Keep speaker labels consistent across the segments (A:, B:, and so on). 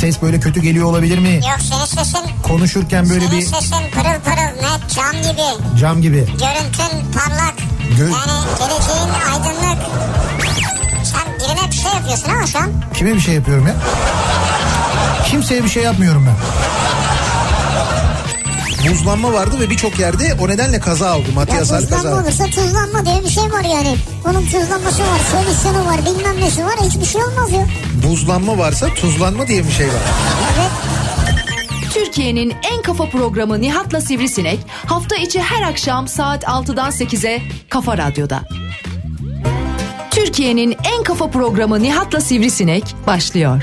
A: ses böyle kötü geliyor olabilir mi?
B: Yok senin sesin
A: Konuşurken böyle
B: senin
A: bir
B: sesin pırıl pırıl net cam gibi.
A: cam gibi.
B: Görüntün parlak.
A: Gö-
B: yani geleceğin aydınlık. Sen birine bir şey yapıyorsun ama şu an.
A: Kime bir şey yapıyorum ya? Kimseye bir şey yapmıyorum ben.
C: Buzlanma vardı ve birçok yerde o nedenle kaza oldu.
B: Ya
C: Matias Sarp
B: tuzlanma
C: kaza.
B: olursa tuzlanma diye bir şey var yani. Onun tuzlanması var, solüsyonu var, bilmem nesi var. Hiçbir şey olmaz ya.
C: Buzlanma varsa tuzlanma diye bir şey var.
B: Evet.
D: Türkiye'nin en kafa programı Nihat'la Sivrisinek hafta içi her akşam saat 6'dan 8'e Kafa Radyo'da. Türkiye'nin en kafa programı Nihat'la Sivrisinek başlıyor.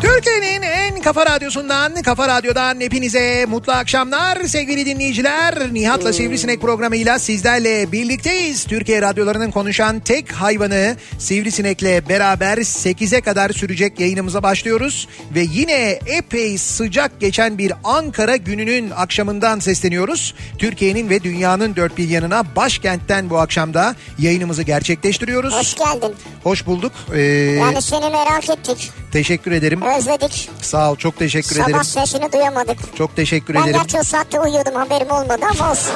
C: Türkiye'nin en kafa radyosundan, kafa radyodan hepinize mutlu akşamlar sevgili dinleyiciler. Nihat'la Sivrisinek programıyla sizlerle birlikteyiz. Türkiye radyolarının konuşan tek hayvanı Sivrisinek'le beraber 8'e kadar sürecek yayınımıza başlıyoruz. Ve yine epey sıcak geçen bir Ankara gününün akşamından sesleniyoruz. Türkiye'nin ve dünyanın dört bir yanına başkentten bu akşamda yayınımızı gerçekleştiriyoruz.
B: Hoş geldin.
C: Hoş bulduk. Ee,
B: Yani seni merak ettik.
C: Teşekkür ederim.
B: Özledik.
C: Sağ ol çok teşekkür
B: Sabah
C: ederim.
B: sesini duyamadık.
C: Çok teşekkür
B: Ben
C: ederim.
B: gerçi o saatte uyuyordum haberim olmadı ama olsun.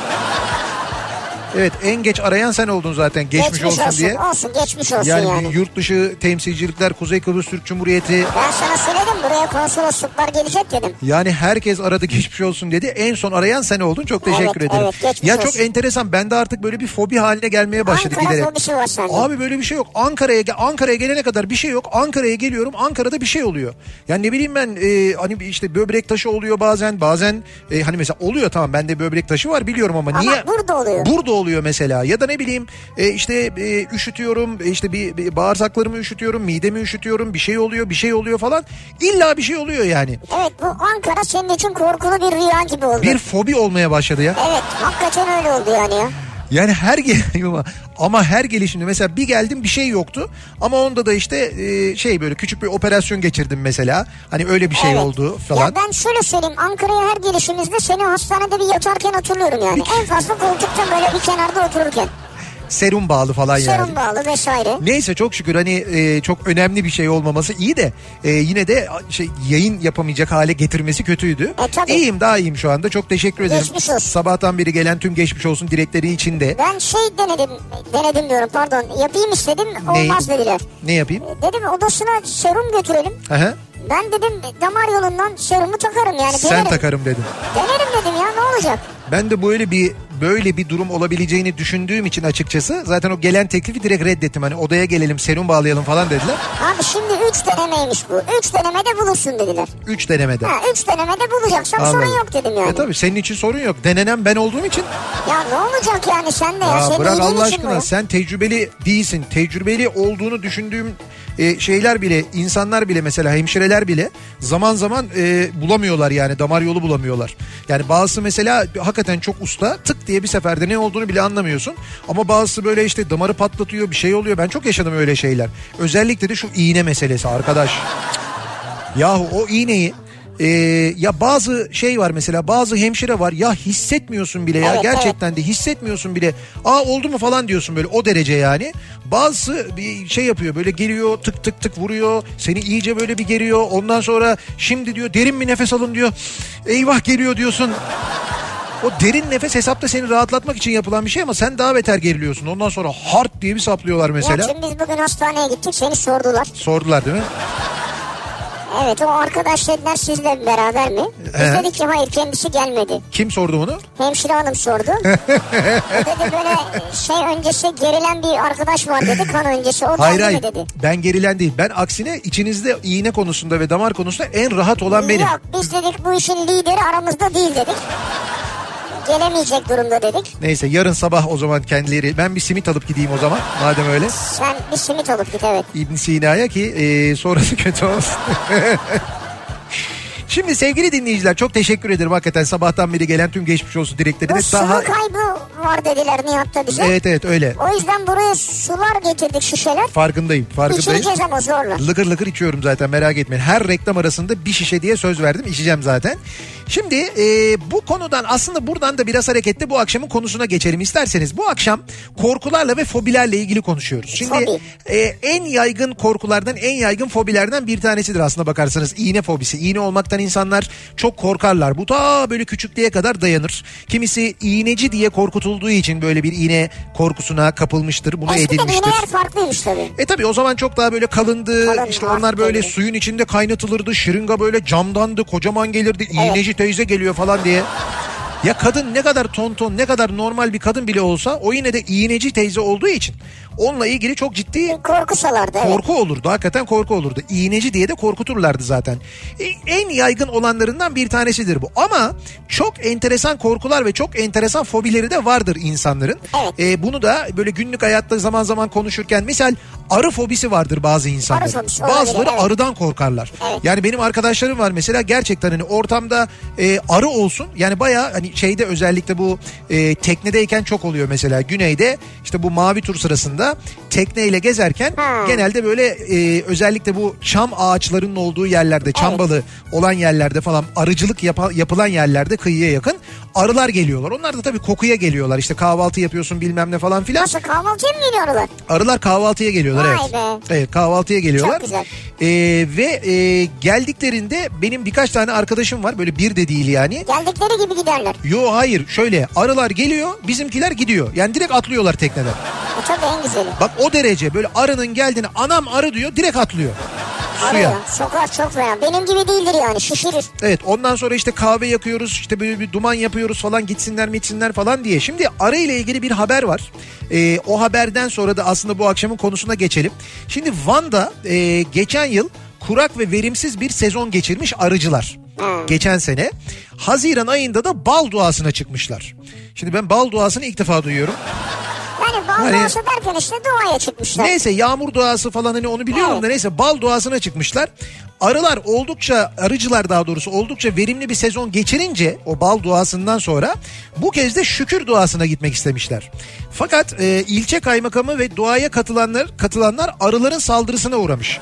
C: Evet en geç arayan sen oldun zaten geçmiş, olsun, diye.
B: Olsun geçmiş olsun
C: Yani,
B: yani.
C: bir yurt dışı temsilcilikler Kuzey Kıbrıs Türk Cumhuriyeti
B: Ben sana söyledim buraya konsolosluklar gelecek dedim.
C: yani herkes aradı geçmiş olsun dedi. En son arayan sen oldun. Çok teşekkür
B: Evet,
C: ederim.
B: evet, geçmiş
C: ya
B: olsun.
C: çok enteresan. Ben de artık böyle bir fobi haline gelmeye başladı
B: Ankara
C: giderek.
B: fobisi var sende.
C: Abi böyle bir şey yok. Ankara'ya ge- Ankara'ya gelene kadar bir şey yok. Ankara'ya geliyorum. Ankara'da bir şey oluyor. Yani ne bileyim ben e, hani işte böbrek taşı oluyor bazen. Bazen e, hani mesela oluyor tamam bende böbrek taşı var biliyorum ama,
B: Ama
C: niye?
B: burada oluyor.
C: Burada oluyor mesela. Ya da ne bileyim e, işte e, üşütüyorum. e, işte bir, bir bağırsaklarımı üşütüyorum. Midemi üşütüyorum. Bir şey oluyor. Bir şey oluyor falan. İlla bir şey oluyor yani.
B: Evet bu Ankara senin için korkulu bir rüya gibi oldu.
C: Bir fobi olmaya başladı ya.
B: Evet hakikaten öyle oldu yani ya.
C: Yani her gel ama- ama her gelişimde mesela bir geldim bir şey yoktu ama onda da işte e, şey böyle küçük bir operasyon geçirdim mesela. Hani öyle bir şey
B: Evet.
C: oldu falan.
B: Ya ben şöyle söyleyeyim Ankara'ya her gelişimizde seni hastanede bir yatarken hatırlıyorum yani. En fazla koltukta böyle bir kenarda otururken.
C: Serum bağlı falan yani.
B: Serum bağlı vesaire.
C: Neyse çok şükür hani e, çok önemli bir şey olmaması iyi de e, yine de a, şey yayın yapamayacak hale getirmesi kötüydü.
B: E, tabii.
C: iyiyim daha iyiyim şu anda. Çok teşekkür ederim.
B: Geçmiş olsun.
C: Sabahtan beri gelen tüm geçmiş olsun dilekleri için de.
B: Ben şey denedim, denedim diyorum pardon. Yapayım istedim
C: Neyi?
B: olmaz dediler.
C: Ne yapayım?
B: Dedim odasına serum götürelim.
C: Hı hı.
B: Ben dedim damar yolundan serumu takarım yani.
C: Sen
B: denerim.
C: takarım dedim.
B: Denerim dedim ya ne olacak?
C: Ben de böyle bir böyle bir durum olabileceğini düşündüğüm için açıkçası zaten o gelen teklifi direkt reddettim. Hani odaya gelelim serum bağlayalım falan dediler.
B: Abi şimdi 3 denemeymiş bu. 3 denemede bulursun dediler.
C: Üç denemede.
B: Ha 3 denemede bulacaksam
C: Anladım.
B: sorun yok dedim yani.
C: E tabii senin için sorun yok. Denenen ben olduğum için.
B: Ya ne olacak yani sen de ya.
C: Aa,
B: Senin
C: bırak
B: iyiliğin
C: Allah
B: için bu.
C: aşkına sen tecrübeli değilsin. Tecrübeli olduğunu düşündüğüm e, şeyler bile insanlar bile mesela hemşireler bile zaman zaman e, bulamıyorlar yani damar yolu bulamıyorlar. Yani bazısı mesela hakikaten çok usta tık diye bir seferde ne olduğunu bile anlamıyorsun. Ama bazısı böyle işte damarı patlatıyor bir şey oluyor. Ben çok yaşadım öyle şeyler. Özellikle de şu iğne meselesi arkadaş. Yahu o iğneyi e, ya bazı şey var mesela bazı hemşire var ya hissetmiyorsun bile ya
B: Evet,
C: gerçekten de hissetmiyorsun bile. Aa oldu mu falan diyorsun böyle o derece yani. Bazısı bir şey yapıyor böyle geliyor tık tık tık vuruyor seni iyice böyle bir geriyor. Ondan sonra şimdi diyor derin bir nefes alın diyor. Eyvah geliyor diyorsun. O derin nefes hesapta seni rahatlatmak için yapılan bir şey ama sen daha beter geriliyorsun. Ondan sonra hard diye bir saplıyorlar
B: Ya
C: mesela.
B: şimdi biz bugün hastaneye gittik seni sordular.
C: Sordular değil mi?
B: Evet o arkadaş dediler sizle beraber mi? Biz
C: He.
B: dedik ki hayır kendisi gelmedi.
C: Kim sordu bunu?
B: Hemşire hanım sordu. O dedi böyle şey öncesi gerilen bir arkadaş var dedi kan öncesi. O
C: Hayır
B: geldi mi
C: hayır
B: dedi.
C: ben gerilen değil. Ben aksine içinizde iğne konusunda ve damar konusunda en rahat olan benim.
B: Yok biz dedik bu işin lideri aramızda değil dedik. gelemeyecek durumda dedik.
C: Neyse yarın sabah o zaman kendileri ben bir simit alıp gideyim o zaman madem öyle.
B: Sen bir simit olup git evet.
C: İbn Sina'ya ki e, sonrası kötü olsun. Şimdi sevgili dinleyiciler çok teşekkür ederim hakikaten sabahtan beri gelen tüm geçmiş olsun
B: Bu
C: dileklerine.
B: sıvı kaybı var dediler Nihat'ta bize.
C: Evet evet öyle.
B: O yüzden buraya sular getirdik şişeler.
C: Farkındayım, farkındayım.
B: İçireceğiz ama zorla.
C: Lıkır lıkır içiyorum zaten merak etmeyin. Her reklam arasında bir şişe diye söz verdim içeceğim zaten. Şimdi e, bu konudan aslında buradan da biraz hareketle bu akşamın konusuna geçelim isterseniz. Bu akşam korkularla ve fobilerle ilgili konuşuyoruz. Şimdi
B: Fobi.
C: e, en yaygın korkulardan en yaygın fobilerden bir tanesidir aslında bakarsanız. İğne fobisi. İğne olmaktan insanlar çok korkarlar. Bu ta böyle küçüklüğe kadar dayanır. Kimisi iğneci diye korkutulduğu için böyle bir iğne korkusuna kapılmıştır. Bunu
B: Eskiden
C: edinmiştir.
B: iğneler farklıymış tabii.
C: E tabii o zaman çok daha böyle kalındı.
B: Kalın,
C: işte onlar böyle
B: artık öyle.
C: suyun içinde kaynatılırdı. Şırınga böyle camdandı. Kocaman gelirdi. İğneci teyze geliyor falan diye. Ya kadın ne kadar tonton ne kadar normal bir kadın bile olsa o yine de iğneci teyze olduğu için onunla ilgili çok ciddi
B: Korku salardı evet.
C: korku olurdu. Hakikaten korku olurdu. İğneci diye de korkuturlardı zaten. E, En yaygın olanlarından bir tanesidir bu. Ama çok enteresan korkular ve çok enteresan fobileri de vardır insanların.
B: Evet.
C: E, bunu da böyle günlük hayatta zaman zaman konuşurken misal arı fobisi vardır bazı insanların.
B: Arı fobisi olabilir,
C: Bazıları
B: evet.
C: arıdan korkarlar.
B: Evet.
C: Yani benim arkadaşlarım var mesela gerçekten hani ortamda e, arı olsun yani baya hani şeyde özellikle bu e, teknedeyken çok oluyor mesela güneyde işte bu mavi tur sırasında tekneyle gezerken
B: Ha.
C: genelde böyle e, özellikle bu çam ağaçlarının olduğu yerlerde çam balı olan yerlerde falan arıcılık yapa- yapılan yerlerde kıyıya yakın arılar geliyorlar. Onlar da tabii kokuya geliyorlar işte kahvaltı yapıyorsun bilmem ne falan filan.
B: Nasıl kahvaltıya mı geliyorlar?
C: Arılar kahvaltıya geliyorlar
B: Vay
C: evet.
B: be.
C: Evet kahvaltıya geliyorlar.
B: Çok güzel.
C: Ee, ve e, geldiklerinde benim birkaç tane arkadaşım var böyle bir de değil yani.
B: Geldikleri gibi giderler.
C: Yo hayır şöyle arılar geliyor bizimkiler gidiyor. Yani direkt atlıyorlar tekneden.
B: E, tabii en güzeli.
C: Bak o derece böyle arının geldiğini anam arı diyor direkt atlıyor. Suya.
B: Arıyor. Sokak çok fena. Benim gibi değildir yani şişirir.
C: Evet ondan sonra işte kahve yakıyoruz işte böyle bir duman yapıyoruz falan gitsinler mitsinler falan diye. Şimdi arı ile ilgili bir haber var. Ee, o haberden sonra da aslında bu akşamın konusuna geçelim. Şimdi Van'da e, geçen yıl kurak ve verimsiz bir sezon geçirmiş arıcılar. Geçen sene. Haziran ayında da bal duasına çıkmışlar. Şimdi ben bal duasını ilk defa duyuyorum.
B: Yani bağlı
C: Hani-
B: derken işte duaya çıkmışlar.
C: Neyse yağmur duası falan hani onu biliyorum da
B: Evet.
C: neyse bal duasına çıkmışlar. Arılar oldukça arıcılar daha doğrusu oldukça verimli bir sezon geçirince o bal duasından sonra bu kez de şükür duasına gitmek istemişler. Fakat e, ilçe kaymakamı ve duaya katılanlar katılanlar arıların saldırısına uğramış.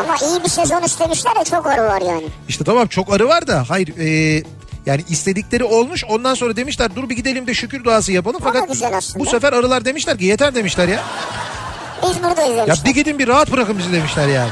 B: Ama iyi bir sezon istemişler ya çok arı var yani.
C: İşte tamam çok arı var da hayır e, yani istedikleri olmuş ondan sonra demişler dur bir gidelim de şükür duası yapalım.
B: da
C: Fakat
B: güzel aslında.
C: bu sefer arılar demişler ki yeter demişler ya.
B: Biz buradayız
C: Ya
B: demişler.
C: bir gidin bir rahat bırakın bizi demişler yani.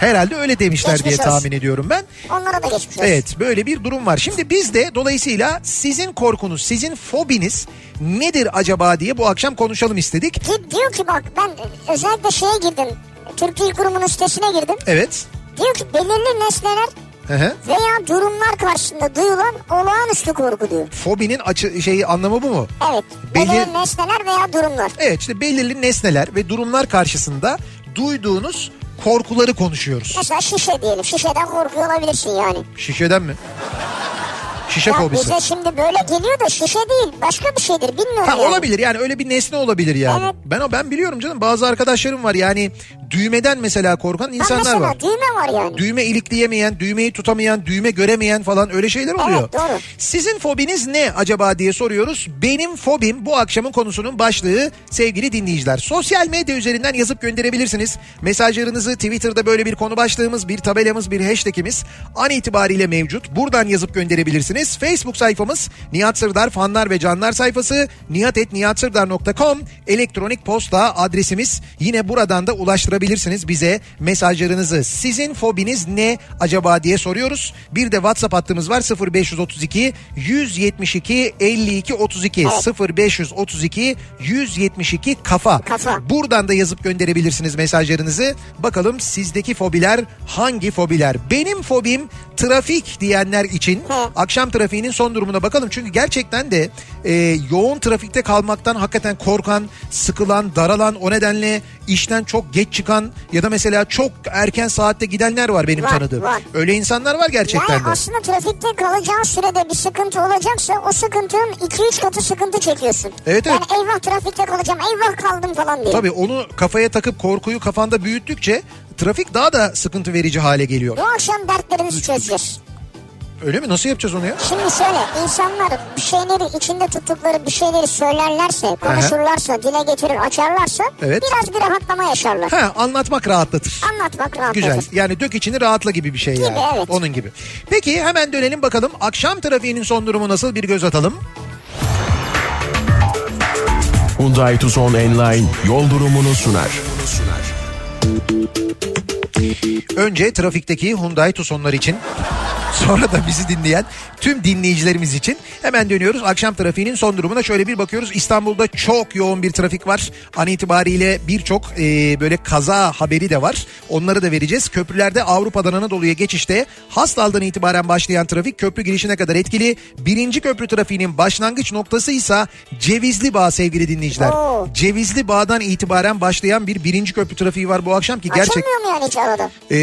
C: Herhalde öyle demişler diye
B: Geçmiş olsun.
C: tahmin ediyorum ben.
B: Onlara da geçmiş olsun.
C: Evet böyle bir durum var. Şimdi biz de dolayısıyla sizin korkunuz, sizin fobiniz nedir acaba diye bu akşam konuşalım istedik.
B: Ki- Diyor ki bak ben özellikle şeye girdim. Türk Dil Kurumu'nun sitesine girdim.
C: Evet.
B: Diyor ki belirli nesneler
C: Hı hı.
B: veya durumlar karşısında duyulan olağanüstü korku diyor.
C: Fobinin açı, şeyi anlamı bu mu?
B: Evet.
C: Belir-
B: Belirli nesneler veya durumlar.
C: Evet işte belirli nesneler ve durumlar karşısında duyduğunuz korkuları konuşuyoruz.
B: Mesela şişe diyelim. Şişeden korkuyor olabilirsin yani.
C: Şişeden mi? Şişe
B: Ya
C: fobisi.
B: bize şimdi böyle geliyor da şişe değil. Başka bir şeydir. Bilmiyorum.
C: Ha
B: yani.
C: olabilir yani öyle bir nesne olabilir yani.
B: Evet.
C: Ben o ben biliyorum canım bazı arkadaşlarım var yani düğmeden mesela korkan
B: Ha,
C: insanlar
B: mesela
C: var.
B: düğme var yani.
C: Düğme ilikleyemeyen, düğmeyi tutamayan, düğme göremeyen falan öyle şeyler oluyor.
B: doğru.
C: Sizin fobiniz ne acaba diye soruyoruz. Benim fobim bu akşamın konusunun başlığı sevgili dinleyiciler. Sosyal medya üzerinden yazıp gönderebilirsiniz. Mesajlarınızı Twitter'da böyle bir konu başlığımız, bir tabelamız, bir hashtagimiz an itibariyle mevcut. Buradan yazıp gönderebilirsiniz. Facebook sayfamız Nihat Sırdar fanlar ve canlar sayfası nihatetnihatsırdar.com elektronik posta adresimiz yine buradan da ulaştırabilirsiniz bize mesajlarınızı. Sizin fobiniz ne acaba diye soruyoruz. Bir de WhatsApp hattımız var 0532 172 52 32 0532 172 kafa.
B: Kafa.
C: Buradan da yazıp gönderebilirsiniz mesajlarınızı. Bakalım sizdeki fobiler hangi fobiler? Benim fobim trafik diyenler için
B: He.
C: akşam akşam trafiğinin son durumuna bakalım. Çünkü gerçekten de e, yoğun trafikte kalmaktan hakikaten korkan, sıkılan, daralan o nedenle işten çok geç çıkan ya da mesela çok erken saatte gidenler var benim
B: Var,
C: tanıdığım.
B: var.
C: Öyle insanlar var gerçekten
B: Yani
C: de.
B: aslında trafikte kalacağın sürede bir sıkıntı olacaksa o sıkıntının 2-3 katı sıkıntı çekiyorsun.
C: Evet, evet.
B: Yani eyvah trafikte kalacağım eyvah kaldım falan diye.
C: Tabii onu kafaya takıp korkuyu kafanda büyüttükçe trafik daha da sıkıntı verici hale geliyor.
B: Bu akşam dertlerimizi çözeceğiz.
C: Öyle mi? Nasıl yapacağız onu ya?
B: Şimdi şöyle insanlar bir şeyleri içinde tuttukları bir şeyleri söylerlerse, konuşurlarsa, dile getirir, açarlarsa
C: Evet.
B: biraz bir rahatlama yaşarlar.
C: Ha, anlatmak rahatlatır.
B: Anlatmak rahatlatır.
C: Güzel. Yani dök içini rahatla gibi bir şey yani.
B: evet.
C: Onun gibi. Peki hemen dönelim bakalım. Akşam trafiğinin son durumu nasıl bir göz atalım.
E: Hyundai Tucson Enline yol durumunu sunar.
C: Önce trafikteki Hyundai Tucson'lar için sonra da bizi dinleyen tüm dinleyicilerimiz için hemen dönüyoruz. Akşam trafiğinin son durumuna şöyle bir bakıyoruz. İstanbul'da çok yoğun bir trafik var. An itibariyle birçok e, böyle kaza haberi de var. Onları da vereceğiz. Köprülerde Avrupa'dan Anadolu'ya geçişte Hastal'dan itibaren başlayan trafik köprü girişine kadar etkili. Birinci köprü trafiğinin başlangıç noktası ise Cevizli Bağ sevgili dinleyiciler.
B: Oo.
C: Cevizli Bağ'dan itibaren başlayan bir birinci köprü trafiği var bu akşam ki gerçek
B: Açılmıyor mu yani hiç arada?
C: ee,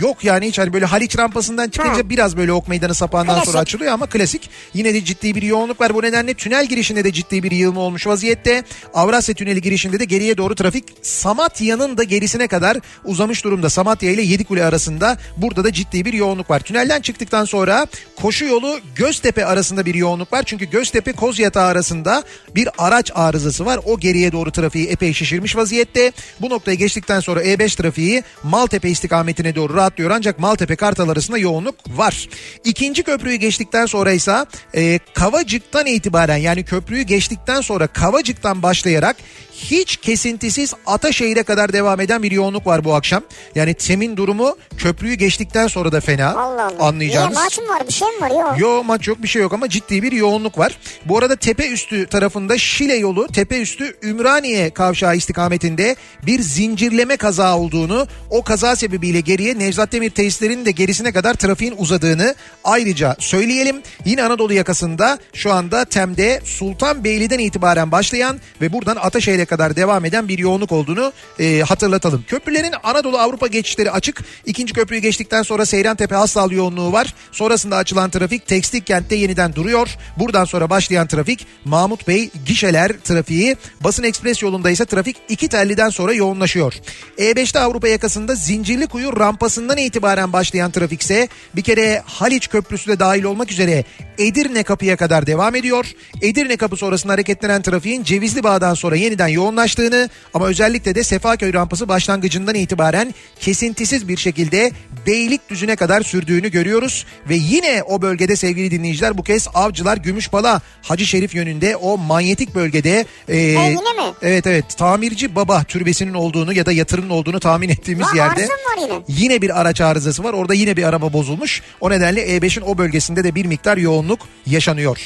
C: yok yani hiç hani böyle Haliç rampasından çıkınca
B: Ha.
C: biraz böyle ok meydanı sapağından sonra
B: Klasik.
C: açılıyor ama klasik. Yine de ciddi bir yoğunluk var. Bu nedenle tünel girişinde de ciddi bir yığılma olmuş vaziyette. Avrasya Tüneli girişinde de geriye doğru trafik Samatya'nın da gerisine kadar uzamış durumda. Samatya ile Yedikule arasında burada da ciddi bir yoğunluk var. Tünelden çıktıktan sonra koşu yolu Göztepe arasında bir yoğunluk var. Çünkü Göztepe Kozyatağı arasında bir araç arızası var. O geriye doğru trafiği epey şişirmiş vaziyette. Bu noktaya geçtikten sonra E5 trafiği Maltepe istikametine doğru rahatlıyor ancak Maltepe Kartal arasında yoğunluk var. İkinci köprüyü geçtikten sonra ise e, Kavacık'tan itibaren yani köprüyü geçtikten sonra Kavacık'tan başlayarak hiç kesintisiz Ataşehir'e kadar devam eden bir yoğunluk var bu akşam. Yani temin durumu köprüyü geçtikten sonra da fena
B: Allah Allah.
C: anlayacağınız.
B: Niye maç mı var bir şey mi var yok.
C: Yo maç yok bir şey yok ama ciddi bir yoğunluk var. Bu arada tepe üstü tarafında Şile yolu tepe üstü Ümraniye kavşağı istikametinde bir zincirleme kaza olduğunu o kaza sebebiyle geriye Nevzat Demir tesislerinin de gerisine kadar trafiğin uzadığını ayrıca söyleyelim. Yine Anadolu yakasında şu anda Tem'de Sultanbeyli'den itibaren başlayan ve buradan Ataşehir'e kadar devam eden bir yoğunluk olduğunu e, hatırlatalım. Köprülerin Anadolu Avrupa geçişleri açık. İkinci köprüyü geçtikten sonra Seyran Tepe Hastal yoğunluğu var. Sonrasında açılan trafik Tekstil Kent'te yeniden duruyor. Buradan sonra başlayan trafik Mahmut Bey gişeler trafiği. Basın Ekspres yolunda ise trafik iki telliden sonra yoğunlaşıyor. E5'te Avrupa yakasında Zincirlikuyu rampasından itibaren başlayan trafik ise bir kere Haliç Köprüsü de dahil olmak üzere Edirne kapıya kadar devam ediyor. Edirne kapı sonrasında hareketlenen trafiğin Cevizli Bağ'dan sonra yeniden yoğunlaştığını ama özellikle de Sefaköy rampası başlangıcından itibaren kesintisiz bir şekilde Beylikdüzü'ne kadar sürdüğünü görüyoruz. Ve yine o bölgede sevgili dinleyiciler bu kez Avcılar Gümüşbala Hacı Şerif yönünde o manyetik bölgede e,
B: yine mi?
C: evet evet tamirci baba türbesinin olduğunu ya da yatırının olduğunu tahmin ettiğimiz
B: Lan
C: yerde
B: arıza mı var yine?
C: yine bir araç arızası var orada yine bir araba bozulmuş o nedenle E5'in o bölgesinde de bir miktar yoğunluk yaşanıyor.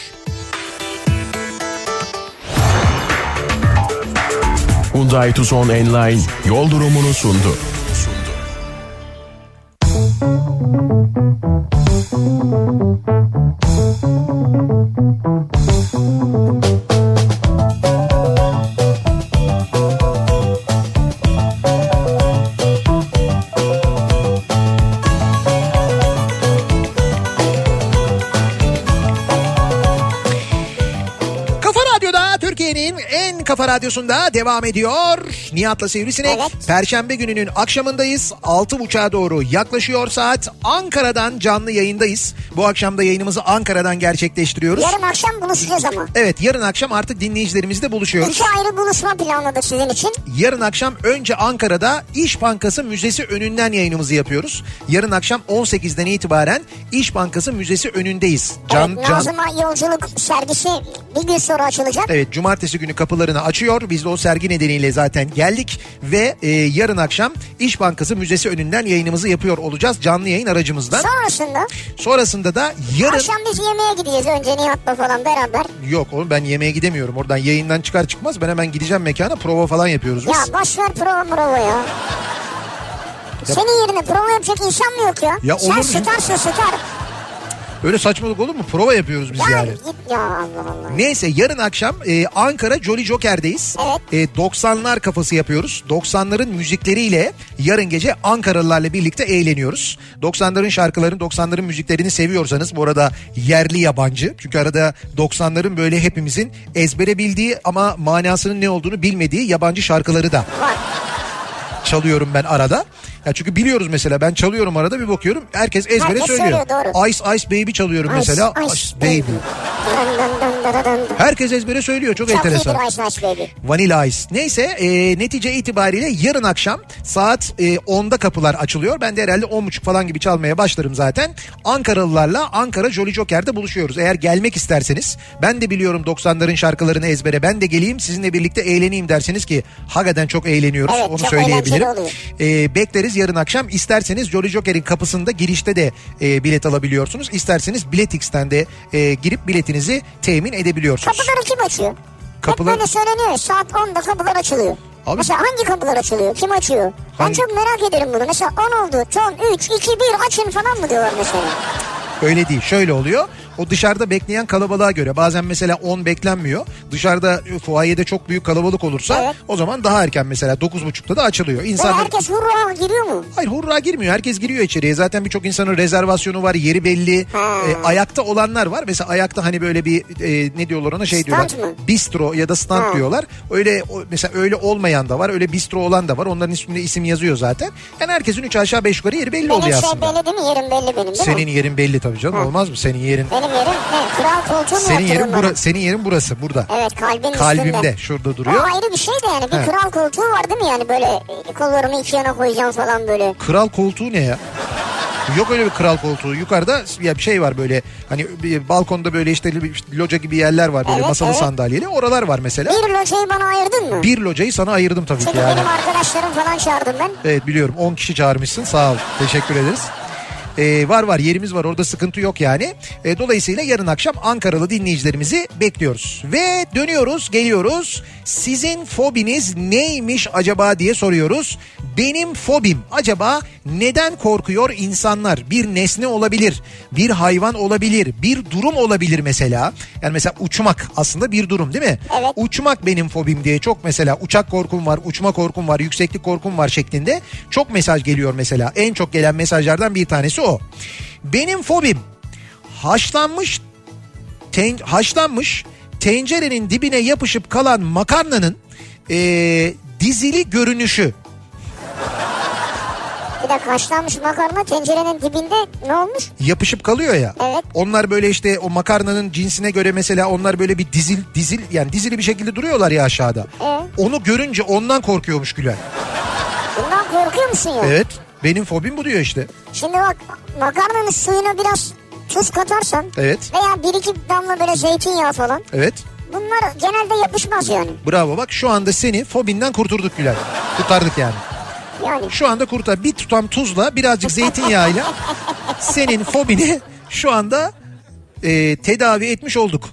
E: Hyundai Tucson Enline yol durumunu sundu.
C: Kafa Radyo'da Türkiye'nin en kafa radyosunda devam ediyor. Nihat'la Sivrisinek.
B: Evet.
C: Perşembe gününün akşamındayız. 6.30'a doğru yaklaşıyor saat. Ankara'dan canlı yayındayız. Bu akşam da yayınımızı Ankara'dan gerçekleştiriyoruz.
B: Yarın akşam buluşacağız ama.
C: Evet yarın akşam artık dinleyicilerimizle buluşuyoruz.
B: İki ayrı buluşma planladık sizin için.
C: Yarın akşam önce Ankara'da İş Bankası Müzesi önünden yayınımızı yapıyoruz. Yarın akşam 18'den itibaren İş Bankası Müzesi önündeyiz.
B: evet, Nazım'a yolculuk sergisi bir gün sonra açılacak.
C: Evet cumartesi günü kapılarını açıyor. Biz de o sergi nedeniyle zaten geldik ve e, yarın akşam İş Bankası Müzesi önünden yayınımızı yapıyor olacağız canlı yayın aracımızdan.
B: Sonrasında
C: Sonrasında da yarın
B: akşam biz yemeğe gideceğiz önce Nihat'la falan beraber.
C: yok oğlum ben yemeğe gidemiyorum. Oradan yayından çıkar çıkmaz ben hemen gideceğim mekana prova falan yapıyoruz biz.
B: Ya boş ver prova prova ya. Senin yerine prova yapacak insan mı yok ya?
C: Ya
B: Sen
C: olur mu?
B: starsın star.
C: Öyle saçmalık olur mu? Prova yapıyoruz biz yani.
B: git ya Allah Allah.
C: Neyse yarın akşam e, Ankara Jolly Joker'deyiz. E, 90'lar kafası yapıyoruz. 90'ların müzikleriyle yarın gece Ankaralılarla birlikte eğleniyoruz. 90'ların şarkılarını, 90'ların müziklerini seviyorsanız bu arada yerli yabancı. Çünkü arada 90'ların böyle hepimizin ezbere bildiği ama manasının ne olduğunu bilmediği yabancı şarkıları da çalıyorum ben arada. Ya çünkü biliyoruz mesela ben çalıyorum arada bir bakıyorum herkes ezbere
B: Herkes
C: söylüyor.
B: söylüyor, doğru.
C: Ice Ice Baby çalıyorum mesela.
B: Ice, Ice Baby. Dın dın dın dın dın dın.
C: Herkes ezbere söylüyor çok,
B: Çok
C: enteresan.
B: iyidir Ice Ice Baby.
C: Vanilla Ice. Neyse e, netice itibariyle yarın akşam saat e, 10'da kapılar açılıyor. Ben de herhalde 10.30 falan gibi çalmaya başlarım zaten. Ankaralılarla Ankara Jolly Joker'de buluşuyoruz. Eğer gelmek isterseniz ben de biliyorum 90'ların şarkılarını ezbere ben de geleyim sizinle birlikte eğleneyim derseniz ki hakikaten çok eğleniyoruz
B: Evet,
C: onu
B: çok
C: söyleyebilirim.
B: eğlenceli oluyor.
C: E, bekleriz yarın akşam. İsterseniz Jolly Joker'in kapısında girişte de e, bilet alabiliyorsunuz. İsterseniz Biletix'ten de e, girip biletinizi temin edebiliyorsunuz.
B: Kapıları kim açıyor?
C: Kapılar-
B: Hep böyle söyleniyor ya, saat 10'da kapılar açılıyor.
C: Abi-
B: Mesela hangi kapılar açılıyor? Kim açıyor? Ben
C: Hangi-
B: çok merak ederim bunu. Mesela 10 oldu. Son 3, 2, 1 açın falan mı diyorlar mesela?
C: Öyle değil şöyle oluyor. O dışarıda bekleyen kalabalığa göre bazen mesela 10 beklenmiyor. Dışarıda e, fuayede çok büyük kalabalık olursa
B: Evet.
C: o zaman daha erken mesela 9.30'da da açılıyor.
B: Böyle
C: İnsanlar...
B: herkes hurra giriyor mu?
C: Hayır hurra girmiyor. Herkes giriyor içeriye. Zaten birçok insanın rezervasyonu var. Yeri belli. E, ayakta olanlar var. Mesela ayakta hani böyle bir e, ne diyorlar ona şey
B: Stand
C: diyorlar.
B: mı?
C: Bistro ya da stand
B: Ha.
C: diyorlar. Öyle o- mesela öyle olmayan da var. Öyle bistro olan da var. Onların üstünde isim yazıyor zaten. Yani herkesin 3 aşağı 5 yukarı yeri belli
B: Benim
C: oluyor
B: şey
C: aslında.
B: belli değil mi? Yerim belli benim değil
C: Senin
B: mi?
C: yerin belli tabii canım. Olmaz mı? Senin yerin
B: Benim yerim ne? Kral koltuğu mu
C: senin yerin
B: yaptırdın bana?
C: bura, senin yerin burası burada.
B: Evet kalbin
C: Kalbimde
B: üstünde.
C: şurada
B: O
C: duruyor.
B: ayrı bir şey de yani. Bir
C: He.
B: kral koltuğu var değil mi yani? Böyle e, kollarımı iki yana koyacağım falan böyle.
C: Kral koltuğu ne ya? Yok öyle bir kral koltuğu. Yukarıda ya bir şey var böyle hani bir balkonda böyle işte bir loca gibi yerler var böyle
B: Evet,
C: masalı
B: evet.
C: sandalyeli. Oralar var mesela.
B: Bir locayı bana ayırdın mı?
C: Bir locayı sana ayırdım tabii ki
B: Çünkü
C: yani.
B: benim arkadaşlarım falan çağırdım ben.
C: Evet biliyorum 10 kişi çağırmışsın sağ ol teşekkür ederiz. Ee, var var yerimiz var orada sıkıntı yok yani. Ee, dolayısıyla yarın akşam Ankaralı dinleyicilerimizi bekliyoruz. Ve dönüyoruz geliyoruz. Sizin fobiniz neymiş acaba diye soruyoruz. Benim fobim acaba neden korkuyor insanlar? Bir nesne olabilir, bir hayvan olabilir, bir durum olabilir mesela. Yani mesela uçmak aslında bir durum değil mi?
B: Evet.
C: uçmak benim fobim diye çok mesela uçak korkum var, uçma korkum var, yükseklik korkum var şeklinde çok mesaj geliyor mesela. En çok gelen mesajlardan bir tanesi o. Benim fobim haşlanmış ten, haşlanmış tencerenin dibine yapışıp kalan makarnanın eee, dizili görünüşü.
B: Bir dakika haşlanmış makarna tencerenin dibinde ne olmuş?
C: yapışıp kalıyor ya.
B: Evet.
C: Onlar böyle işte o makarnanın cinsine göre mesela onlar böyle bir dizil dizil yani dizili bir şekilde duruyorlar ya aşağıda.
B: Evet.
C: Onu görünce ondan korkuyormuş Gülen.
B: Bundan korkuyor musun ya?
C: Evet. Benim fobim bu diyor işte.
B: Şimdi bak makarnanın suyuna biraz tuz katarsan
C: Evet.
B: veya bir iki damla böyle zeytinyağı falan
C: Evet.
B: bunlar genelde yapışmaz yani.
C: Bravo bak şu anda seni fobinden kurturduk Gülen. Kurtardık yani.
B: Yani
C: Şu anda kurtar. Bir tutam tuzla birazcık zeytinyağıyla senin fobini şu anda e, tedavi etmiş olduk.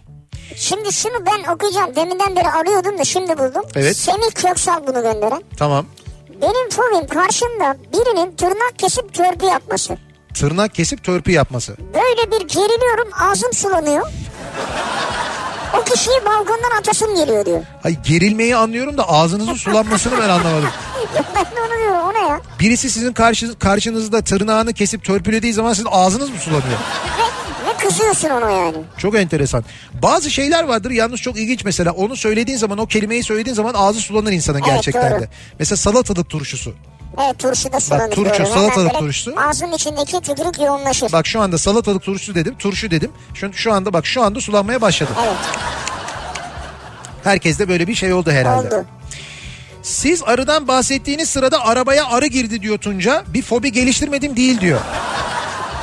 B: şimdi şunu ben okuyacağım deminden beri arıyordum da şimdi buldum.
C: Evet.
B: Semih Köksal bunu gönderen.
C: Tamam.
B: Benim fobim karşımda birinin tırnak kesip törpü yapması.
C: Tırnak kesip törpü yapması.
B: Böyle bir geriliyorum ağzım sulanıyor. O kişiyi balkondan atasım geliyor diyor.
C: Ay gerilmeyi anlıyorum da ağzınızın sulanmasını ben anlamadım.
B: Ya ben de onu diyorum o ne ya?
C: Birisi sizin karşı, karşınızda tırnağını kesip törpülediği zaman sizin ağzınız mı sulanıyor?
B: Ve, ve kızıyorsun ona yani.
C: Çok enteresan. Bazı şeyler vardır yalnız çok ilginç mesela onu söylediğin zaman o kelimeyi söylediğin zaman ağzı sulanır insanın
B: Evet,
C: gerçekten
B: doğru.
C: de. Mesela salatalık turşusu.
B: Evet turşu da sulanır.
C: turşu,
B: doğru. Hemen
C: salatalık
B: böyle
C: turşusu.
B: Ağzın içindeki tükürük yoğunlaşır.
C: Bak şu anda salatalık turşusu dedim turşu dedim. Şu, şu anda bak şu anda sulanmaya başladı.
B: Evet
C: Herkes de böyle bir şey oldu herhalde.
B: oldu.
C: Siz arıdan bahsettiğiniz sırada arabaya arı girdi diyor Tunca. Bir fobi geliştirmedim değil diyor.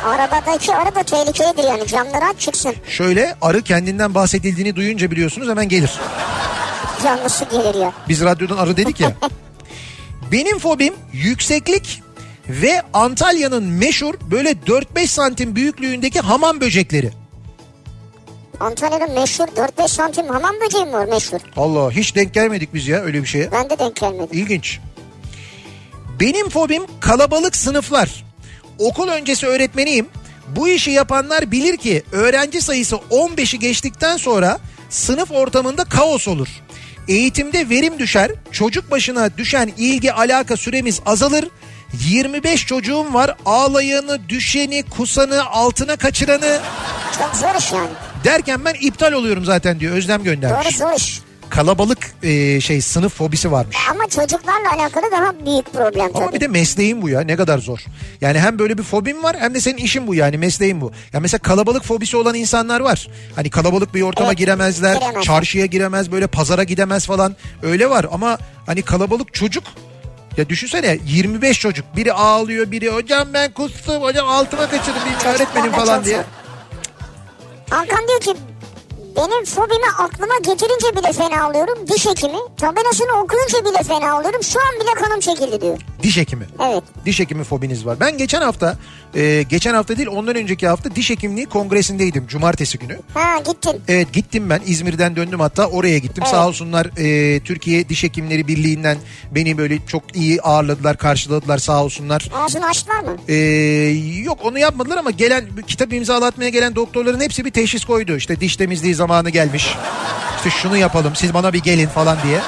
B: Arabadaki arı da tehlikelidir yani camları aç çıksın.
C: Şöyle arı kendinden bahsedildiğini duyunca biliyorsunuz hemen gelir.
B: Canlısı gelir ya.
C: Biz radyodan arı dedik ya. Benim fobim yükseklik ve Antalya'nın meşhur böyle 4-5 santim büyüklüğündeki hamam böcekleri.
B: Antalya'da meşhur 4-5 santim hamam böceği mi var meşhur?
C: Allah hiç denk gelmedik biz ya öyle bir şeye.
B: Ben de denk gelmedim.
C: İlginç. Benim fobim kalabalık sınıflar. Okul öncesi öğretmeniyim. Bu işi yapanlar bilir ki öğrenci sayısı 15'i geçtikten sonra sınıf ortamında kaos olur. Eğitimde verim düşer, çocuk başına düşen ilgi alaka süremiz azalır. 25 çocuğum var ağlayanı, düşeni, kusanı, altına kaçıranı
B: Çok zor iş yani.
C: derken ben iptal oluyorum zaten diyor Özlem göndermiş.
B: Doğru zor iş.
C: Kalabalık e, şey sınıf fobisi varmış.
B: Ama çocuklarla alakalı daha büyük problem
C: Ama
B: tabii.
C: bir de mesleğin bu ya ne kadar zor. Yani hem böyle bir fobim var hem de senin işin bu yani mesleğin bu. Ya mesela kalabalık fobisi olan insanlar var. Hani kalabalık bir ortama
B: Evet,
C: giremezler,
B: giremez.
C: çarşıya giremez, böyle pazara gidemez falan. Öyle var ama hani kalabalık çocuk ya düşünsene 25 çocuk. Biri ağlıyor, biri hocam ben kustum, hocam altıma kaçırdım bilmem öğretmenim
B: Çocuklar da
C: falan
B: çok
C: diye.
B: zor. Hakan diyor ki benim fobimi aklıma getirince bile fena alıyorum. Diş hekimi tabelasını okuyunca bile fena alıyorum. Şu an bile kanım çekildi diyor.
C: Diş hekimi.
B: Evet.
C: Diş hekimi fobiniz var. Ben geçen hafta, e, geçen hafta değil ondan önceki hafta diş hekimliği kongresindeydim. Cumartesi günü.
B: Ha gittin.
C: Evet gittim ben İzmir'den döndüm hatta oraya gittim.
B: Evet.
C: Sağ olsunlar e, Türkiye Diş Hekimleri Birliği'nden beni böyle çok iyi ağırladılar, karşıladılar sağ olsunlar.
B: Ağzını açtılar mı?
C: E, yok onu yapmadılar ama gelen kitap imzalatmaya gelen doktorların hepsi bir teşhis koydu. İşte diş temizliği zamanı gelmiş. İşte şunu yapalım siz bana bir gelin falan diye.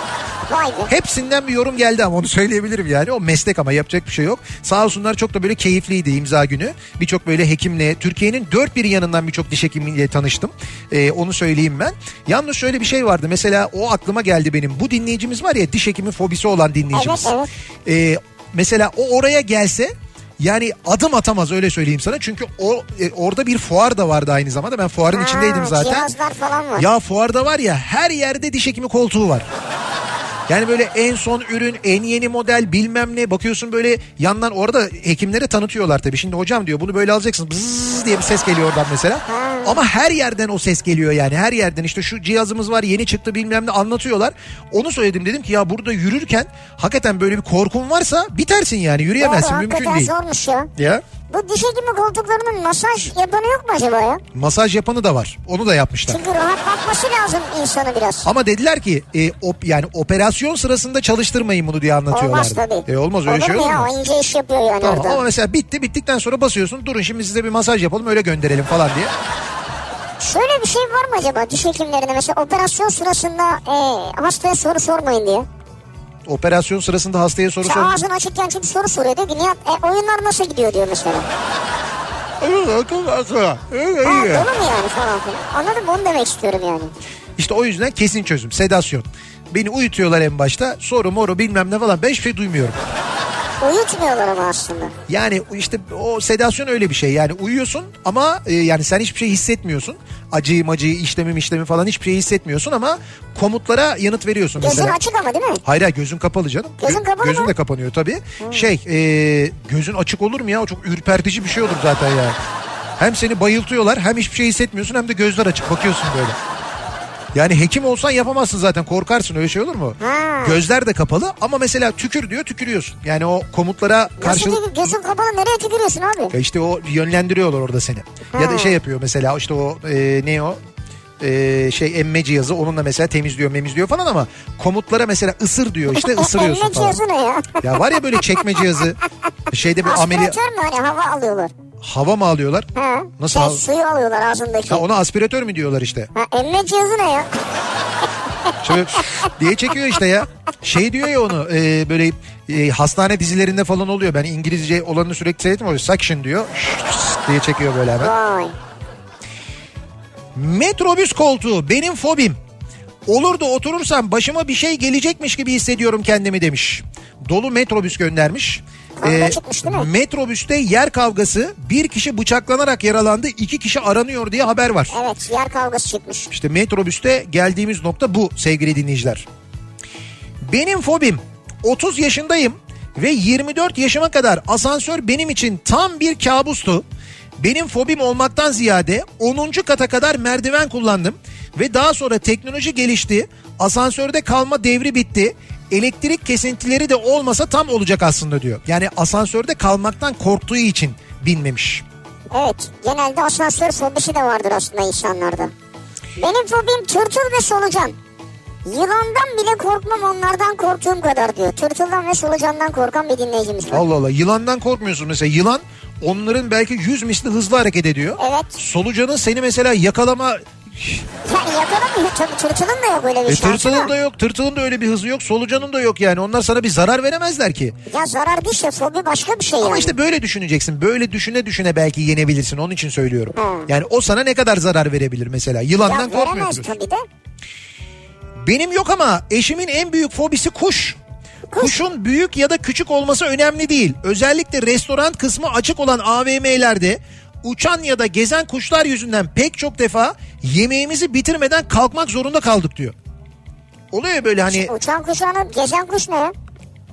B: Vay be.
C: Hepsinden bir yorum geldi ama onu söyleyebilirim yani. O meslek ama yapacak bir şey yok. Sağ olsunlar çok da böyle keyifliydi imza günü. Birçok böyle hekimle, Türkiye'nin dört bir yanından birçok diş hekimiyle tanıştım. Ee, onu söyleyeyim ben. Yalnız şöyle bir şey vardı. Mesela o aklıma geldi benim. Bu dinleyicimiz var ya diş hekimi fobisi olan dinleyicimiz.
B: Evet,
C: Ee, mesela o oraya gelse yani adım atamaz öyle söyleyeyim sana. Çünkü o e, orada bir fuar da vardı aynı zamanda. Ben fuarın
B: Ha,
C: içindeydim zaten.
B: Cihazlar falan var.
C: Ya fuarda var ya her yerde diş hekimi koltuğu var. Yani böyle en son ürün, en yeni model bilmem ne bakıyorsun böyle yandan orada hekimlere tanıtıyorlar tabii. Şimdi hocam diyor bunu böyle alacaksın bzzz diye bir ses geliyor oradan mesela. Ama her yerden o ses geliyor yani her yerden işte şu cihazımız var yeni çıktı bilmem ne anlatıyorlar. Onu söyledim dedim ki ya burada yürürken hakikaten böyle bir korkun varsa bitersin yani yürüyemezsin
B: Doğru,
C: mümkün
B: hakikaten
C: değil.
B: zormuş ya.
C: Ya
B: Bu diş hekimi koltuklarının masaj yapanı yok mu acaba ya?
C: masaj yapanı da var onu da yapmışlar.
B: Çünkü rahat bakması lazım insanı biraz.
C: Ama dediler ki e, op, yani operasyon sırasında çalıştırmayın bunu diye anlatıyorlar.
B: Olmaz tabii.
C: E, olmaz öyle
B: olur
C: şey
B: mu
C: olur
B: ya?
C: mu?
B: O ince iş yapıyor yani
C: Tamam,
B: orada.
C: ama mesela bitti bittikten sonra basıyorsun durun şimdi size bir masaj yapalım öyle gönderelim falan diye.
B: Şöyle bir şey var mı acaba diş hekimlerine mesela operasyon sırasında e, hastaya soru sormayın diye.
C: Operasyon sırasında hastaya soru
B: Mesela
C: sor.
B: ağzını açıkken çünkü soru soruyor diyor ki Nihat e, oyunlar nasıl gidiyor diyor mesela.
C: Ee, E,
B: Ha, dolu mu yani falan filan. Anladım onu demek istiyorum yani.
C: İşte o yüzden kesin çözüm sedasyon. Beni uyutuyorlar en başta soru moru bilmem ne falan ben hiçbir şey duymuyorum.
B: Uyutmuyorlar ama aslında.
C: Yani işte o sedasyon öyle bir şey yani uyuyorsun ama e, yani sen hiçbir şey hissetmiyorsun. Acıyı macıyı işlemim işlemi falan hiçbir şey hissetmiyorsun ama komutlara yanıt veriyorsun.
B: Gözün
C: mesela.
B: açık ama değil mi?
C: Hayır hayır, gözün kapalı canım.
B: Gözün
C: Gö-
B: kapalı
C: Gözün
B: mı? Hmm.
C: de kapanıyor tabii. Şey e, gözün açık olur mu ya? O çok ürpertici bir şey olur zaten ya. Hem seni bayıltıyorlar hem hiçbir şey hissetmiyorsun hem de gözler açık bakıyorsun böyle. Yani hekim olsan yapamazsın zaten korkarsın öyle şey olur mu?
B: Ha.
C: Gözler de kapalı ama mesela tükür diyor tükürüyorsun. Yani o komutlara
B: Nasıl
C: karşılık... E,
B: değil, gözün kapalı nereye tükürüyorsun abi?
C: Ya işte o yönlendiriyorlar orada seni. Ya da
B: Ha.
C: şey yapıyor mesela işte o e, ne o E, şey emme cihazı onunla mesela temizliyor memizliyor falan ama komutlara mesela ısır diyor işte ısırıyorsun
B: Emlak
C: falan.
B: E,
C: E,
B: cihazı ne ya?
C: Ya var ya böyle çekme cihazı şeyde bir ameli
B: Aspiratör mü hani hava alıyorlar?
C: hava mı alıyorlar?
B: Ha.
C: Nasıl
B: Şey,
C: al-
B: suyu alıyorlar ağzındaki.
C: Ha, ona aspiratör mü diyorlar işte.
B: Ha, emme cihazı ne ya?
C: Şöyle diye çekiyor işte ya. Şey diyor ya onu e, böyle e, hastane dizilerinde falan oluyor. Ben İngilizce olanını sürekli seyrettim. O suction diyor. diye çekiyor böyle hemen.
B: Vay.
C: Metrobüs koltuğu benim fobim. Olur da oturursam başıma bir şey gelecekmiş gibi hissediyorum kendimi demiş. Dolu metrobüs göndermiş. Ee,
B: Kavga çıkmış değil mi?
C: metrobüste yer kavgası bir kişi bıçaklanarak yaralandı iki kişi aranıyor diye haber var.
B: Evet yer kavgası çıkmış.
C: İşte metrobüste geldiğimiz nokta bu sevgili dinleyiciler. Benim fobim 30 yaşındayım ve 24 yaşıma kadar asansör benim için tam bir kabustu. Benim fobim olmaktan ziyade 10. kata kadar merdiven kullandım ve daha sonra teknoloji gelişti. Asansörde kalma devri bitti. Elektrik kesintileri de olmasa tam olacak aslında diyor. Yani asansörde kalmaktan korktuğu için binmemiş.
B: Evet genelde asansör fobisi de vardır aslında insanlarda. Benim fobim tırtıl ve solucan. Yılandan bile korkmam onlardan korktuğum kadar diyor. Tırtıldan ve solucandan korkan bir dinleyicimiz var.
C: Allah Allah yılandan korkmuyorsun mesela yılan onların belki 100 misli hızlı hareket ediyor.
B: Evet.
C: Solucanın seni mesela yakalama
B: Yani yakalamıyor. Tabii tırtılın da yok öyle bir
C: e,
B: şey.
C: tırtılın da
B: aslında.
C: yok, tırtılın da öyle bir hızı yok, solucanın da yok yani. Onlar sana bir zarar veremezler ki.
B: Ya zarar bir şey fobi başka bir şey yani.
C: Ama işte böyle düşüneceksin. Böyle düşüne düşüne belki yenebilirsin. Onun için söylüyorum. Yani o sana ne kadar zarar verebilir mesela?
B: ya
C: Yılandan
B: veremez
C: korkmuyorsun.
B: tabii de.
C: Benim yok ama eşimin en büyük fobisi kuş. Kuşun büyük ya da küçük olması önemli değil. Özellikle restoran kısmı açık olan AVM'lerde uçan ya da gezen kuşlar yüzünden pek çok defa yemeğimizi bitirmeden kalkmak zorunda kaldık diyor. Oluyor ya böyle hani
B: Uçan kuş anı, gezen kuş ne ya?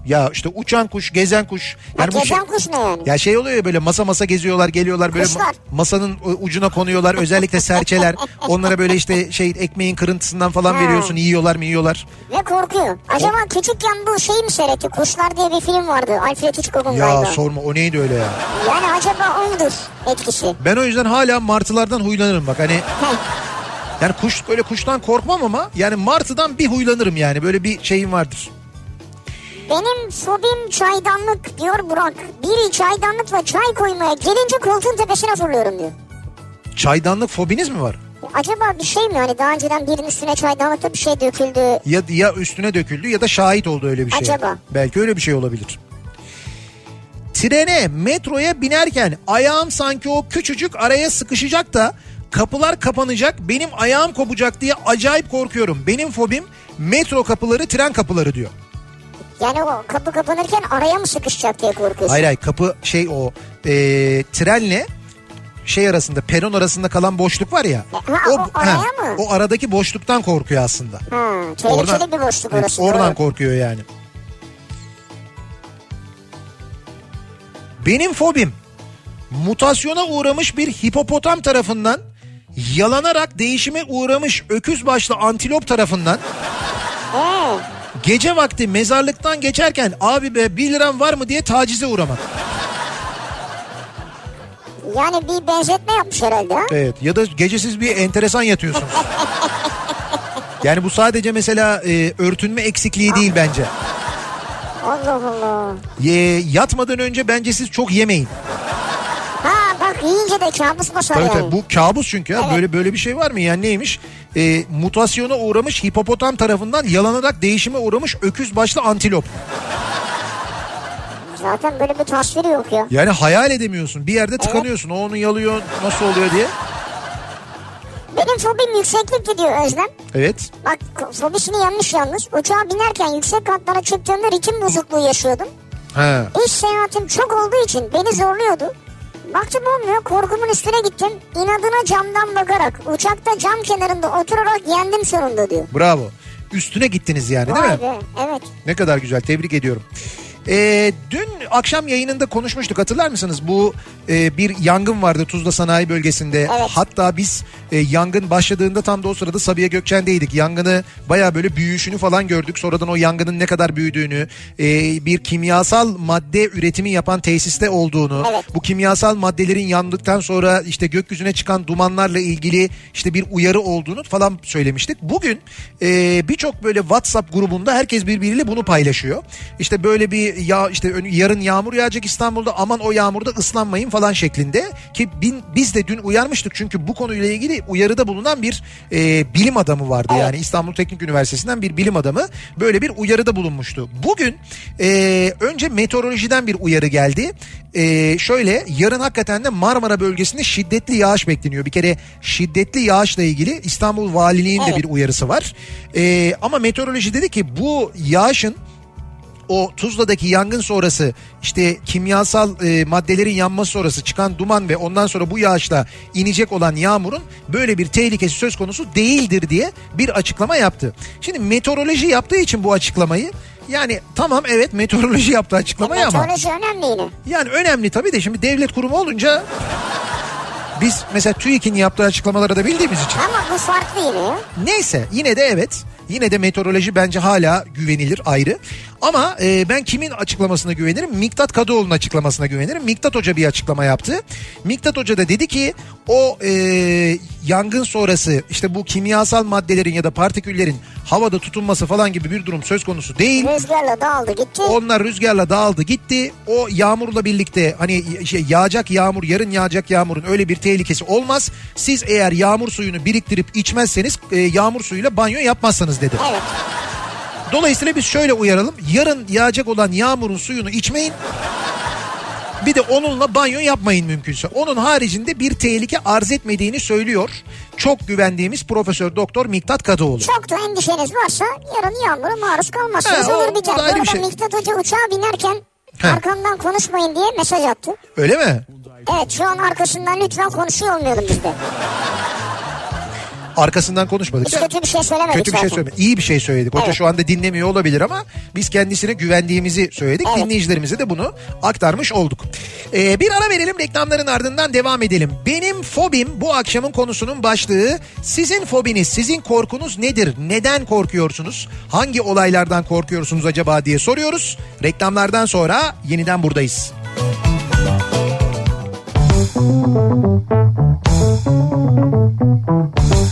C: ya işte uçan kuş, gezen kuş. Yani bu şey-
B: gezen kuş ne yani?
C: ya şey oluyor ya böyle masa masa geziyorlar geliyorlar böyle
B: Kuşlar.
C: ma- masanın e, ucuna konuyorlar özellikle serçeler onlara böyle işte şey ekmeğin kırıntısından falan
B: Ha.
C: veriyorsun yiyorlar mı yiyorlar.
B: Ve korkuyor. Acaba küçükken bu şeyi mi seyretti? Kuşlar diye bir film vardı. Alfred Hitchcock'un
C: Ya
B: galiba.
C: sorma o neydi öyle ya.
B: yani acaba ondur etkisi.
C: Ben o yüzden hala martılardan huylanırım bak hani
B: Heh.
C: yani kuş böyle kuştan korkmam ama yani martıdan bir huylanırım yani böyle bir şeyim vardır.
B: Benim fobim çaydanlık diyor Burak. Biri çaydanlıkla çay koymaya gelince koltuğun tepesine fırlıyorum diyor.
C: Çaydanlık fobiniz mi var?
B: Acaba bir şey mi hani daha önceden birinin üstüne çaydanlıkta bir şey döküldü.
C: Ya ya üstüne döküldü ya da şahit oldu öyle bir şey.
B: Acaba?
C: Belki öyle bir şey olabilir. Trene, metroya binerken ayağım sanki o küçücük araya sıkışacak da kapılar kapanacak, benim ayağım kopacak diye acayip korkuyorum. Benim fobim metro kapıları, tren kapıları diyor.
B: Yani o kapı kapanırken araya mı sıkışacak diye korkuyorsun.
C: Hayır hayır kapı şey o e, trenle şey arasında peron arasında kalan boşluk var ya.
B: E, ha, o araya mı?
C: O aradaki boşluktan korkuyor aslında.
B: Ha, tehlikeli bir boşluk
C: evet,
B: orası.
C: oradan
B: doğru.
C: korkuyor yani. Benim fobim mutasyona uğramış bir hipopotam tarafından yalanarak değişime uğramış öküz başlı antilop tarafından
B: Ee,
C: gece vakti mezarlıktan geçerken abi be 1 liram var mı diye tacize uğramak.
B: yani bir benzetme yapmış herhalde. ha?
C: Evet ya da gecesiz bir enteresan yatıyorsunuz. Yani bu sadece mesela e, örtünme eksikliği değil bence.
B: Allah Allah.
C: Ye, yatmadan önce bence siz çok yemeyin.
B: Ha bak yiyince de kabus basar
C: Tabii
B: yani.
C: tabii bu kabus çünkü ya.
B: Evet.
C: Böyle böyle bir şey var mı? Yani neymiş? E, mutasyona uğramış hipopotam tarafından yalanarak değişime uğramış öküz başlı antilop.
B: Zaten böyle bir tasviri yok ya.
C: Yani hayal edemiyorsun. Bir yerde tıkanıyorsun. O onu yalıyor nasıl oluyor diye.
B: Benim fobim yükseklik diyor Özlem.
C: Evet.
B: Bak fobisini yanlış yalnız. Uçağa binerken yüksek katlara çıktığımda ritim bozukluğu yaşıyordum.
C: Ha.
B: İş seyahatim çok olduğu için beni zorluyordu. Baktım olmuyor korkumun üstüne gittim. İnadına camdan bakarak uçakta cam kenarında oturarak yendim sonunda diyor.
C: Bravo. Üstüne gittiniz yani değil mi?
B: Vay be evet.
C: Ne kadar güzel tebrik ediyorum. Ee, dün akşam yayınında konuşmuştuk hatırlar mısınız? Bu e, bir yangın vardı Tuzla Sanayi Bölgesi'nde. Hatta biz e, yangın başladığında tam da o sırada Sabiha Gökçen'deydik. Yangını baya böyle büyüyüşünü falan gördük. Sonradan o yangının ne kadar büyüdüğünü, e, bir kimyasal madde üretimi yapan tesiste olduğunu,
B: Evet.
C: bu kimyasal maddelerin yandıktan sonra işte gökyüzüne çıkan dumanlarla ilgili işte bir uyarı olduğunu falan söylemiştik. Bugün e, birçok böyle WhatsApp grubunda herkes birbiriyle bunu paylaşıyor. İşte böyle bir ya işte ön- yarın yağmur yağacak İstanbul'da aman o yağmurda ıslanmayın falan şeklinde ki bin- biz de dün uyarmıştık çünkü bu konuyla ilgili uyarıda bulunan bir e, bilim adamı vardı yani İstanbul Teknik Üniversitesi'nden bir bilim adamı böyle bir uyarıda bulunmuştu. Bugün e, önce meteorolojiden bir uyarı geldi. E, şöyle yarın hakikaten de Marmara bölgesinde şiddetli yağış bekleniyor. Bir kere şiddetli yağışla ilgili İstanbul Valiliği'nin de bir uyarısı var. E, ama meteoroloji dedi ki bu yağışın o Tuzla'daki yangın sonrası işte kimyasal e, maddelerin yanması sonrası çıkan duman ve ondan sonra bu yağışla inecek olan yağmurun böyle bir tehlikesi söz konusu değildir diye bir açıklama yaptı. Şimdi meteoroloji yaptığı için bu açıklamayı yani tamam evet meteoroloji yaptı açıklamayı ama
B: Meteoroloji önemli yine.
C: yani önemli tabii de şimdi devlet kurumu olunca biz mesela TÜİK'in yaptığı açıklamaları da bildiğimiz için.
B: Ama bu farklı yine ya.
C: Neyse yine de evet. Yine de meteoroloji bence hala güvenilir ayrı. Ama e, ben kimin açıklamasına güvenirim? Miktat Kadıoğlu'nun açıklamasına güvenirim. Miktat Hoca bir açıklama yaptı. Miktat Hoca da dedi ki o e, yangın sonrası işte bu kimyasal maddelerin ya da partiküllerin havada tutunması falan gibi bir durum söz konusu değil.
B: Rüzgarla dağıldı gitti.
C: Onlar rüzgarla dağıldı gitti. O yağmurla birlikte hani şey, yağacak yağmur yarın yağacak yağmurun öyle bir tehlikesi olmaz. Siz eğer yağmur suyunu biriktirip içmezseniz e, yağmur suyuyla banyo yapmazsanız dedi.
B: Evet.
C: Dolayısıyla biz şöyle uyaralım. Yarın yağacak olan yağmurun suyunu içmeyin. Bir de onunla banyo yapmayın mümkünse. Onun haricinde bir tehlike arz etmediğini söylüyor. Çok güvendiğimiz Profesör Doktor Miktat Kadıoğlu.
B: Çok da endişeniz varsa yarın yağmura maruz kalmazsınız
C: He, o-
B: olur biter.
C: o da
B: Bu
C: ayrı bir
B: arada
C: şey.
B: Miktat Hoca uçağa binerken
C: He.
B: arkamdan konuşmayın diye mesaj attı.
C: Öyle mi?
B: Evet şu an arkasından lütfen konuşuyor olmayalım biz de.
C: Arkasından konuşmadık.
B: Hiç kötü bir şey söylemedik
C: Kötü bir şey
B: zaten.
C: söyleme. İyi bir şey söyledik. Hoca
B: Evet.
C: şu anda dinlemiyor olabilir ama biz kendisine güvendiğimizi söyledik.
B: Evet.
C: Dinleyicilerimize de bunu aktarmış olduk. Ee, bir ara verelim reklamların ardından devam edelim. Benim fobim bu akşamın konusunun başlığı. Sizin fobiniz, sizin korkunuz nedir? Neden korkuyorsunuz? Hangi olaylardan korkuyorsunuz acaba diye soruyoruz. Reklamlardan sonra yeniden buradayız.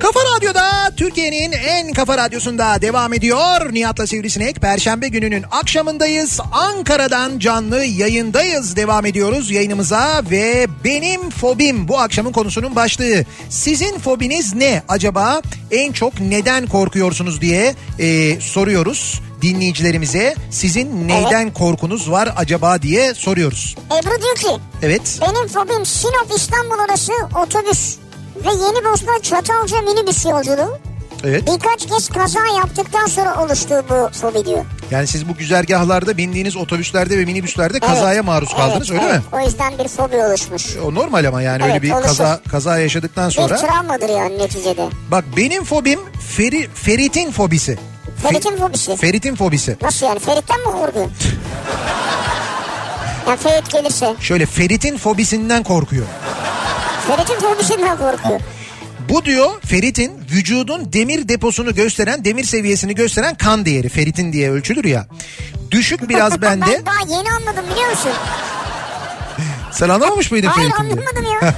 C: Kafa Radyo'da Türkiye'nin en kafa radyosunda devam ediyor. Nihat'la Sivrisinek Perşembe gününün akşamındayız. Ankara'dan canlı yayındayız. Devam ediyoruz yayınımıza ve benim fobim bu akşamın konusunun başlığı. Sizin fobiniz ne acaba? En çok neden korkuyorsunuz diye e, soruyoruz dinleyicilerimize. Sizin neyden korkunuz var acaba diye soruyoruz.
B: Ebru diyor ki
C: Evet.
B: benim fobim Sinop İstanbul arası otobüs ve yeni Bosna Çatalca minibüs yolculuğu.
C: Evet.
B: Birkaç kez kaza yaptıktan sonra oluştu bu fobi diyor.
C: Yani siz bu güzergahlarda bindiğiniz otobüslerde ve minibüslerde
B: Evet.
C: kazaya maruz kaldınız
B: Evet,
C: öyle mi?
B: evet. O yüzden bir fobi oluşmuş.
C: O normal ama yani öyle
B: Evet,
C: bir
B: oluşur.
C: kaza kaza yaşadıktan
B: Bir
C: sonra.
B: travmadır yani neticede.
C: Bak benim fobim Feri, Ferit'in fobisi. Fe-
B: Ferit'in fobisi.
C: Ferit'in fobisi.
B: Nasıl yani Ferit'ten mi korkuyorsun? ya Ferit gelirse.
C: Şöyle Ferit'in fobisinden korkuyor.
B: Ferit'in fobisinden korkuyor.
C: Bu diyor Ferit'in vücudun demir deposunu gösteren, demir seviyesini gösteren kan değeri. Ferit'in diye ölçülür ya. Düşük biraz bende.
B: ben daha yeni anladım biliyor musun?
C: Sen anlamamış mıydın
B: Hayır
C: Ferit'in diye?
B: anlamadım ya.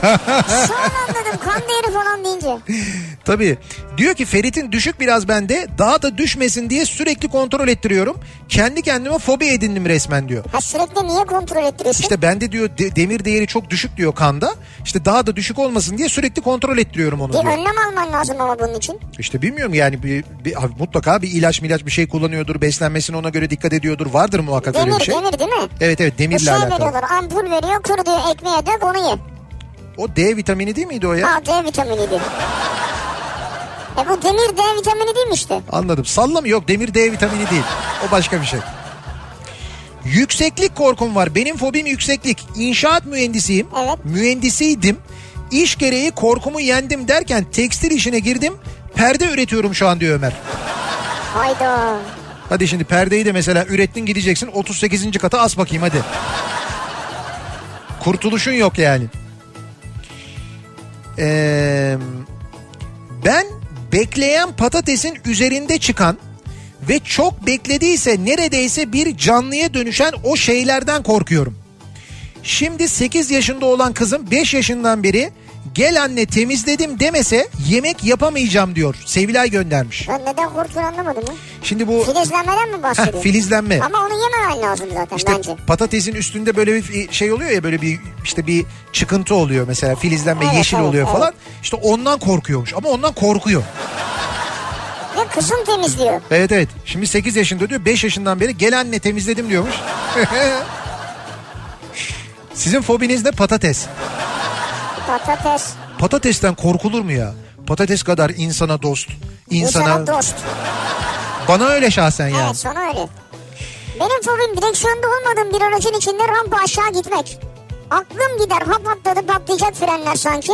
B: Şu an anladım kan değeri falan deyince.
C: Tabii. Diyor ki Ferit'in düşük biraz bende. Daha da düşmesin diye sürekli kontrol ettiriyorum. Kendi kendime fobi edindim resmen diyor.
B: Ha sürekli niye kontrol ettiriyorsun?
C: İşte bende diyor de- demir değeri çok düşük diyor kanda. İşte daha da düşük olmasın diye sürekli kontrol ettiriyorum onu
B: bir
C: diyor.
B: önlem alman lazım ama bunun için.
C: İşte bilmiyorum yani bir, bir- abi mutlaka bir ilaç milaç bir şey kullanıyordur. Beslenmesine ona göre dikkat ediyordur. Vardır muhakkak öyle
B: Demir
C: bir şey.
B: demir değil mi?
C: Evet evet
B: Bir
C: demirle
B: şey
C: alakalı.
B: veriyorlar ampul veriyor kır diyor ekmeğe dök onu ye.
C: O D vitamini değil miydi o ya?
B: Ha D vitaminiydi. E bu demir D vitamini değil mi işte?
C: Anladım. Sallam yok demir D vitamini değil. O başka bir şey. Yükseklik korkum var. Benim fobim yükseklik. İnşaat mühendisiyim.
B: Evet.
C: Mühendisiydim. İş gereği korkumu yendim derken tekstil işine girdim. Perde üretiyorum şu an diyor Ömer.
B: Hayda.
C: Hadi şimdi perdeyi de mesela ürettin gideceksin 38. kata as bakayım hadi. Kurtuluşun yok yani. Ee, ben bekleyen patatesin üzerinde çıkan ve çok beklediyse neredeyse bir canlıya dönüşen o şeylerden korkuyorum. Şimdi 8 yaşında olan kızım 5 yaşından beri gel anne temizledim demese yemek yapamayacağım diyor. Sevilay göndermiş.
B: Ben neden korktuğunu anlamadım ya.
C: Şimdi bu
B: Filizlenmeden mi bahsediyorsun?
C: Heh, filizlenme.
B: Ama onu yememen lazım zaten
C: İşte
B: bence.
C: patatesin üstünde böyle bir şey oluyor ya böyle bir işte bir çıkıntı oluyor mesela filizlenme
B: Evet,
C: yeşil
B: evet,
C: oluyor
B: evet.
C: falan. İşte ondan korkuyormuş ama ondan korkuyor.
B: Ve kızım temizliyor.
C: Evet evet. Şimdi 8 yaşında diyor 5 yaşından beri gel anne temizledim diyormuş. Sizin fobiniz de patates.
B: Patates.
C: Patatesten korkulur mu ya? Patates kadar insana dost.
B: İnsana,
C: insana
B: dost.
C: bana öyle şahsen yani.
B: Evet sana öyle. Benim fobim direksiyonda olmadığım bir aracın içinde rampa aşağı gitmek. Aklım gider hap atladı patlayacak frenler sanki.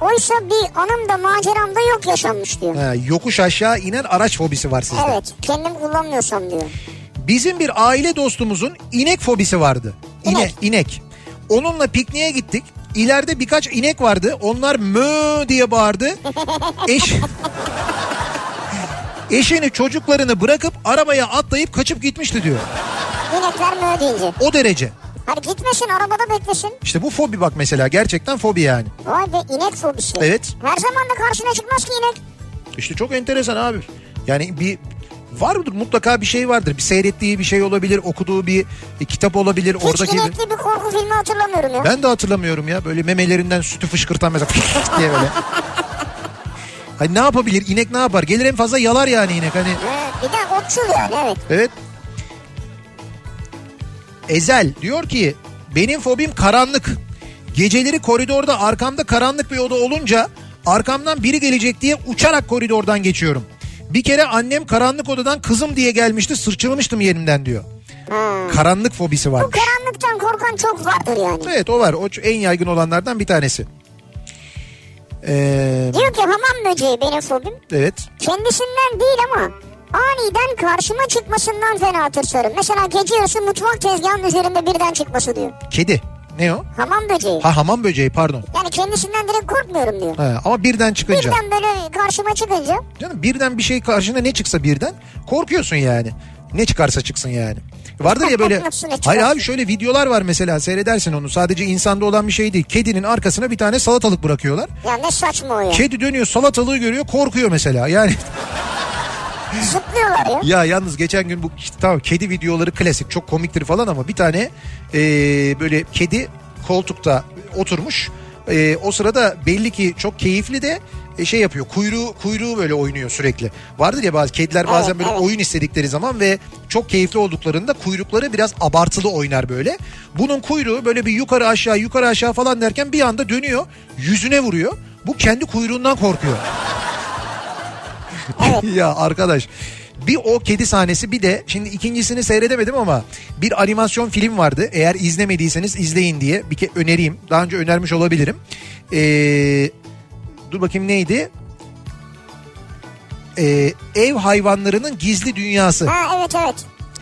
B: Oysa bir anımda maceramda yok yaşanmış diyor.
C: Ha, yokuş aşağı inen araç fobisi var sizde.
B: Evet kendim kullanmıyorsam diyor.
C: Bizim bir aile dostumuzun inek fobisi vardı. İne,
B: İnek.
C: inek. Onunla pikniğe gittik. İleride birkaç inek vardı. Onlar mö diye bağırdı. Eş... Eşini çocuklarını bırakıp arabaya atlayıp kaçıp gitmişti diyor.
B: İnekler mi ödeyince?
C: O derece.
B: Hani gitmesin arabada beklesin.
C: İşte bu fobi bak mesela gerçekten fobi yani.
B: Vay be inek fobisi.
C: Evet.
B: Her zaman da karşına çıkmaz ki inek.
C: İşte çok enteresan abi. Yani bir vardır mutlaka bir şey vardır. Bir seyrettiği bir şey olabilir, okuduğu bir e, kitap olabilir.
B: Hiç
C: oradaki bir-
B: inekli bir korku filmi hatırlamıyorum ya.
C: Ben de hatırlamıyorum ya. Böyle memelerinden sütü fışkırtan mesela diye böyle. Hani ne yapabilir? İnek ne yapar? Gelir en fazla yalar yani inek hani.
B: Ha, bir de otçul yani evet.
C: Evet. Ezel diyor ki benim fobim karanlık. Geceleri koridorda arkamda karanlık bir oda olunca arkamdan biri gelecek diye uçarak koridordan geçiyorum. Bir kere annem karanlık odadan kızım diye gelmişti sırçılmıştım yerimden diyor. Karanlık fobisi
B: Bu
C: varmış.
B: karanlıktan korkan çok vardır yani.
C: Evet o var. O ç- en yaygın olanlardan bir tanesi. Ee,
B: Diyor ki hamam böceği benim fobim.
C: evet.
B: Kendisinden değil ama aniden karşıma çıkmasından fena tırsarım. Mesela gece yarısı mutfak tezgahının üzerinde birden çıkması diyor.
C: Kedi. Ne o?
B: Hamam böceği.
C: Ha hamam böceği pardon.
B: Yani kendisinden direkt korkmuyorum diyor.
C: Ha, ama birden çıkınca.
B: Birden böyle karşıma çıkınca
C: Canım birden bir şey karşına ne çıksa birden korkuyorsun yani. Ne çıkarsa çıksın yani. Vardır ya böyle
B: Nasıl ne çıkarsa?
C: hayır abi şöyle videolar var mesela seyredersin onu sadece insanda olan bir şey değil. Kedinin arkasına bir tane salatalık bırakıyorlar.
B: ya ne saçma o ya.
C: Kedi dönüyor salatalığı görüyor korkuyor mesela yani.
B: Zıplıyorlar ya.
C: Ya yalnız geçen gün bu tamam kedi videoları klasik çok komiktir falan ama bir tane e, böyle kedi koltukta oturmuş. E, o sırada belli ki çok keyifli de e, şey yapıyor kuyruğu kuyruğu böyle oynuyor sürekli. Vardır ya bazı kediler bazen
B: Evet,
C: böyle
B: evet.
C: oyun istedikleri zaman ve çok keyifli olduklarında kuyrukları biraz abartılı oynar böyle. Bunun kuyruğu böyle bir yukarı aşağı yukarı aşağı falan derken bir anda dönüyor yüzüne vuruyor. Bu kendi kuyruğundan korkuyor. ya arkadaş bir o kedi sahnesi bir de şimdi ikincisini seyredemedim ama bir animasyon film vardı. Eğer izlemediyseniz izleyin diye bir ke önereyim. Daha önce önermiş olabilirim. Ee, dur bakayım neydi? Ee, ev hayvanlarının gizli dünyası.
B: Ha evet evet.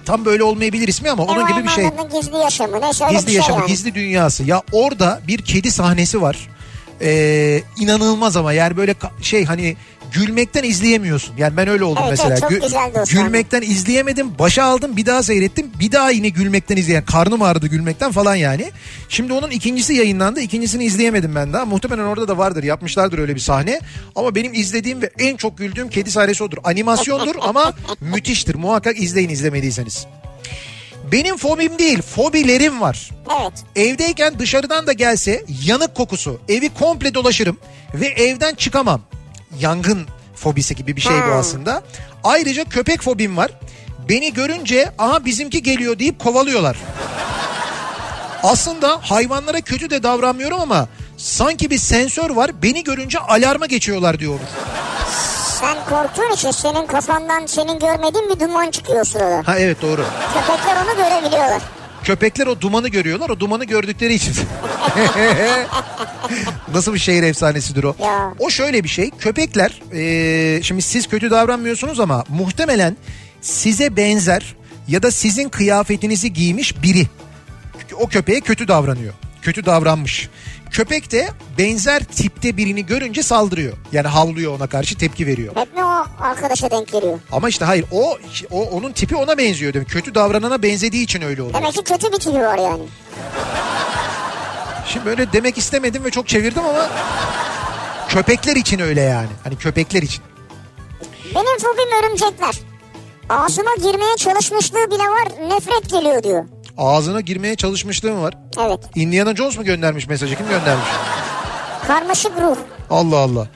C: Tam böyle olmayabilir ismi ama onun gibi bir şey.
B: Hayvanlarının Gizli yaşamı neyse öyle
C: Gizli
B: bir şey
C: yaşamı,
B: yani.
C: gizli dünyası. Ya orada bir kedi sahnesi var. Ee, inanılmaz ama yani böyle ka- şey hani gülmekten izleyemiyorsun. Yani ben öyle oldum
B: Evet,
C: mesela.
B: evet, çok güzeldi o sahne.
C: gülmekten izleyemedim. Başa aldım bir daha seyrettim. Bir daha yine gülmekten izleyen. Karnım ağrıdı gülmekten falan yani. Şimdi onun ikincisi yayınlandı. İkincisini izleyemedim ben daha. Muhtemelen orada da vardır. Yapmışlardır öyle bir sahne. Ama benim izlediğim ve en çok güldüğüm kedi sahnesi odur. Animasyondur ama müthiştir. Muhakkak izleyin izlemediyseniz. Benim fobim değil fobilerim var.
B: Evet.
C: Evdeyken dışarıdan da gelse yanık kokusu. Evi komple dolaşırım ve evden çıkamam. Yangın fobisi gibi bir şey bu
B: Hmm.
C: aslında. Ayrıca köpek fobim var. Beni görünce aha bizimki geliyor deyip kovalıyorlar. Aslında hayvanlara kötü de davranmıyorum ama sanki bir sensör var. Beni görünce alarma geçiyorlar diyor.
B: Sen korktuğun için senin kafandan senin görmediğin bir duman çıkıyor o sırada.
C: Ha evet doğru.
B: Köpekler onu görebiliyorlar.
C: Köpekler o dumanı görüyorlar. O dumanı gördükleri için. Nasıl bir şehir efsanesidir o?
B: Ya.
C: O şöyle bir şey. Köpekler e, şimdi siz kötü davranmıyorsunuz ama muhtemelen size benzer ya da sizin kıyafetinizi giymiş biri o köpeğe kötü davranıyor. Kötü davranmış. Köpek de benzer tipte birini görünce saldırıyor. Yani havlıyor ona karşı tepki veriyor.
B: Hep mi o arkadaşa denk geliyor?
C: Ama işte hayır o, o onun tipi ona benziyor. Demek. Kötü davranana benzediği için öyle oluyor.
B: Demek ki kötü bir tipi var yani.
C: Şimdi öyle demek istemedim ve çok çevirdim ama köpekler için öyle yani. Hani köpekler için.
B: Benim fobim örümcekler. Ağzıma girmeye çalışmışlığı bile var nefret geliyor diyor.
C: Ağzına girmeye çalışmışlığım var.
B: Evet
C: Indiana Jones mu göndermiş mesajı? Kim göndermiş?
B: karmaşık ruh.
C: Allah Allah.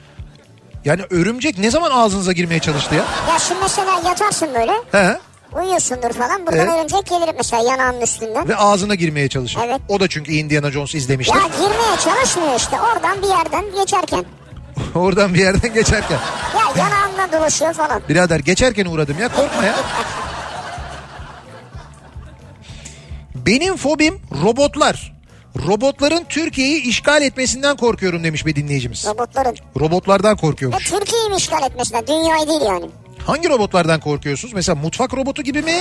C: Yani örümcek ne zaman ağzınıza girmeye çalıştı ya?
B: Ya şimdi mesela yatarsın böyle
C: He?
B: uyuyorsundur falan buradan
C: Evet.
B: örümcek gelir mesela yanağının üstünden.
C: Ve ağzına girmeye çalışır.
B: Evet.
C: O da çünkü Indiana Jones izlemişti.
B: Ya girmeye çalışmıyor işte oradan bir yerden geçerken.
C: Oradan bir yerden geçerken.
B: Ya yanağından dolaşıyor falan.
C: Birader geçerken uğradım ya korkma ya. Benim fobim robotlar. Robotların Türkiye'yi işgal etmesinden korkuyorum demiş bir dinleyicimiz.
B: Robotların.
C: Robotlardan
B: Ve
C: korkuyormuş.
B: Türkiye'yi mi işgal etmesine? Dünyayı değil yani.
C: Hangi robotlardan korkuyorsunuz? Mesela mutfak robotu gibi mi?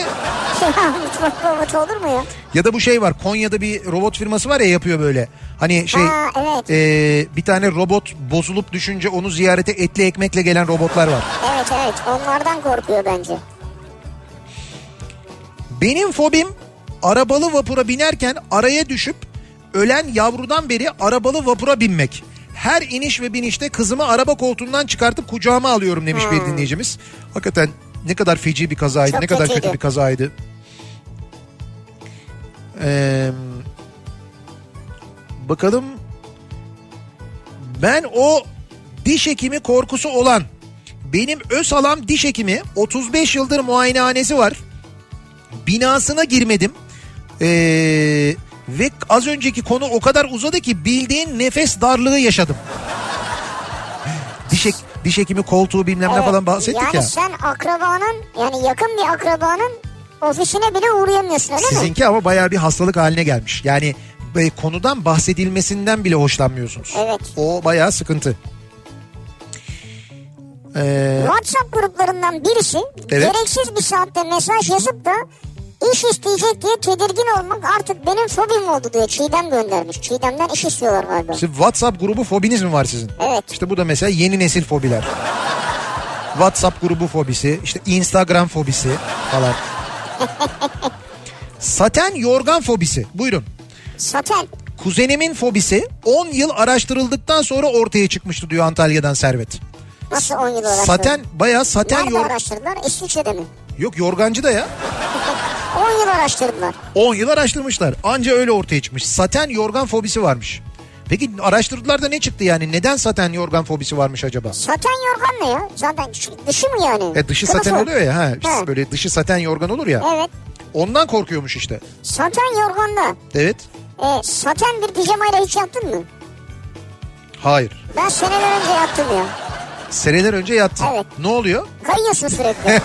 B: Mutfak robotu olur mu ya?
C: Ya da bu şey var Konya'da bir robot firması var ya yapıyor böyle. Hani şey
B: Ha, evet.
C: e, bir tane robot bozulup düşünce onu ziyarete etli ekmekle gelen robotlar var.
B: Evet evet onlardan korkuyor bence.
C: Benim fobim arabalı vapura binerken araya düşüp ölen yavrudan beri arabalı vapura binmek. Her iniş ve binişte kızımı araba koltuğundan çıkartıp kucağıma alıyorum demiş bir dinleyicimiz. Hakikaten ne kadar feci bir kazaydı,
B: Çok
C: ne kadar kötü
B: kötüydü.
C: bir kazaydı. Ee, bakalım ben o diş hekimi korkusu olan benim öz halam diş hekimi 35 yıldır muayenehanesi var binasına girmedim. Ee, ve az önceki konu o kadar uzadı ki bildiğin nefes darlığı yaşadım. diş, hek- diş hekimi koltuğu bilmem ne
B: Evet,
C: falan bahsettik
B: yani
C: ya.
B: sen akrabanın yani yakın bir akrabanın ofisine bile uğrayamıyorsun öyle mi?
C: Sizinki ama bayağı bir hastalık haline gelmiş. Yani e, konudan bahsedilmesinden bile hoşlanmıyorsunuz.
B: Evet.
C: O bayağı sıkıntı. Ee,
B: WhatsApp gruplarından birisi
C: Evet.
B: gereksiz bir saatte mesaj yazıp da iş isteyecek diye tedirgin olmak artık benim fobim oldu diyor. Çiğdem göndermiş. Çiğdem'den iş istiyorlar galiba.
C: Siz WhatsApp grubu fobiniz mi var sizin?
B: Evet.
C: İşte bu da mesela yeni nesil fobiler. WhatsApp grubu fobisi, işte Instagram fobisi falan. Saten yorgan fobisi. Buyurun.
B: Satel.
C: Kuzenimin fobisi 10 yıl araştırıldıktan sonra ortaya çıkmıştı diyor Antalya'dan Servet.
B: Nasıl 10 yıl uğraştı?
C: Saten bayağı saten
B: Nerede
C: yor
B: araştırdılar? İsviçre'de mi?
C: Yok yorgancı da ya.
B: 10 yıl araştırdılar.
C: 10 yıl araştırmışlar. Anca öyle ortaya çıkmış. Saten yorgan fobisi varmış. Peki araştırdılar da ne çıktı yani? Neden saten yorgan fobisi varmış acaba?
B: Saten yorgan ne ya? Zaten şu- dışı mı yani?
C: E dışı
B: Kılıfı.
C: saten oluyor ya ha, işte
B: He.
C: böyle dışı saten yorgan olur ya.
B: Evet.
C: Ondan korkuyormuş işte.
B: Saten yorganla.
C: Evet.
B: E, saten bir pijamayla hiç yaptın mı?
C: Hayır.
B: Ben seneler önce yaptım ya.
C: Seneler önce yattı.
B: Evet.
C: Ne oluyor?
B: Kayıyorsun sürekli.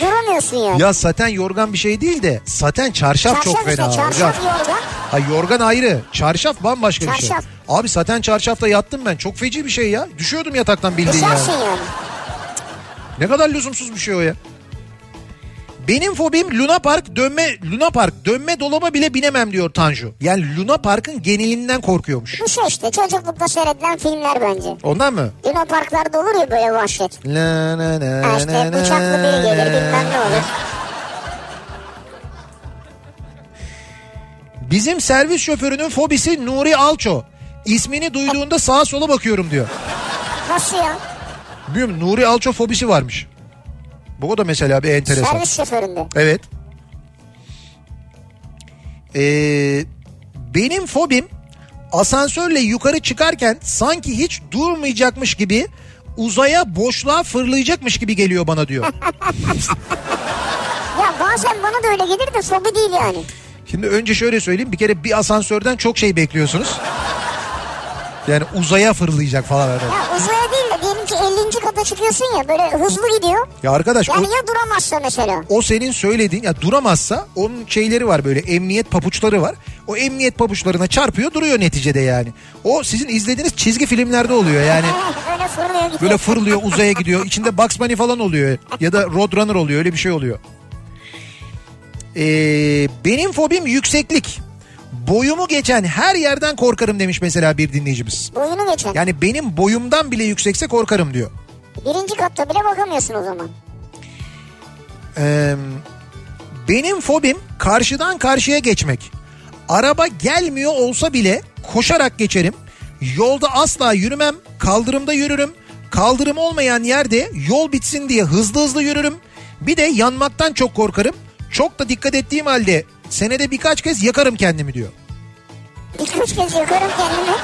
B: Duramıyorsun yani.
C: Ya saten yorgan bir şey değil de saten çarşaf,
B: çarşaf
C: çok
B: işte
C: fena. hocam.
B: çarşaf yorgan.
C: Ha yorgan ayrı. Çarşaf bambaşka bir şey.
B: Çarşaf.
C: Abi saten çarşafta yattım ben. Çok feci bir şey ya. Düşüyordum
B: E,
C: yataktan bildiğin yani.
B: Düşersin yani.
C: Ne kadar lüzumsuz bir şey o ya. Benim fobim Luna Park dönme Luna Park dönme dolaba bile binemem diyor Tanju. Yani Luna Park'ın genelinden korkuyormuş.
B: Bu şey işte çocuklukta seyredilen filmler bence.
C: Ondan mı?
B: Dinoparklarda olur ya böyle vahşet.
C: La la la
B: Ha işte
C: la la
B: bıçaklı biri gelir
C: la.
B: bilmem ne olur.
C: Bizim servis şoförünün fobisi Nuri Alço. İsmini duyduğunda sağa sola bakıyorum diyor.
B: Nasıl ya?
C: Bilmiyorum Nuri Alço fobisi varmış. Bu da mesela bir enteresan.
B: Servis şoföründe.
C: Evet. Ee, benim fobim asansörle yukarı çıkarken sanki hiç durmayacakmış gibi uzaya boşluğa fırlayacakmış gibi geliyor bana diyor.
B: Ya bazen bana da öyle gelir de fobi değil yani.
C: Şimdi önce şöyle söyleyeyim bir kere bir asansörden çok şey bekliyorsunuz. Yani uzaya fırlayacak falan. öyle.
B: Ya uzaya değil de diyelim ki 50. kata çıkıyorsun ya böyle hızlı gidiyor.
C: Ya arkadaş o,
B: Yani ya duramazsa mesela.
C: o senin söylediğin ya duramazsa onun şeyleri var böyle emniyet papuçları var. O emniyet papuçlarına çarpıyor duruyor neticede yani. O sizin izlediğiniz çizgi filmlerde oluyor yani.
B: böyle fırlıyor gidiyor.
C: Böyle fırlıyor uzaya gidiyor. İçinde Bugs Bunny falan oluyor. Ya da Roadrunner oluyor öyle bir şey oluyor. Ee, benim fobim yükseklik. Boyumu geçen her yerden korkarım demiş mesela bir dinleyicimiz.
B: Boyunu geçen.
C: Yani benim boyumdan bile yüksekse korkarım diyor.
B: Birinci katta bile bakamıyorsun o zaman.
C: Ee, benim fobim karşıdan karşıya geçmek. Araba gelmiyor olsa bile koşarak geçerim. Yolda asla yürümem. Kaldırımda yürürüm. Kaldırım olmayan yerde yol bitsin diye hızlı hızlı yürürüm. Bir de yanmaktan çok korkarım. Çok da dikkat ettiğim halde senede birkaç kez yakarım kendimi diyor.
B: Birkaç kez yakarım kendimi.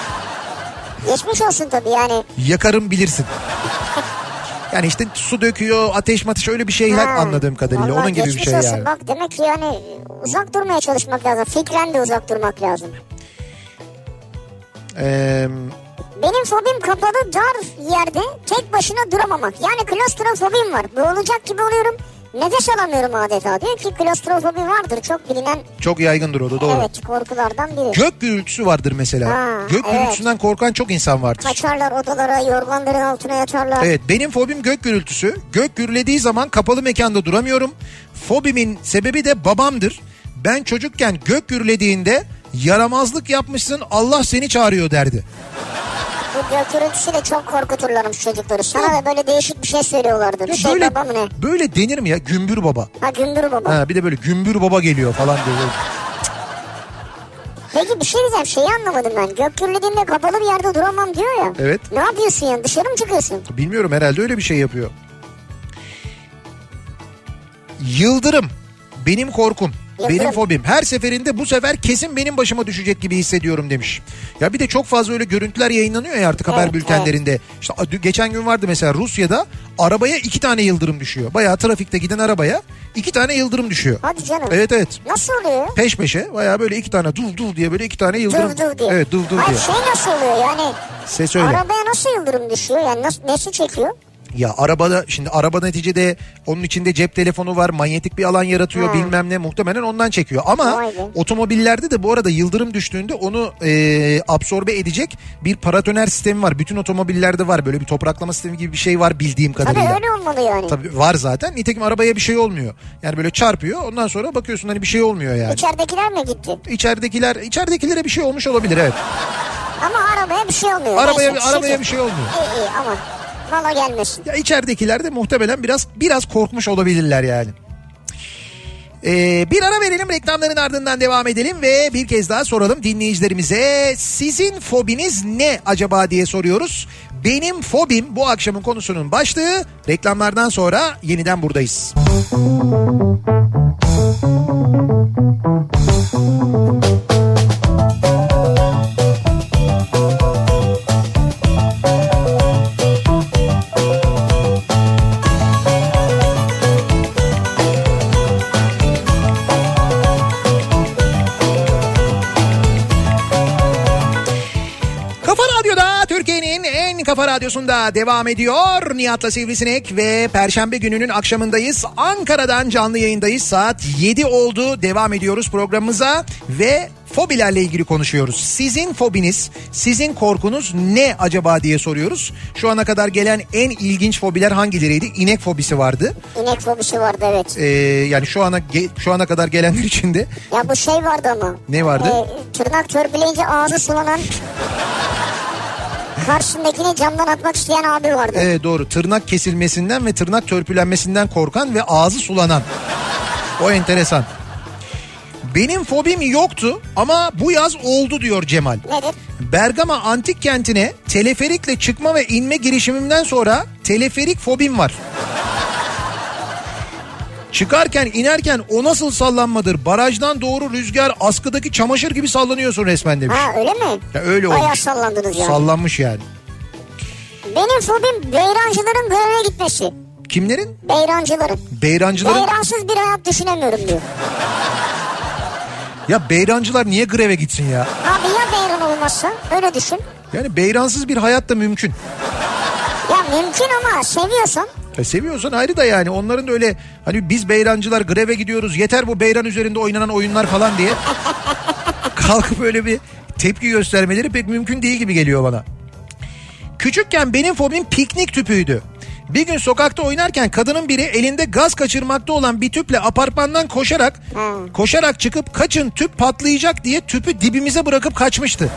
B: Geçmiş olsun tabii yani.
C: Yakarım bilirsin. Yani işte su döküyor, ateş matış öyle bir şeyler
B: Ha,
C: anladığım kadarıyla.
B: vallahi
C: Onun gibi bir
B: geçmiş
C: şey
B: olsun.
C: yani.
B: Bak demek ki yani uzak durmaya çalışmak lazım. Fikren de uzak durmak lazım.
C: Ee,
B: Benim fobim kapalı dar yerde tek başına duramamak. Yani klostrofobim var. Boğulacak gibi oluyorum. Nefes alamıyorum adeta diyor ki klostrofobi vardır çok bilinen
C: Çok yaygındır o da doğru.
B: evet korkulardan biri.
C: Gök gürültüsü vardır mesela.
B: Ha,
C: gök
B: evet.
C: gürültüsünden korkan çok insan vardır.
B: Kaçarlar odalara yorganların altına yatarlar.
C: Evet benim fobim gök gürültüsü. Gök gürlediği zaman kapalı mekanda duramıyorum. Fobimin sebebi de babamdır. Ben çocukken gök gürlediğinde yaramazlık yapmışsın Allah seni çağırıyor derdi.
B: Bu gök gürültüsü de çok korkuturlarmış çocukları. Sana da böyle değişik bir şey söylüyorlardı. Bir
C: Ya
B: şey
C: böyle,
B: baba mı ne?
C: böyle denir mi ya gümbür baba?
B: Ha gündür baba.
C: Ha, bir de böyle gümbür baba geliyor falan diyor.
B: Peki bir şey diyeceğim şeyi anlamadım ben. Gök gürlediğinde kapalı bir yerde duramam diyor ya.
C: Evet.
B: Ne yapıyorsun yani dışarı mı çıkıyorsun?
C: Bilmiyorum herhalde öyle bir şey yapıyor. Yıldırım benim korkum.
B: Yıldırım.
C: Benim fobim. Her seferinde bu sefer kesin benim başıma düşecek gibi hissediyorum demiş. Ya bir de çok fazla öyle görüntüler yayınlanıyor ya artık haber
B: Evet,
C: bültenlerinde. İşte dü- geçen gün vardı mesela Rusya'da arabaya iki tane yıldırım düşüyor. Bayağı trafikte giden arabaya iki tane yıldırım düşüyor.
B: Hadi canım.
C: Evet evet.
B: Nasıl oluyor?
C: Peş peşe bayağı böyle iki tane duv duv diye böyle iki tane yıldırım.
B: Dur dur diye.
C: Evet duv duv
B: Hayır,
C: diye.
B: şey nasıl oluyor yani?
C: Ses öyle.
B: Arabaya nasıl yıldırım düşüyor? Yani nasıl, nesi çekiyor?
C: Ya arabada şimdi araba neticede onun içinde cep telefonu var manyetik bir alan yaratıyor bilmem ne muhtemelen ondan çekiyor. Ama
B: Hmm. Vay be.
C: otomobillerde de bu arada yıldırım düştüğünde onu e, absorbe edecek bir paratoner sistemi var. Bütün otomobillerde var böyle bir topraklama sistemi gibi bir şey var bildiğim
B: Tabii
C: kadarıyla.
B: öyle olmalı yani.
C: Tabii var zaten nitekim arabaya bir şey olmuyor. Yani böyle çarpıyor ondan sonra bakıyorsun hani bir şey olmuyor yani.
B: İçeridekiler mi gitti?
C: İçeridekiler içeridekilere bir şey olmuş olabilir evet.
B: Ama arabaya bir şey olmuyor.
C: Arabaya
B: Neyse,
C: bir arabaya
B: şükür.
C: bir şey olmuyor.
B: İyi iyi aman. Valla gelmesin.
C: Ya içeridekiler de muhtemelen biraz biraz korkmuş olabilirler yani. Ee, bir ara verelim reklamların ardından devam edelim ve bir kez daha soralım dinleyicilerimize sizin fobiniz ne acaba diye soruyoruz. Benim fobim bu akşamın konusunun başlığı reklamlardan sonra yeniden buradayız. Kafa Radyo'da Türkiye'nin en kafa radyosunda devam ediyor. Nihat'la Sivrisinek ve Perşembe gününün akşamındayız. Ankara'dan canlı yayındayız. Saat 7 oldu. Devam ediyoruz programımıza ve fobilerle ilgili konuşuyoruz. Sizin fobiniz, sizin korkunuz ne acaba diye soruyoruz. Şu ana kadar gelen en ilginç fobiler hangileriydi? İnek fobisi vardı.
B: İnek fobisi vardı evet.
C: Ee, yani şu ana ge- şu ana kadar gelenler içinde
B: Ya bu şey vardı ama.
C: Ne vardı?
B: Ee, tırnak törpüleyince ağzı sulanan karşındakini camdan atmak isteyen abi vardı.
C: Evet doğru. Tırnak kesilmesinden ve tırnak törpülenmesinden korkan ve ağzı sulanan. O enteresan. Benim fobim yoktu ama bu yaz oldu diyor Cemal.
B: Nedir?
C: Bergama antik kentine teleferikle çıkma ve inme girişimimden sonra teleferik fobim var. Çıkarken inerken o nasıl sallanmadır? Barajdan doğru rüzgar askıdaki çamaşır gibi sallanıyorsun resmen demiş.
B: Ha öyle mi?
C: Ya öyle
B: Bayağı
C: olmuş.
B: sallandınız yani.
C: Sallanmış yani.
B: Benim fobim beyrancıların göreve gitmesi.
C: Kimlerin?
B: Beyrancıların.
C: Beyrancıların.
B: Beyransız bir hayat düşünemiyorum diyor.
C: Ya beyrancılar niye greve gitsin ya?
B: Abi ya beyran olmazsa öyle düşün.
C: Yani beyransız bir hayat da mümkün.
B: Ya mümkün ama seviyorsan
C: E seviyorsan ayrı da yani onların da öyle hani biz beyrancılar greve gidiyoruz yeter bu beyran üzerinde oynanan oyunlar falan diye kalkıp öyle bir tepki göstermeleri pek mümkün değil gibi geliyor bana. Küçükken benim fobim piknik tüpüydü. Bir gün sokakta oynarken kadının biri elinde gaz kaçırmakta olan bir tüple apartmandan koşarak
B: Hmm.
C: koşarak çıkıp kaçın tüp patlayacak diye tüpü dibimize bırakıp kaçmıştı.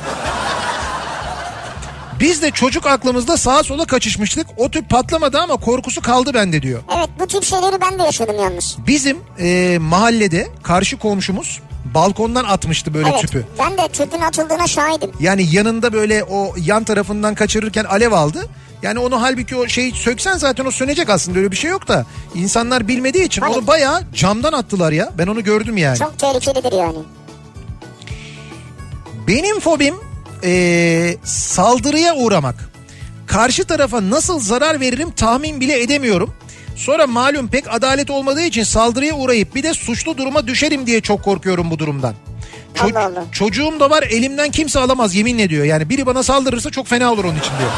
C: Biz de çocuk aklımızda sağa sola kaçışmıştık. O tüp patlamadı ama korkusu kaldı bende diyor.
B: evet bu tip şeyleri ben de yaşadım yalnız.
C: Bizim e, mahallede karşı komşumuz balkondan atmıştı böyle
B: evet
C: tüpü.
B: ben de tüpün atıldığına şahidim.
C: Yani yanında böyle o yan tarafından kaçırırken alev aldı. Yani onu halbuki o şeyi söksen zaten o sönecek aslında öyle bir şey yok da. insanlar bilmediği için
B: Hayır.
C: onu bayağı camdan attılar ya. Ben onu gördüm yani.
B: Çok tehlikelidir yani.
C: Benim fobim e, saldırıya uğramak. Karşı tarafa nasıl zarar veririm tahmin bile edemiyorum. Sonra malum pek adalet olmadığı için saldırıya uğrayıp bir de suçlu duruma düşerim diye çok korkuyorum bu durumdan.
B: Allah Allah.
C: Çocuğum da var elimden kimse alamaz yeminle diyor. Yani biri bana saldırırsa çok fena olur onun için diyor.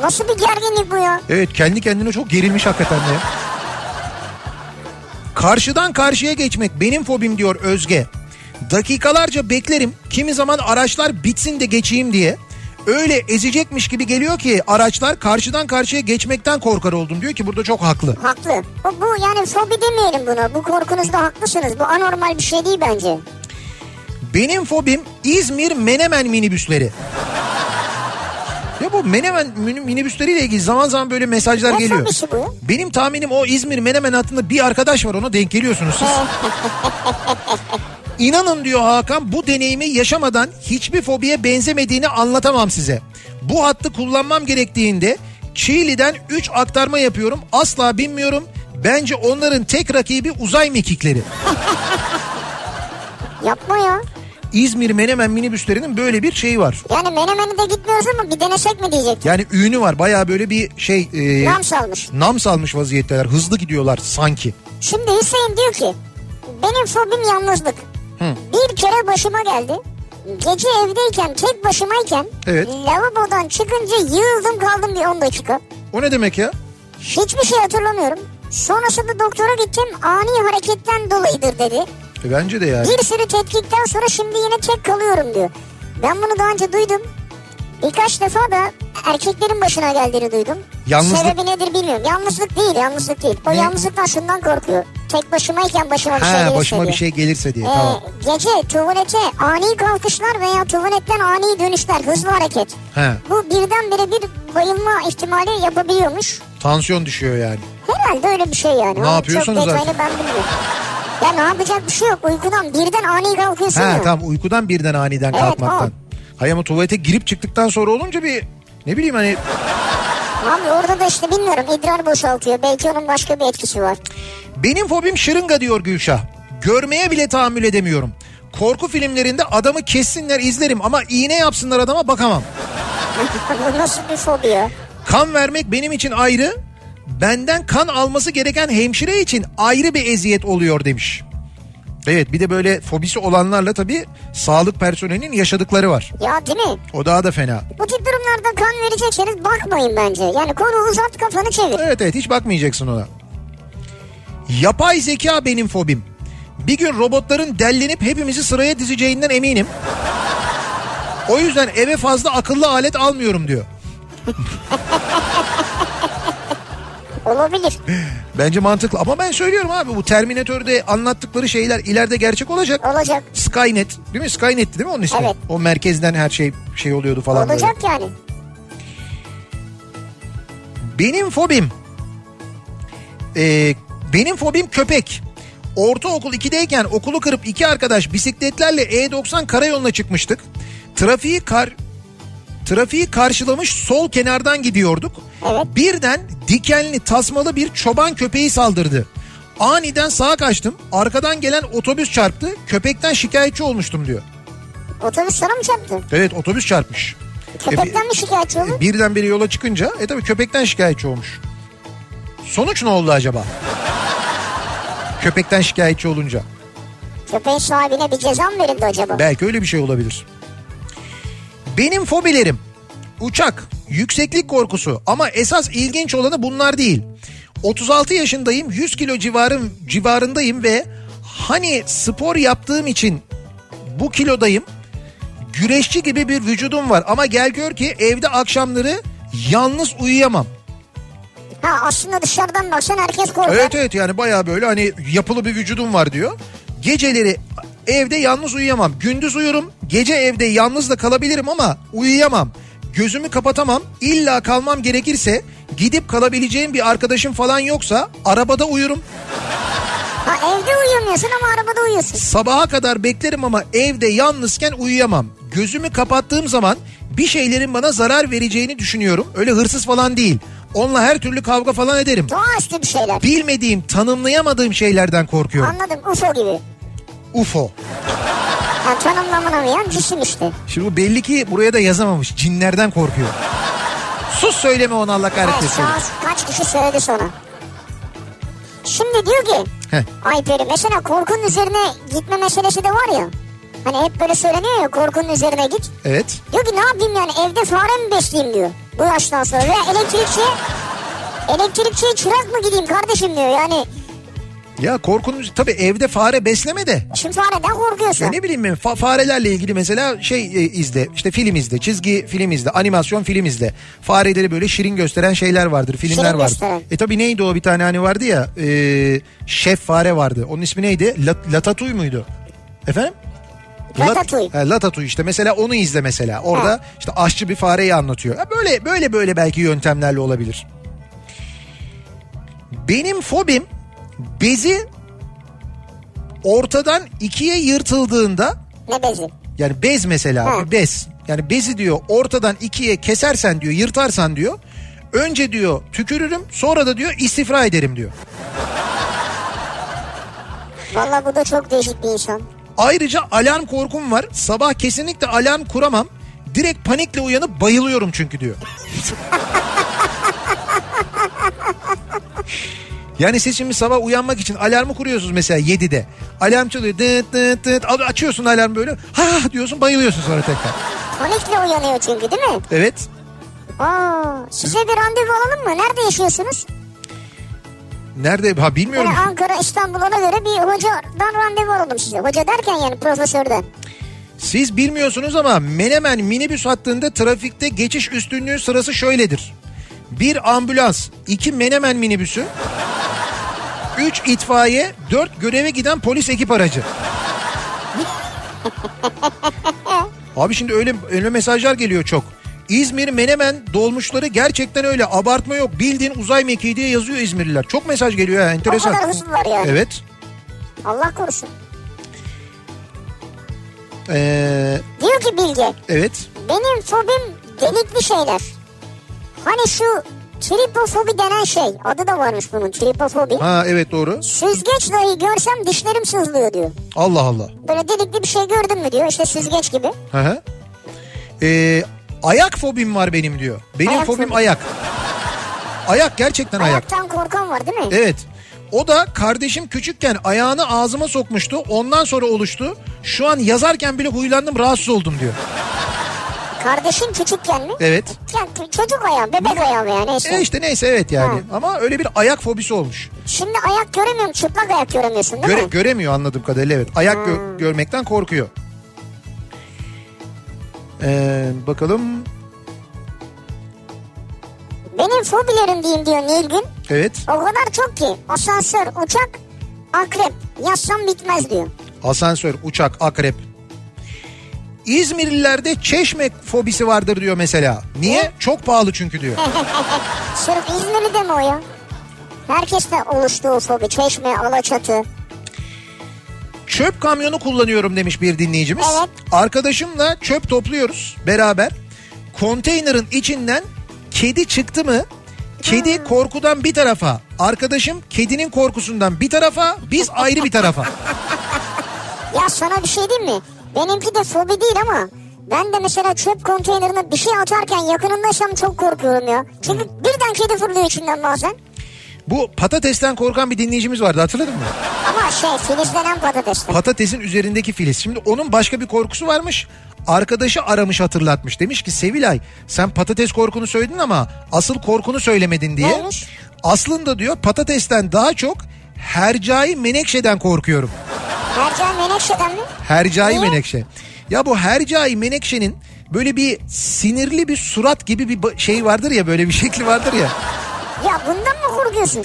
B: Nasıl bir gerginlik bu ya?
C: Evet kendi kendine çok gerilmiş hakikaten de. Karşıdan karşıya geçmek benim fobim diyor Özge. Dakikalarca beklerim kimi zaman araçlar bitsin de geçeyim diye. Öyle ezecekmiş gibi geliyor ki araçlar karşıdan karşıya geçmekten korkar oldum diyor ki burada çok haklı.
B: Haklı. Bu, bu yani fobi demeyelim buna. Bu korkunuzda haklısınız. Bu anormal bir şey değil bence.
C: Benim fobim İzmir Menemen minibüsleri. Ya bu Menemen mini- minibüsleriyle ilgili zaman zaman böyle mesajlar
B: Ne
C: geliyor.
B: fobisi bu?
C: Benim tahminim o İzmir Menemen hattında bir arkadaş var ona denk geliyorsunuz siz. İnanın diyor Hakan bu deneyimi yaşamadan hiçbir fobiye benzemediğini anlatamam size. Bu hattı kullanmam gerektiğinde Çiğli'den 3 aktarma yapıyorum asla binmiyorum. Bence onların tek rakibi uzay mekikleri.
B: Yapma ya.
C: İzmir Menemen minibüslerinin böyle bir şeyi var.
B: Yani menemeni de gitmiyoruz ama bir denesek mi diyecek.
C: Yani ünü var bayağı böyle bir şey... e,
B: Nam salmış.
C: nam salmış vaziyetteler. Hızlı gidiyorlar sanki.
B: Şimdi Hüseyin diyor ki benim fobim yalnızlık. Bir kere başıma geldi. Gece evdeyken tek başımayken
C: Evet.
B: lavabodan çıkınca yığıldım kaldım bir 10 dakika.
C: O ne demek ya?
B: Hiçbir şey hatırlamıyorum. Sonrasında doktora gittim ani hareketten dolayıdır dedi.
C: E bence de yani.
B: Bir sürü tetkikten sonra şimdi yine tek kalıyorum diyor. Ben bunu daha önce duydum. Birkaç defa da erkeklerin başına geldiğini duydum.
C: Yalnızlık-
B: Sebebi nedir bilmiyorum. Yalnızlık değil, yalnızlık değil. O yalnızlıktan şundan korkuyor. Tek başımayken başıma bir şey
C: Ha
B: gelirse
C: başıma bir
B: diyor.
C: şey gelirse diye.
B: Ee,
C: Tamam.
B: Gece tuvalete ani kalkışlar veya tuvaletten ani dönüşler, hızlı hareket.
C: He.
B: Bu birdenbire bir bayılma ihtimali yapabiliyormuş.
C: Tansiyon düşüyor yani.
B: Herhalde öyle bir şey yani.
C: Ne
B: O
C: yapıyorsunuz
B: Çok detaylı
C: artık?
B: ben bilmiyorum. Ya ne yapacak bir şey yok. Uykudan birden ani kalkıyorsun
C: Ha
B: ya.
C: tamam uykudan birden aniden
B: Evet,
C: kalkmaktan. Hay ama tuvalete girip çıktıktan sonra olunca bir ne bileyim hani
B: Abi orada da işte bilmiyorum idrar boşaltıyor. Belki onun başka bir etkisi var.
C: benim fobim şırınga diyor Gülşah. Görmeye bile tahammül edemiyorum. Korku filmlerinde adamı kessinler izlerim ama iğne yapsınlar adama bakamam.
B: Bu nasıl bir fobi ya?
C: Kan vermek benim için ayrı, benden kan alması gereken hemşire için ayrı bir eziyet oluyor demiş. Evet bir de böyle fobisi olanlarla tabii sağlık personelinin yaşadıkları var.
B: Ya değil mi?
C: O daha da fena.
B: Bu tip durumlarda kan verecekseniz bakmayın bence. Yani konu uzat kafanı çevir.
C: Evet evet hiç bakmayacaksın ona. Yapay zeka benim fobim. Bir gün robotların dellenip hepimizi sıraya dizeceğinden eminim. O yüzden eve fazla akıllı alet almıyorum diyor.
B: Olabilir.
C: Bence mantıklı ama ben söylüyorum abi bu Terminator'de anlattıkları şeyler ileride gerçek olacak.
B: Olacak.
C: Skynet değil mi? Skynet'ti değil mi onun ismi?
B: Evet.
C: O merkezden her şey şey oluyordu falan böyle.
B: Olacak yani.
C: Benim fobim ee, benim fobim köpek. Ortaokul 2'deyken okulu kırıp iki arkadaş bisikletlerle E90 karayoluna çıkmıştık. Trafiği kar trafiği karşılamış sol kenardan gidiyorduk.
B: Evet.
C: Birden dikenli tasmalı bir çoban köpeği saldırdı. Aniden sağa kaçtım. Arkadan gelen otobüs çarptı. Köpekten şikayetçi olmuştum diyor.
B: Otobüs sana mı çarptı?
C: Evet otobüs çarpmış. E,
B: Köpekten mi şikayetçi olur?
C: birden beri yola çıkınca e tabii köpekten şikayetçi olmuş. Sonuç ne oldu acaba? köpekten şikayetçi olunca.
B: Köpeğin sahibine bir ceza mı verildi acaba?
C: Belki öyle bir şey olabilir. Benim fobilerim uçak, yükseklik korkusu ama esas ilginç olanı bunlar değil. 36 yaşındayım, 100 kilo civarım civarındayım ve hani spor yaptığım için bu kilodayım. Güreşçi gibi bir vücudum var ama gel gör ki evde akşamları yalnız uyuyamam.
B: Ha aslında dışarıdan baksan herkes korkar.
C: Evet evet yani bayağı böyle hani yapılı bir vücudum var diyor. Geceleri evde yalnız uyuyamam. Gündüz uyurum. Gece evde yalnız da kalabilirim ama uyuyamam. Gözümü kapatamam. İlla kalmam gerekirse gidip kalabileceğim bir arkadaşım falan yoksa arabada uyurum.
B: Ha evde uyuyamıyorsun ama arabada uyuyorsun.
C: Sabaha kadar beklerim ama evde yalnızken uyuyamam. Gözümü kapattığım zaman bir şeylerin bana zarar vereceğini düşünüyorum. Öyle hırsız falan değil. Onunla her türlü kavga falan ederim.
B: Doğaüstü bir şeyler.
C: Bilmediğim, tanımlayamadığım şeylerden korkuyorum.
B: Anladım UFO gibi.
C: UFO.
B: Yani tanımlamına cisim işte.
C: Şimdi bu belli ki buraya da yazamamış. Cinlerden korkuyor. Sus söyleme onu Allah
B: Evet,
C: kahretmesin.
B: şu an kaç kişi söyledi sonra. Şimdi diyor ki
C: Heh.
B: Ayperi mesela korkunun üzerine gitme meselesi de var ya. Hani hep böyle söyleniyor ya korkunun üzerine git.
C: Evet.
B: Diyor ki ne yapayım yani evde fare mi besleyeyim diyor. Bu yaştan sonra veya elektrikçiye elektrikçiye çırak mı gideyim kardeşim diyor yani.
C: Ya korkunun tabii evde fare besleme de.
B: Şimdi fareden korkuyorsun.
C: Ya ne bileyim ben fa- farelerle ilgili mesela şey e, izle işte film izle çizgi film izle animasyon film izle. Fareleri böyle şirin gösteren şeyler vardır filmler
B: Şirin
C: vardır.
B: gösteren.
C: E tabi neydi o bir tane hani vardı ya e, şef fare vardı onun ismi neydi La- Latatouille muydu? Efendim? Lat-
B: Ratatouille.
C: He, Ratatouille işte mesela onu izle mesela orada
B: Ha.
C: işte aşçı bir fareyi anlatıyor. Ha, Böyle böyle böyle belki yöntemlerle olabilir. Benim fobim bezi ortadan ikiye yırtıldığında
B: Ne bezi?
C: yani bez mesela
B: Ha.
C: bir bez. Yani bezi diyor ortadan ikiye kesersen diyor yırtarsan diyor. Önce diyor tükürürüm sonra da diyor istifra ederim diyor.
B: Valla bu da çok değişik bir insan.
C: Ayrıca alarm korkum var. Sabah kesinlikle alarm kuramam. Direkt panikle uyanıp bayılıyorum çünkü diyor. Yani siz şimdi sabah uyanmak için alarmı kuruyorsunuz mesela 7'de. Alarm çalıyor. Dıt dıt dıt. Açıyorsun alarm böyle. Ha diyorsun bayılıyorsun sonra tekrar.
B: Panikle uyanıyor çünkü değil mi?
C: Evet.
B: Aa, size bir randevu alalım mı? Nerede yaşıyorsunuz?
C: Nerede? Ha
B: Yani
C: bilmiyorum.
B: Ankara, İstanbul ona göre bir hocadan randevu alalım size. Hoca derken yani profesörden.
C: Siz bilmiyorsunuz ama Menemen minibüs hattında trafikte geçiş üstünlüğü sırası şöyledir. Bir ambulans, iki Menemen minibüsü, üç itfaiye, dört göreve giden polis ekip aracı. Abi şimdi öyle, öyle mesajlar geliyor çok. İzmir Menemen dolmuşları gerçekten öyle abartma yok. Bildiğin uzay mekiği diye yazıyor İzmirliler. Çok mesaj geliyor ha enteresan.
B: kadar hızlı var yani.
C: Evet.
B: Allah korusun.
C: Ee,
B: Diyor ki Bilge,
C: evet.
B: benim fobim delikli şeyler. Hani şu tripofobi denen şey. Adı da varmış bunun tripofobi.
C: Ha evet doğru.
B: Süzgeç dahi görsem dişlerim sızlıyor diyor.
C: Allah Allah.
B: Böyle delikli bir şey gördün mü diyor. İşte süzgeç gibi.
C: Hı hı. Ee, ayak fobim var benim diyor. Benim
B: Ayak
C: fobim
B: fobi.
C: ayak. Ayak gerçekten ayak.
B: Ayaktan korkan var değil mi?
C: Evet. O da kardeşim küçükken ayağını ağzıma sokmuştu. Ondan sonra oluştu. Şu an yazarken bile huylandım rahatsız oldum diyor.
B: Kardeşin küçükken mi?
C: Evet.
B: Ya t- çocuk ayağı, bebek ayağı mı yani neyse.
C: E işte neyse evet yani.
B: Ha.
C: Ama öyle bir ayak fobisi olmuş.
B: Şimdi ayak göremiyorum, çıplak ayak göremiyorsun değil
C: Göre-
B: mi? Hmm.
C: göremiyor anladığım kadarıyla evet. Ayak gö- görmekten korkuyor. Ee, bakalım.
B: Benim fobilerim diyeyim diyor Nilgün.
C: Evet.
B: O kadar çok ki asansör, uçak, akrep yazsam bitmez diyor.
C: Asansör, uçak, akrep. İzmirlilerde çeşme fobisi vardır diyor mesela. Niye? Çok pahalı çünkü diyor.
B: Sırf İzmirli'de mi o ya? Herkeste oluştu o fobi. Çeşme, Alaçatı.
C: Çöp kamyonu kullanıyorum demiş bir dinleyicimiz.
B: Evet.
C: Arkadaşımla çöp topluyoruz beraber. Konteynerin içinden kedi çıktı mı? Kedi korkudan bir tarafa, arkadaşım kedinin korkusundan bir tarafa, biz ayrı bir tarafa.
B: Ya sana bir şey diyeyim mi? Benimki de fobi değil ama ben de mesela çöp konteynerine bir şey atarken yakınındaysam çok korkuyorum ya. Çünkü birden kedi fırlıyor içinden bazen.
C: Bu patatesten korkan bir dinleyicimiz vardı hatırladın mı?
B: Ama şey filizlenen patates.
C: patatesin üzerindeki filiz. Şimdi onun başka bir korkusu varmış. Arkadaşı aramış hatırlatmış. Demiş ki Sevilay sen patates korkunu söyledin ama asıl korkunu söylemedin diye.
B: Neymiş?
C: Aslında diyor patatesten daha çok hercai menekşeden korkuyorum.
B: Mercan menekşeden mi?
C: Hercai
B: Niye?
C: menekşe. Ya bu hercai menekşenin böyle bir sinirli bir surat gibi bir ba- şey vardır ya böyle bir şekli vardır ya.
B: Ya bundan mı korkuyorsun?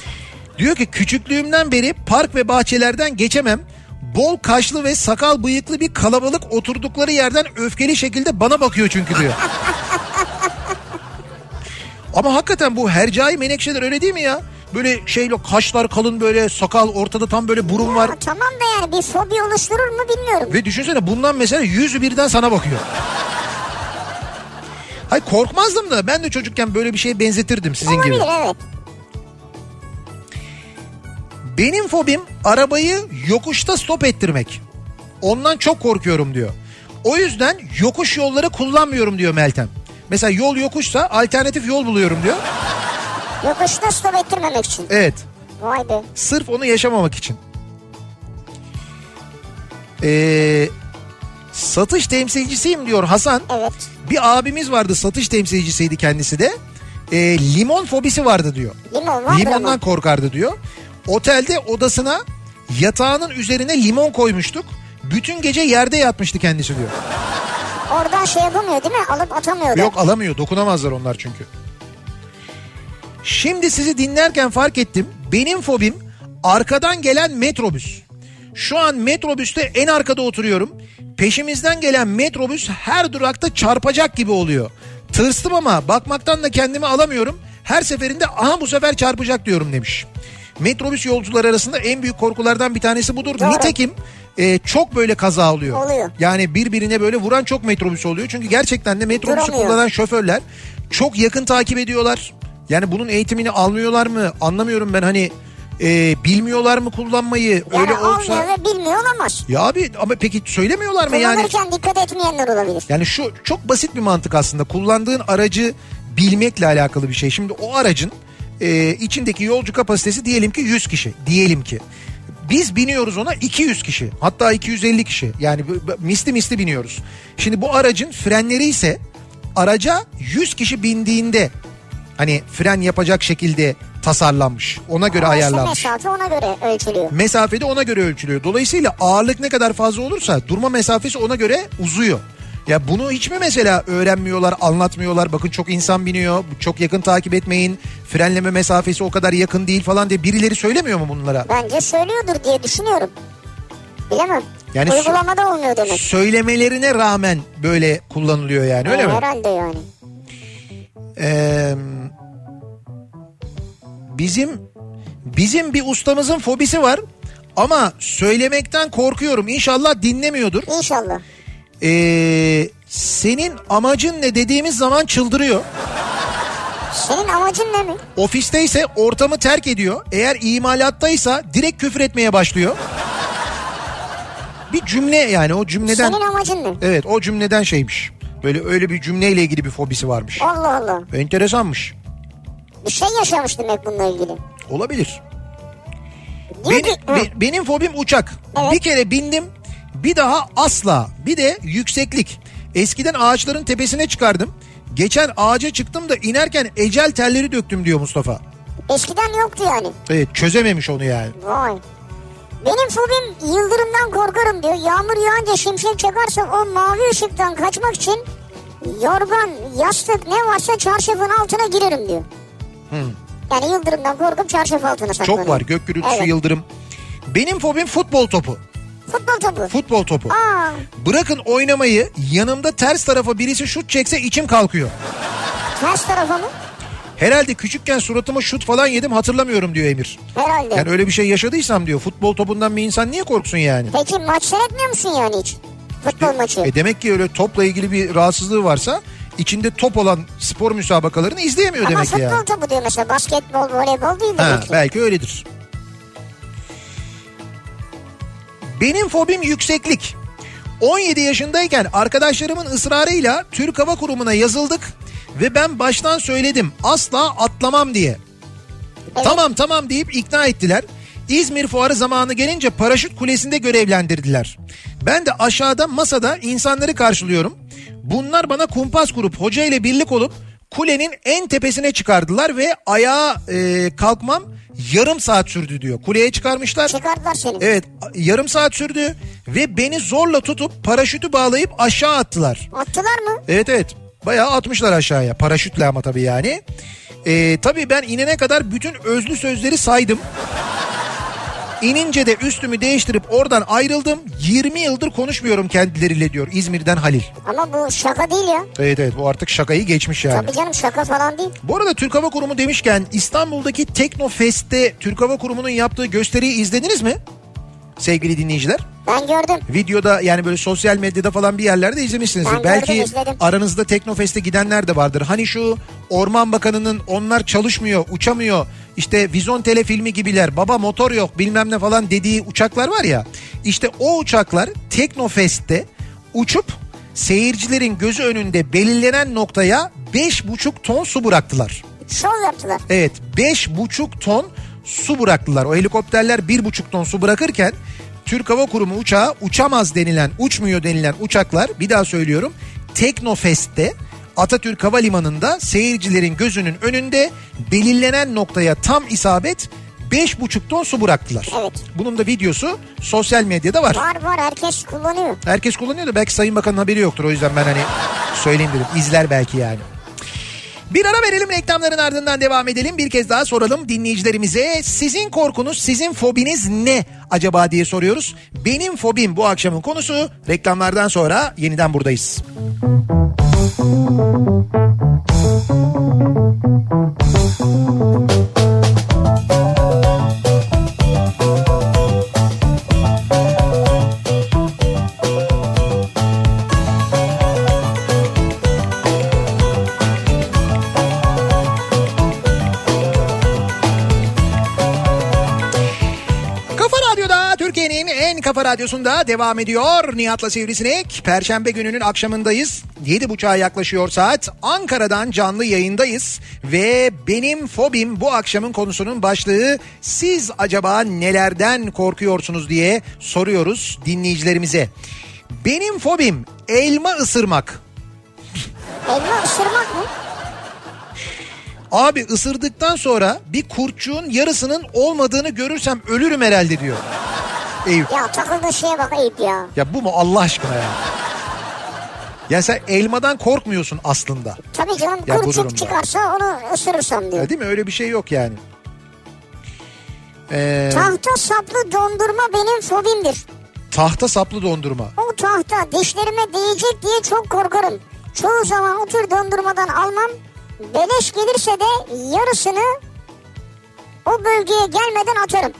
C: Diyor ki küçüklüğümden beri park ve bahçelerden geçemem. Bol kaşlı ve sakal bıyıklı bir kalabalık oturdukları yerden öfkeli şekilde bana bakıyor çünkü diyor. Ama hakikaten bu hercai menekşeler öyle değil mi ya? Böyle şeyle kaşlar kalın böyle sakal ortada tam böyle burun var.
B: Ya tamam da yani bir fobi oluşturur mu bilmiyorum.
C: Ve düşünsene bundan mesela yüzü birden sana bakıyor. Hayır korkmazdım da ben de çocukken böyle bir şeye benzetirdim sizin gibi.
B: Olabilir evet.
C: Benim fobim arabayı yokuşta stop ettirmek. Ondan çok korkuyorum diyor. O yüzden yokuş yolları kullanmıyorum diyor Meltem. Mesela yol yokuşsa alternatif yol buluyorum diyor.
B: Yokuşta stop ettirmemek için.
C: Evet.
B: Vay be.
C: Sırf onu yaşamamak için. Ee, satış temsilcisiyim diyor Hasan.
B: Evet.
C: Bir abimiz vardı satış temsilcisiydi kendisi de. Ee, limon fobisi vardı diyor.
B: Limon var
C: Limondan korkardı diyor. Otelde odasına Yatağının üzerine limon koymuştuk. Bütün gece yerde yatmıştı kendisi diyor.
B: Oradan şey yapamıyor değil mi? Alıp atamıyor. da.
C: Yok alamıyor dokunamazlar onlar çünkü. Şimdi sizi dinlerken fark ettim. Benim fobim arkadan gelen metrobüs. Şu an metrobüste en arkada oturuyorum. Peşimizden gelen metrobüs her durakta çarpacak gibi oluyor. Tırstım ama bakmaktan da kendimi alamıyorum. Her seferinde aha bu sefer çarpacak diyorum demiş. Metrobüs yolcuları arasında en büyük korkulardan bir tanesi budur.
B: Doğru.
C: Nitekim e, çok böyle kaza oluyor.
B: Oluyor.
C: Yani birbirine böyle vuran çok metrobüs oluyor. Çünkü gerçekten de metrobüsü
B: Duramıyor.
C: kullanan şoförler çok yakın takip ediyorlar. Yani bunun eğitimini almıyorlar mı? Anlamıyorum ben hani e, bilmiyorlar mı kullanmayı?
B: Yani
C: Öyle olsa...
B: almıyor ve bilmiyor olamaz.
C: Ya abi ama peki söylemiyorlar mı yani?
B: Kullanırken dikkat etmeyenler olabilir.
C: Yani şu çok basit bir mantık aslında. Kullandığın aracı bilmekle alakalı bir şey. Şimdi o aracın e, içindeki yolcu kapasitesi diyelim ki 100 kişi. Diyelim ki. Biz biniyoruz ona 200 kişi. Hatta 250 kişi. Yani bu- bu- misli misli biniyoruz. Şimdi bu aracın frenleri ise araca 100 kişi bindiğinde hani fren yapacak şekilde tasarlanmış. Ona göre
B: Ama işte
C: ayarlanmış
B: mesafe ona göre ölçülüyor.
C: mesafede ona göre ölçülüyor. Dolayısıyla ağırlık ne kadar fazla olursa durma mesafesi ona göre uzuyor. Ya bunu hiç mi mesela öğrenmiyorlar, anlatmıyorlar? Bakın çok insan biniyor, çok yakın takip etmeyin, frenleme mesafesi o kadar yakın değil falan diye birileri söylemiyor mu bunlara?
B: Bence söylüyordur diye düşünüyorum. Bilemem.
C: Yani
B: Uygulamada olmuyor demek.
C: Söylemelerine rağmen böyle kullanılıyor yani öyle
B: Ee,
C: mi?
B: Herhalde yani.
C: Ee, bizim bizim bir ustamızın fobisi var ama söylemekten korkuyorum. İnşallah dinlemiyordur.
B: İnşallah.
C: Ee, senin amacın ne dediğimiz zaman çıldırıyor.
B: Senin amacın ne mi?
C: Ofisteyse ortamı terk ediyor. Eğer imalattaysa direkt küfür etmeye başlıyor. Bir cümle yani o cümleden
B: Senin amacın ne?
C: evet o cümleden şeymiş. Böyle öyle bir cümleyle ilgili bir fobisi varmış.
B: Allah Allah.
C: Enteresanmış.
B: Bir şey yaşamış demek bununla ilgili.
C: Olabilir.
B: Diyor
C: Benim,
B: ki, Hı,
C: be- benim fobim uçak.
B: Evet.
C: Bir kere bindim bir daha asla. Bir de yükseklik. Eskiden ağaçların tepesine çıkardım. Geçen ağaca çıktım da inerken ecel telleri döktüm diyor Mustafa.
B: eskiden yoktu yani.
C: Evet çözememiş onu yani.
B: Vay. Benim fobim yıldırımdan korkarım diyor. Yağmur yağınca şimşek çakarsa o mavi ışıktan kaçmak için yorgan, yastık ne varsa çarşafın altına girerim diyor. Yani yıldırımdan korkup çarşaf altına saklanıyor.
C: Çok var gök gürültüsü
B: Evet.
C: yıldırım. Benim fobim futbol topu.
B: Futbol topu.
C: Futbol topu.
B: Aa,
C: Bırakın oynamayı yanımda ters tarafa birisi şut çekse içim kalkıyor.
B: ters tarafa mı?
C: Herhalde küçükken suratıma şut falan yedim hatırlamıyorum diyor Emir.
B: Herhalde.
C: Yani öyle bir şey yaşadıysam diyor futbol topundan bir insan niye korksun yani?
B: Peki maç seyretmiyor musun yani hiç? Futbol maçı.
C: E demek ki öyle topla ilgili bir rahatsızlığı varsa içinde top olan spor müsabakalarını izleyemiyor
B: Ama
C: demek ki
B: futbol
C: yani.
B: topu diyor mesela basketbol, voleybol değil
C: Ha,
B: demek ki.
C: belki öyledir. Benim fobim yükseklik. 17 yaşındayken arkadaşlarımın ısrarıyla Türk Hava Kurumu'na yazıldık ve ben baştan söyledim asla atlamam diye. Tamam tamam deyip ikna ettiler. İzmir fuarı zamanı gelince paraşüt kulesinde görevlendirdiler. Ben de aşağıda masada insanları karşılıyorum. Bunlar bana kumpas kurup hoca ile birlik olup kulenin en tepesine çıkardılar ve ayağa e, kalkmam yarım saat sürdü diyor. Kuleye çıkarmışlar.
B: Çıkardılar seni.
C: Evet a- yarım saat sürdü ve beni zorla tutup paraşütü bağlayıp aşağı attılar.
B: Attılar mı?
C: Evet evet. Bayağı atmışlar aşağıya. Paraşütle ama tabii yani. Ee, tabii ben inene kadar bütün özlü sözleri saydım. İnince de üstümü değiştirip oradan ayrıldım. 20 yıldır konuşmuyorum kendileriyle diyor İzmir'den Halil.
B: Ama bu şaka değil ya.
C: Evet evet bu artık şakayı geçmiş yani.
B: Tabii canım şaka falan değil.
C: Bu arada Türk Hava Kurumu demişken İstanbul'daki Teknofest'te Türk Hava Kurumu'nun yaptığı gösteriyi izlediniz mi? Sevgili dinleyiciler.
B: Ben gördüm.
C: videoda yani böyle sosyal medyada falan bir yerlerde izlemişsinizdir.
B: Ben
C: Belki
B: gördüm, izledim.
C: aranızda Teknofest'e gidenler de vardır. Hani şu Orman Bakanı'nın onlar çalışmıyor, uçamıyor. İşte Vizon Tele filmi gibiler. Baba motor yok bilmem ne falan dediği uçaklar var ya. İşte o uçaklar Teknofest'te uçup seyircilerin gözü önünde belirlenen noktaya 5,5 ton su bıraktılar.
B: Şov yaptılar.
C: Evet 5,5 ton su bıraktılar. O helikopterler 1,5 ton su bırakırken Türk Hava Kurumu uçağı uçamaz denilen, uçmuyor denilen uçaklar bir daha söylüyorum Teknofest'te Atatürk Havalimanı'nda seyircilerin gözünün önünde belirlenen noktaya tam isabet 5,5 ton su bıraktılar.
B: Evet.
C: Bunun da videosu sosyal medyada var.
B: Var var herkes kullanıyor.
C: Herkes kullanıyor da belki Sayın Bakan'ın haberi yoktur. O yüzden ben hani söyleyeyim dedim. İzler belki yani. Bir ara verelim reklamların ardından devam edelim. Bir kez daha soralım dinleyicilerimize. Sizin korkunuz, sizin fobiniz ne acaba diye soruyoruz. Benim fobim bu akşamın konusu. Reklamlardan sonra yeniden buradayız. Kafa Radyo'da Türkiye'nin en kafa radyosunda devam ediyor. Nihat'la Sivrisinek. Perşembe gününün akşamındayız. 7.30'a yaklaşıyor saat. Ankara'dan canlı yayındayız. Ve benim fobim bu akşamın konusunun başlığı siz acaba nelerden korkuyorsunuz diye soruyoruz dinleyicilerimize. Benim fobim elma ısırmak.
B: Elma ısırmak mı?
C: Abi ısırdıktan sonra bir kurtçuğun yarısının olmadığını görürsem ölürüm herhalde diyor. Eyüp.
B: Ya takıldığı şeye bak ayıp ya.
C: Ya bu mu Allah aşkına ya? Ya sen elmadan korkmuyorsun aslında.
B: Tabii canım
C: Ya bu
B: kurçuk
C: durumda.
B: çıkarsa onu ısırırsam diyor.
C: Ya değil mi? Öyle bir şey yok yani. Ee,
B: Tahta saplı dondurma benim fobimdir.
C: tahta saplı dondurma.
B: O tahta dişlerime değecek diye çok korkarım. Çoğu zaman o tür dondurmadan almam. Beleş gelirse de yarısını o bölgeye gelmeden atarım.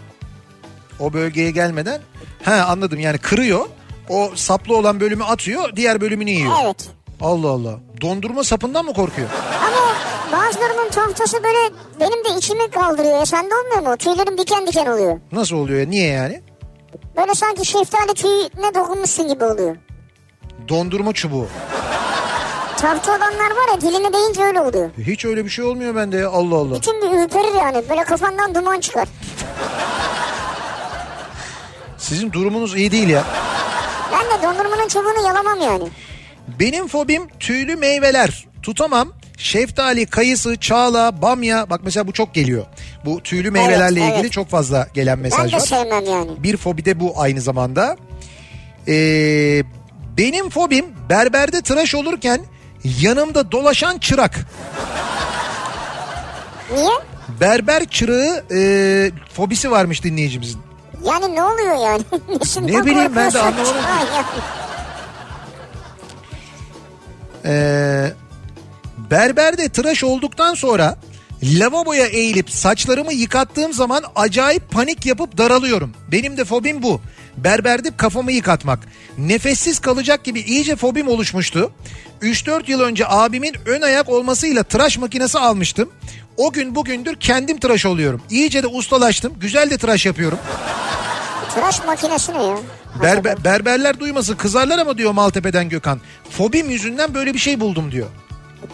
C: O bölgeye gelmeden. Ha anladım yani kırıyor. O saplı olan bölümü atıyor. Diğer bölümünü yiyor.
B: Evet.
C: Allah Allah. Dondurma sapından mı korkuyor?
B: Ama bazılarının tahtası böyle benim de içimi kaldırıyor. Ya sende olmuyor mu? Tüylerim diken diken oluyor.
C: Nasıl oluyor ya? Niye yani?
B: Böyle sanki şeftali tüyüne dokunmuşsun gibi oluyor.
C: Dondurma çubuğu.
B: Tahta olanlar var ya diline değince öyle oluyor.
C: Hiç öyle bir şey olmuyor bende ya. Allah Allah.
B: İçim bir ürperir yani. Böyle kafandan duman çıkar.
C: Sizin durumunuz iyi değil ya.
B: Ben de dondurmanın çubuğunu yalamam yani.
C: Benim fobim tüylü meyveler. Tutamam. Şeftali, kayısı, çağla, bamya. Bak mesela bu çok geliyor. Bu tüylü meyvelerle
B: evet.
C: ilgili çok fazla gelen mesaj
B: ben de şey-
C: var.
B: sevmem yani.
C: Bir fobi de bu aynı zamanda. Ee, benim fobim berberde tıraş olurken yanımda dolaşan çırak.
B: Niye?
C: Berber çırağı e, fobisi varmış dinleyicimizin.
B: Yani ne oluyor yani? Nesinden
C: Ne bileyim, ben de anlamadım ki.
B: korkuyorsun? Ay ya.
C: Ee, berberde tıraş olduktan sonra lavaboya eğilip saçlarımı yıkattığım zaman acayip panik yapıp daralıyorum. Benim de fobim bu. Berberde kafamı yıkatmak. Nefessiz kalacak gibi iyice fobim oluşmuştu. 3-4 yıl önce abimin ön ayak olmasıyla tıraş makinesi almıştım. O gün bugündür kendim tıraş oluyorum. İyice de ustalaştım. Güzel de tıraş yapıyorum.
B: Tıraş makinesi ne ya?
C: Berber, berberler duymasın kızarlar ama diyor Maltepe'den Gökhan. Fobim yüzünden böyle bir şey buldum diyor.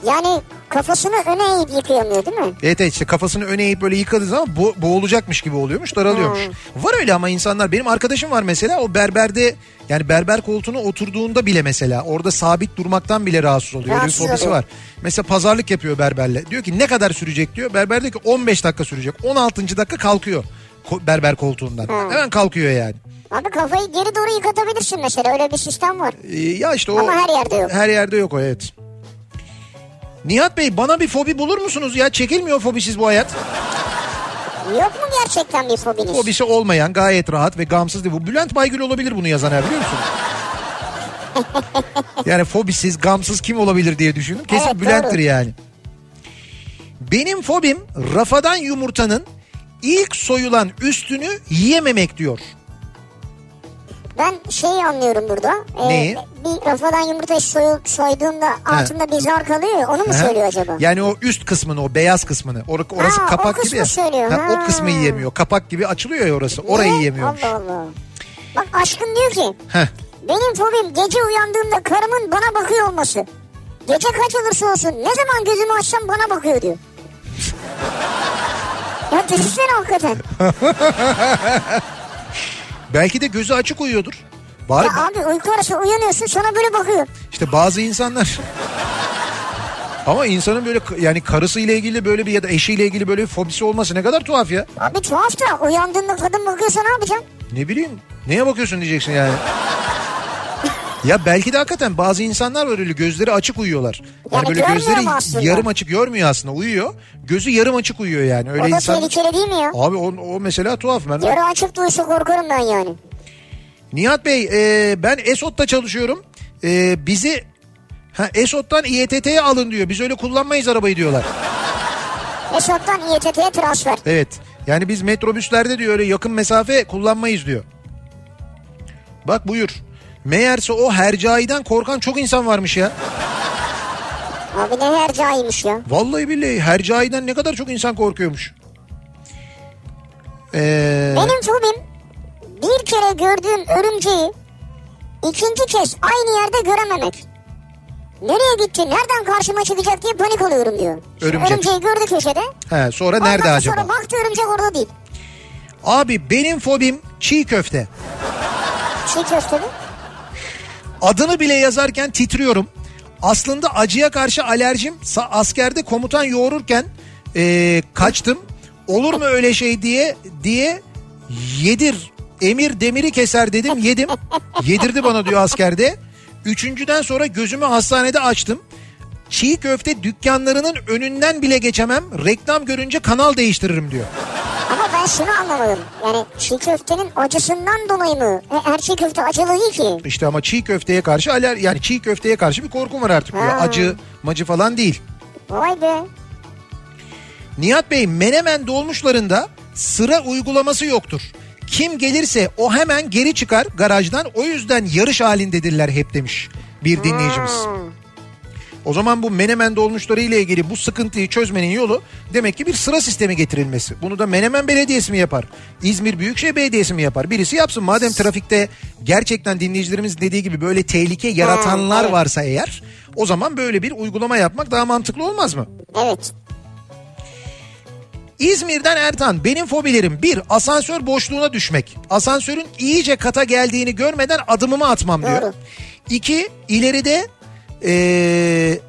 B: Yani kafasını öne eğip yıkayamıyor değil mi?
C: Evet evet işte kafasını öne eğip böyle yıkadığı zaman bo- boğulacakmış gibi oluyormuş daralıyormuş.
B: Hmm.
C: Var öyle ama insanlar benim arkadaşım var mesela o berberde yani berber koltuğuna oturduğunda bile mesela orada sabit durmaktan bile rahatsız oluyor. Öyle bir
B: Rahatsız
C: fobisi
B: oluyor.
C: var. Mesela pazarlık yapıyor berberle. Diyor ki ne kadar sürecek diyor. Berber diyor ki 15 dakika sürecek. 16. dakika kalkıyor ko- berber koltuğundan.
B: Hmm.
C: Hemen kalkıyor yani.
B: Abi kafayı geri doğru yıkatabilirsin mesela. Öyle bir sistem var.
C: Ee, ya işte o
B: Ama her yerde yok.
C: Her yerde yok o evet. Nihat Bey bana bir fobi bulur musunuz ya? Çekilmiyor fobisiz bu hayat.
B: Yok mu gerçekten bir fobiniz?
C: Fobisi olmayan gayet rahat ve gamsız değil. Bu Bülent Baygül olabilir bunu yazan ha biliyor musun? yani fobisiz, gamsız kim olabilir diye düşündüm. Kesin
B: Evet,
C: Bülent'tir
B: doğru.
C: yani. Benim fobim rafadan yumurtanın ilk soyulan üstünü yiyememek diyor.
B: Ben şeyi anlıyorum burada. Ee,
C: Neyi?
B: Bir rafadan yumurta soy, soyduğunda altında bir zar kalıyor ya, onu mu
C: Aha.
B: söylüyor acaba?
C: Yani o üst kısmını o beyaz kısmını or- orası
B: Ha, o
C: kapak
B: kısmı
C: gibi. ya.
B: söylüyor, ha.
C: o kısmı yiyemiyor. Kapak gibi açılıyor ya orası. Orayı
B: Niye?
C: yiyemiyormuş.
B: Allah Allah. Bak aşkın diyor ki
C: Heh.
B: benim fobim gece uyandığımda karımın bana bakıyor olması. Gece kaç olursa olsun ne zaman gözümü açsam bana bakıyor diyor. ya düşünsene hakikaten.
C: Belki de gözü açık uyuyordur. Var
B: Ya abi uyku arası uyanıyorsun sana böyle bakıyor.
C: işte bazı insanlar Ama insanın böyle k- yani karısıyla ilgili böyle bir ya da eşiyle ilgili böyle bir fobisi olması ne kadar tuhaf ya.
B: Abi tuhaf da uyandığında kadın bakıyorsa ne yapacaksın?
C: Ne bileyim neye bakıyorsun diyeceksin yani. Ya belki de hakikaten bazı insanlar var öyle gözleri açık uyuyorlar.
B: Yani görmüyor mu aslında?
C: yarım açık görmüyor aslında uyuyor. Gözü yarım açık uyuyor yani. Öyle
B: o da
C: insan...
B: tehlikeli değil mi ya?
C: Abi o, o mesela tuhaf. Ben...
B: Yarı açık duysa korkarım ben yani.
C: Nihat Bey e, ben Esot'ta çalışıyorum. E, bizi ha, Esot'tan İETT'ye alın diyor. Biz öyle kullanmayız arabayı diyorlar.
B: Esat'tan İETT'ye transfer.
C: Evet. Yani biz metrobüslerde diyor öyle yakın mesafe kullanmayız diyor. Bak buyur. Meğerse o hercai'den korkan çok insan varmış ya.
B: Abi ne hercai'ymiş ya.
C: Vallahi billahi hercai'den ne kadar çok insan korkuyormuş. Ee,
B: Benim fobim bir kere gördüğüm örümceği ikinci kez aynı yerde görememek. Nereye gitti, nereden karşıma çıkacak diye panik oluyorum diyor. Şimdi
C: Örümcek.
B: Örümceği gördü köşede.
C: he, sonra
B: Ondan
C: nerede acaba?
B: Sonra baktı örümcek orada değil.
C: Abi benim fobim çiğ köfte.
B: Çiğ köfteli.
C: Adını bile yazarken titriyorum. Aslında acıya karşı alerjim sa- askerde komutan yoğururken ee, kaçtım. Olur mu öyle şey diye diye yedir. Emir demiri keser dedim yedim. Yedirdi bana diyor askerde. Üçüncüden sonra gözümü hastanede açtım. Çiğ köfte dükkanlarının önünden bile geçemem. Reklam görünce kanal değiştiririm diyor.
B: Ama ben şunu anlamadım. Yani çiğ köftenin acısından dolayı mı? E, Her çiğ köfte acılı değil ki.
C: İşte ama çiğ köfteye karşı aler yani çiğ köfteye karşı bir korkum var artık. diyor.
B: Ha.
C: Acı, macı falan değil.
B: Vay be.
C: Nihat Bey Menemen dolmuşlarında sıra uygulaması yoktur. Kim gelirse o hemen geri çıkar garajdan o yüzden yarış halindedirler hep demiş bir dinleyicimiz. O zaman bu Menemen dolmuşları ile ilgili bu sıkıntıyı çözmenin yolu demek ki bir sıra sistemi getirilmesi. Bunu da Menemen Belediyesi mi yapar? İzmir Büyükşehir Belediyesi mi yapar? Birisi yapsın. Madem trafikte gerçekten dinleyicilerimiz dediği gibi böyle tehlike yaratanlar
B: evet.
C: varsa eğer o zaman böyle bir uygulama yapmak daha mantıklı olmaz mı?
B: Evet.
C: İzmir'den Ertan benim fobilerim bir asansör boşluğuna düşmek. Asansörün iyice kata geldiğini görmeden adımımı atmam diyor.
B: Doğru.
C: İki ileride eee,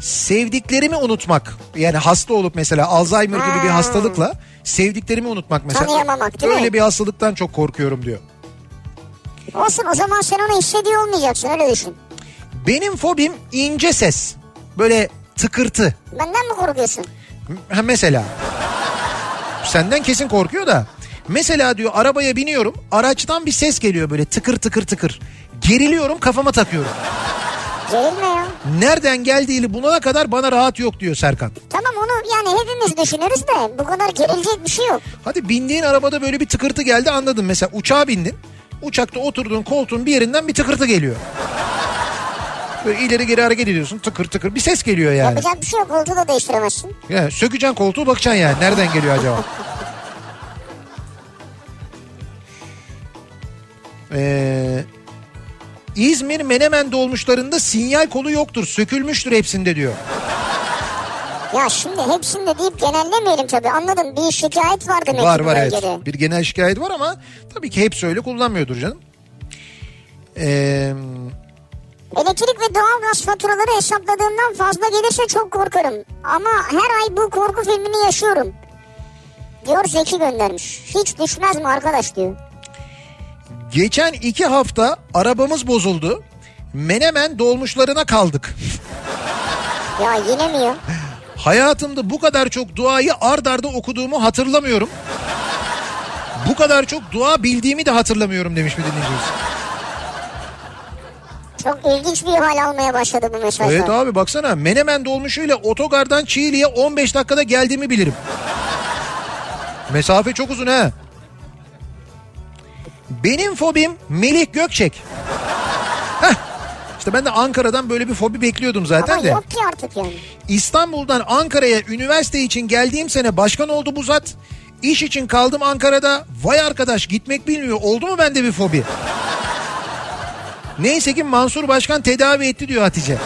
C: sevdiklerimi unutmak. Yani hasta olup mesela Alzheimer gibi bir hastalıkla sevdiklerimi unutmak mesela.
B: Hmm. Tanıyamamak, değil mi?
C: Öyle bir hastalıktan çok korkuyorum diyor.
B: Olsun o zaman sen onu hissediyor olmayacaksın öyle düşün.
C: Benim fobim ince ses. Böyle tıkırtı.
B: Benden mi korkuyorsun?
C: Ha mesela. Senden kesin korkuyor da. Mesela diyor arabaya biniyorum. Araçtan bir ses geliyor böyle tıkır tıkır tıkır. Geriliyorum kafama takıyorum.
B: Gerilme ya.
C: Nereden geldiğini bulana kadar bana rahat yok diyor Serkan.
B: Tamam onu yani hepimiz düşünürüz de bu kadar gerilecek bir şey yok.
C: Hadi bindiğin arabada böyle bir tıkırtı geldi anladın. Mesela uçağa bindin. Uçakta oturduğun koltuğun bir yerinden bir tıkırtı geliyor. Böyle ileri geri hareket ediyorsun tıkır tıkır bir ses geliyor yani.
B: Yapacak bir şey yok koltuğu da değiştiremezsin.
C: yani sökeceksin koltuğu bakacaksın yani nereden geliyor acaba? Ee, İzmir Menemen dolmuşlarında sinyal kolu yoktur. Sökülmüştür hepsinde diyor.
B: Ya şimdi hepsinde deyip genellemeyelim tabii anladım bir şikayet var demek
C: var
B: ki bu
C: var evet.
B: bölgede.
C: Bir genel şikayet var ama tabii ki hepsi öyle kullanmıyordur canım. Ee,
B: Elektrik ve doğalgaz faturaları hesapladığımdan fazla gelirse çok korkarım. Ama her ay bu korku filmini yaşıyorum. Diyor Zeki göndermiş. Hiç düşmez mi arkadaş diyor.
C: geçen iki hafta arabamız bozuldu. Menemen dolmuşlarına kaldık.
B: Ya yine mi ya?
C: Hayatımda bu kadar çok duayı ard arda okuduğumu hatırlamıyorum. Bu kadar çok dua bildiğimi de hatırlamıyorum demiş bir dinleyicimiz.
B: Çok ilginç bir hal almaya başladı bu mesajlar.
C: Evet abi baksana Menemen dolmuşuyla otogardan Çiğli'ye 15 dakikada geldiğimi bilirim. Mesafe çok uzun ha. Benim fobim Melih Gökçek. Heh. İşte ben de Ankara'dan böyle bir fobi bekliyordum zaten
B: Ama
C: de.
B: yok ki artık yani.
C: İstanbul'dan Ankara'ya üniversite için geldiğim sene başkan oldu bu zat. İş için kaldım Ankara'da. Vay arkadaş gitmek bilmiyor. Oldu mu bende bir fobi? Neyse ki Mansur Başkan tedavi etti diyor Hatice.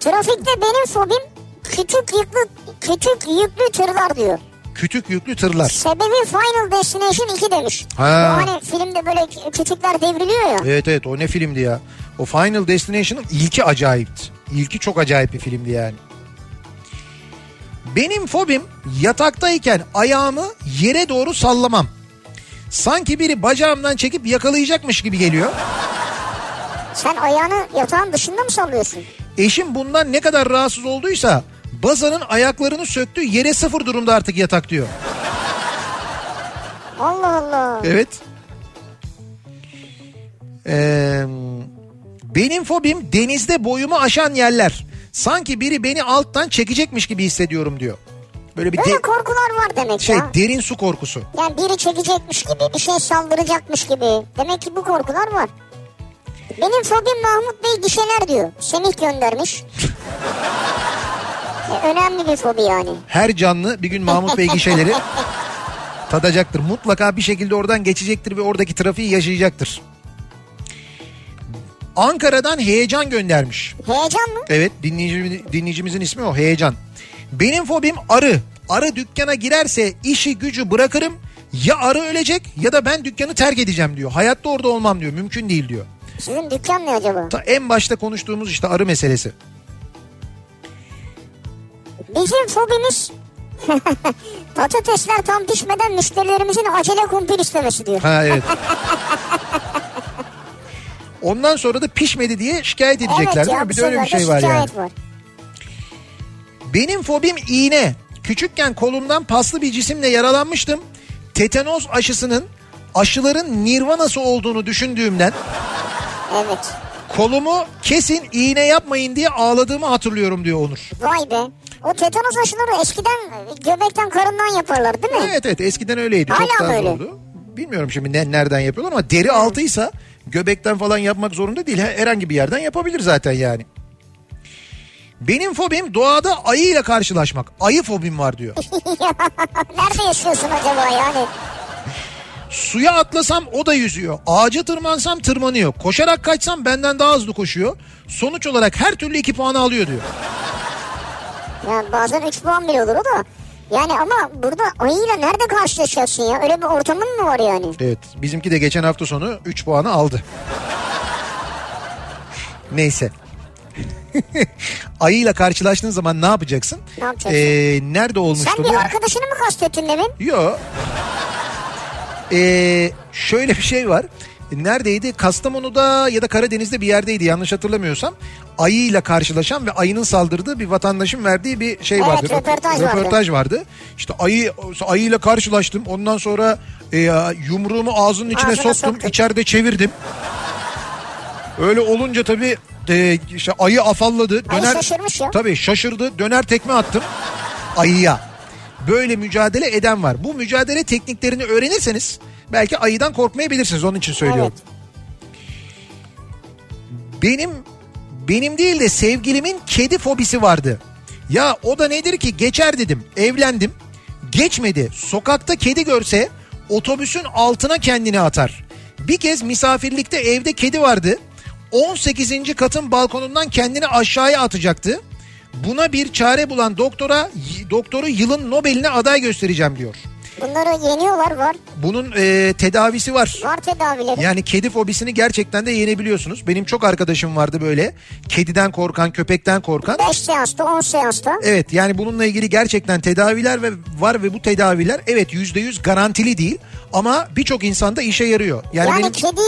B: Trafikte benim fobim küçük yüklü, küçük yüklü tırlar diyor.
C: Kütük yüklü tırlar.
B: Sebebi Final Destination 2 demiş.
C: Ha.
B: Bu hani filmde böyle küçükler devriliyor ya.
C: Evet evet o ne filmdi ya. O Final Destination'ın ilki acayipti. İlki çok acayip bir filmdi yani. Benim fobim yataktayken ayağımı yere doğru sallamam. Sanki biri bacağımdan çekip yakalayacakmış gibi geliyor.
B: Sen ayağını yatağın dışında mı sallıyorsun?
C: Eşim bundan ne kadar rahatsız olduysa bazanın ayaklarını söktü yere sıfır durumda artık yatak diyor.
B: Allah Allah.
C: Evet. Ee, benim fobim denizde boyumu aşan yerler. Sanki biri beni alttan çekecekmiş gibi hissediyorum diyor. Böyle bir de-
B: Böyle korkular var demek
C: şey
B: ya.
C: derin su korkusu.
B: Yani biri çekecekmiş gibi bir şey saldıracakmış gibi. Demek ki bu korkular var. Benim fobim Mahmut Bey gişeler diyor. Semih göndermiş. E, önemli bir fobi yani.
C: Her canlı bir gün Mahmut Bey gişeleri tadacaktır. Mutlaka bir şekilde oradan geçecektir ve oradaki trafiği yaşayacaktır. Ankara'dan heyecan göndermiş.
B: Heyecan mı?
C: Evet dinleyici, dinleyicimizin ismi o heyecan. Benim fobim arı. Arı dükkana girerse işi gücü bırakırım. Ya arı ölecek ya da ben dükkanı terk edeceğim diyor. Hayatta orada olmam diyor. Mümkün değil diyor.
B: Sizin dükkan ne acaba?
C: Ta en başta konuştuğumuz işte arı meselesi.
B: Bizim fobimiz patatesler tam pişmeden müşterilerimizin acele kumpir istemesi diyor.
C: Ha evet. Ondan sonra da pişmedi diye şikayet edecekler
B: evet
C: değil
B: ya
C: mi?
B: bu
C: Bir de öyle bir
B: sefer de
C: şey var yani.
B: şikayet var.
C: Benim fobim iğne. Küçükken kolumdan paslı bir cisimle yaralanmıştım. Tetanoz aşısının aşıların nirvanası olduğunu düşündüğümden
B: Evet.
C: kolumu kesin iğne yapmayın diye ağladığımı hatırlıyorum diyor Onur.
B: Vay be. O tetanoz aşıları eskiden göbekten karından yaparlar değil mi?
C: Evet evet eskiden öyleydi.
B: Hala
C: Çok daha
B: mı öyle?
C: zordu. Bilmiyorum şimdi ne- nereden yapıyorlar ama deri altıysa göbekten falan yapmak zorunda değil. Her- Herhangi bir yerden yapabilir zaten yani. Benim fobim doğada ayıyla karşılaşmak. Ayı fobim var diyor.
B: Nerede yaşıyorsun acaba yani?
C: Suya atlasam o da yüzüyor. Ağaca tırmansam tırmanıyor. Koşarak kaçsam benden daha hızlı koşuyor. Sonuç olarak her türlü iki puanı alıyor diyor.
B: Ya bazen 3 puan bile olur o da. Yani ama burada ayıyla nerede karşılaşacaksın ya? Öyle bir ortamın mı var yani?
C: Evet bizimki de geçen hafta sonu 3 puanı aldı. Neyse. Ayıyla karşılaştığın zaman ne yapacaksın?
B: Ne yapacaksın?
C: Ee, nerede olmuştu
B: Sen
C: bu?
B: bir arkadaşını mı kastettin demin?
C: Yo. Ee, şöyle bir şey var. Neredeydi? Kastamonu'da ya da Karadeniz'de bir yerdeydi yanlış hatırlamıyorsam. Ayıyla karşılaşan ve ayının saldırdığı bir vatandaşın verdiği bir şey
B: Evet,
C: vardı. Röp-
B: röportaj vardı.
C: röportaj vardı. İşte ayı ayıyla karşılaştım. Ondan sonra e, yumruğumu ağzının içine
B: Ağzına
C: soktum.
B: soktun.
C: İçeride çevirdim. Öyle olunca tabii e, işte ayı afalladı.
B: Ayı şaşırmış ya.
C: Tabii şaşırdı. Döner tekme attım ayıya. Böyle mücadele eden var. Bu mücadele tekniklerini öğrenirseniz belki ayıdan korkmayabilirsiniz. Onun için söylüyorum. Benim benim değil de sevgilimin kedi fobisi vardı. Ya o da nedir ki geçer dedim. Evlendim. Geçmedi. Sokakta kedi görse otobüsün altına kendini atar. Bir kez misafirlikte evde kedi vardı. 18. katın balkonundan kendini aşağıya atacaktı. Buna bir çare bulan doktora doktoru yılın Nobel'ine aday göstereceğim diyor.
B: Bunları yeniyorlar var.
C: Bunun eee, tedavisi var.
B: Var tedavileri.
C: Yani kedi fobisini gerçekten de yenebiliyorsunuz. Benim çok arkadaşım vardı böyle. Kediden korkan, köpekten korkan.
B: 5 seansta 10 seansta.
C: Evet yani bununla ilgili gerçekten tedaviler ve var ve bu tedaviler evet %100 garantili değil ama birçok insanda işe yarıyor. Yani,
B: Yani
C: benim
B: kedi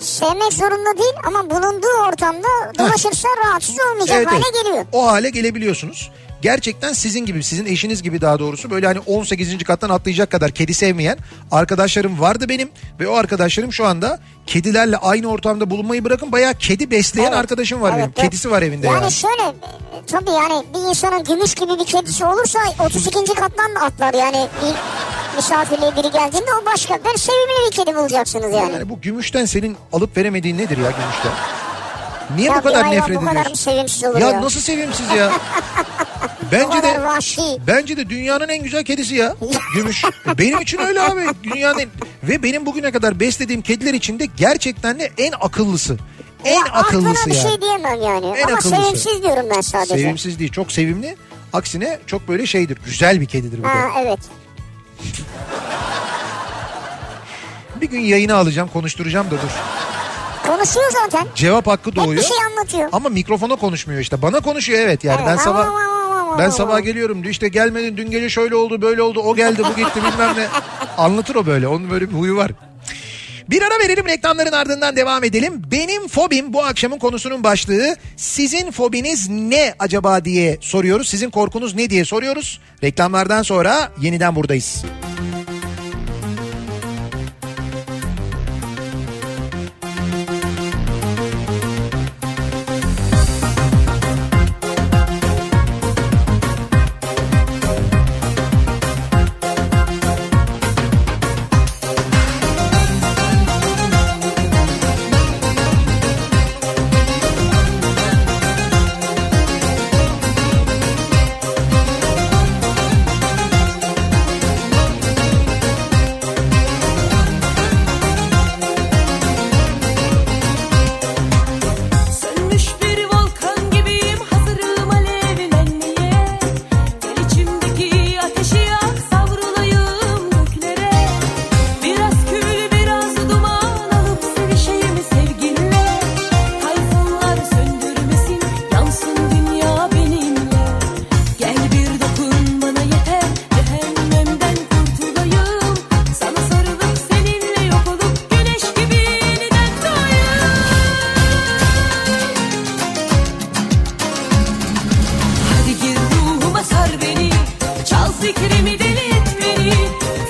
B: sevmek zorunda değil ama bulunduğu ortamda dolaşırsa rahatsız olmayacak
C: Evet,
B: hale
C: evet.
B: geliyor.
C: O hale gelebiliyorsunuz. Gerçekten sizin gibi, sizin eşiniz gibi daha doğrusu böyle hani 18. kattan atlayacak kadar kedi sevmeyen arkadaşlarım vardı benim ve o arkadaşlarım şu anda kedilerle aynı ortamda bulunmayı bırakın bayağı kedi besleyen
B: Evet.
C: arkadaşım var benim.
B: Evet, evet.
C: Kedisi var evinde
B: yani.
C: yani.
B: şöyle e, tabii yani bir insanın gümüş gibi bir kedisi olursa 32. kattan da atlar yani bir misafirliğe biri geldiğinde o başka. Ben sevimli bir kedi bulacaksınız yani.
C: Yani bu gümüşten senin alıp veremediğin nedir ya gümüşten? Niye
B: Ya
C: bu kadar
B: bir hayvan
C: nefret
B: bu kadar mı
C: ediyorsun?
B: sevimsiz olur
C: Ya,
B: ya?
C: nasıl sevimsiz ya? bence
B: Bu kadar
C: de
B: vahşi.
C: bence de dünyanın en güzel kedisi ya. Gümüş. E, benim için öyle abi. Dünyanın en- ve benim bugüne kadar beslediğim kediler içinde gerçekten de en akıllısı. En
B: Ya
C: akıllısı
B: Aklına bir
C: ya.
B: şey diyemem yani.
C: En
B: Ama
C: akıllısı.
B: sevimsiz diyorum ben sadece.
C: Sevimsiz değil, çok sevimli. Aksine çok böyle şeydir. Güzel bir kedidir bu
B: Ha
C: da.
B: evet.
C: Bir gün yayına alacağım, konuşturacağım da dur.
B: Konuşuyor zaten.
C: Cevap hakkı doğuyor.
B: bir şey anlatıyor.
C: Ama mikrofona konuşmuyor işte. Bana konuşuyor evet yani
B: Evet,
C: ben sabah
B: ama, ama, ama,
C: ben
B: ama.
C: sabah geliyorum diyor işte gelmedin dün gece şöyle oldu böyle oldu o geldi bu gitti bilmem ne. Anlatır o böyle onun böyle bir huyu var. Bir ara verelim reklamların ardından devam edelim. Benim fobim bu akşamın konusunun başlığı. Sizin fobiniz ne acaba diye soruyoruz. Sizin korkunuz ne diye soruyoruz. Reklamlardan sonra yeniden buradayız.
F: Sönmüş bir volkan gibiyim hazırım alevlenmeye Gel içimdeki ateşi yak savrulayım göklere Biraz kül biraz duman alıp sevişeyim sevginle Tayfunlar söndürmesin yansın dünya benimle Gel bir dokun bana yeter cehennemden kurtulayım Sana sarılıp seninle yok olup güneş gibi yeniden doğayım Hadi gir ruhuma sar beni Çal fikrimi deli et beni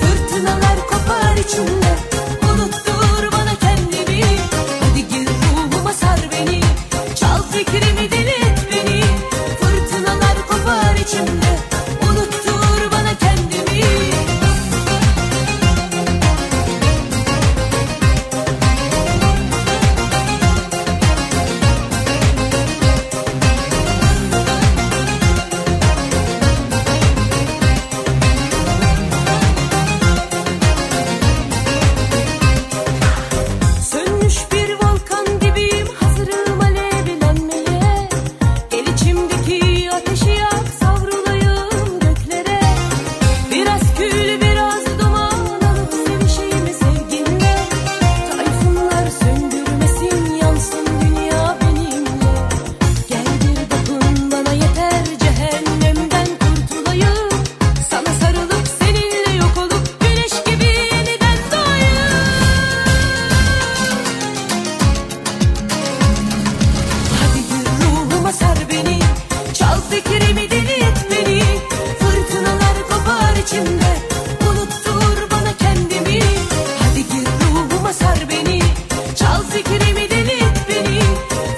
F: Fırtınalar kopar içimde Unuttur bana kendimi Hadi gir ruhuma sar beni Çal fikrimi deli et beni Fırtınalar kopar içimde Unuttur bana kendimi Sönmüş bir volkan gibiyim hazırım alevlenmeye Gel içimdeki ateşi yak savrulayım göklere Biraz kül biraz duman alıp sevişeyim sevginle Tayfunlar söndürmesin yansın dünya benimle Gel bir dokun bana yeter cehennemden kurtulayım Sana sarılıp seninle yok olup güneş gibi yeniden doğayım Hadi gir ruhuma sar beni Çal fikrimi deli et beni Fırtınalar kopar içimde Unuttur bana kendimi Hadi gir ruhuma sar beni Çal fikrimi deli et beni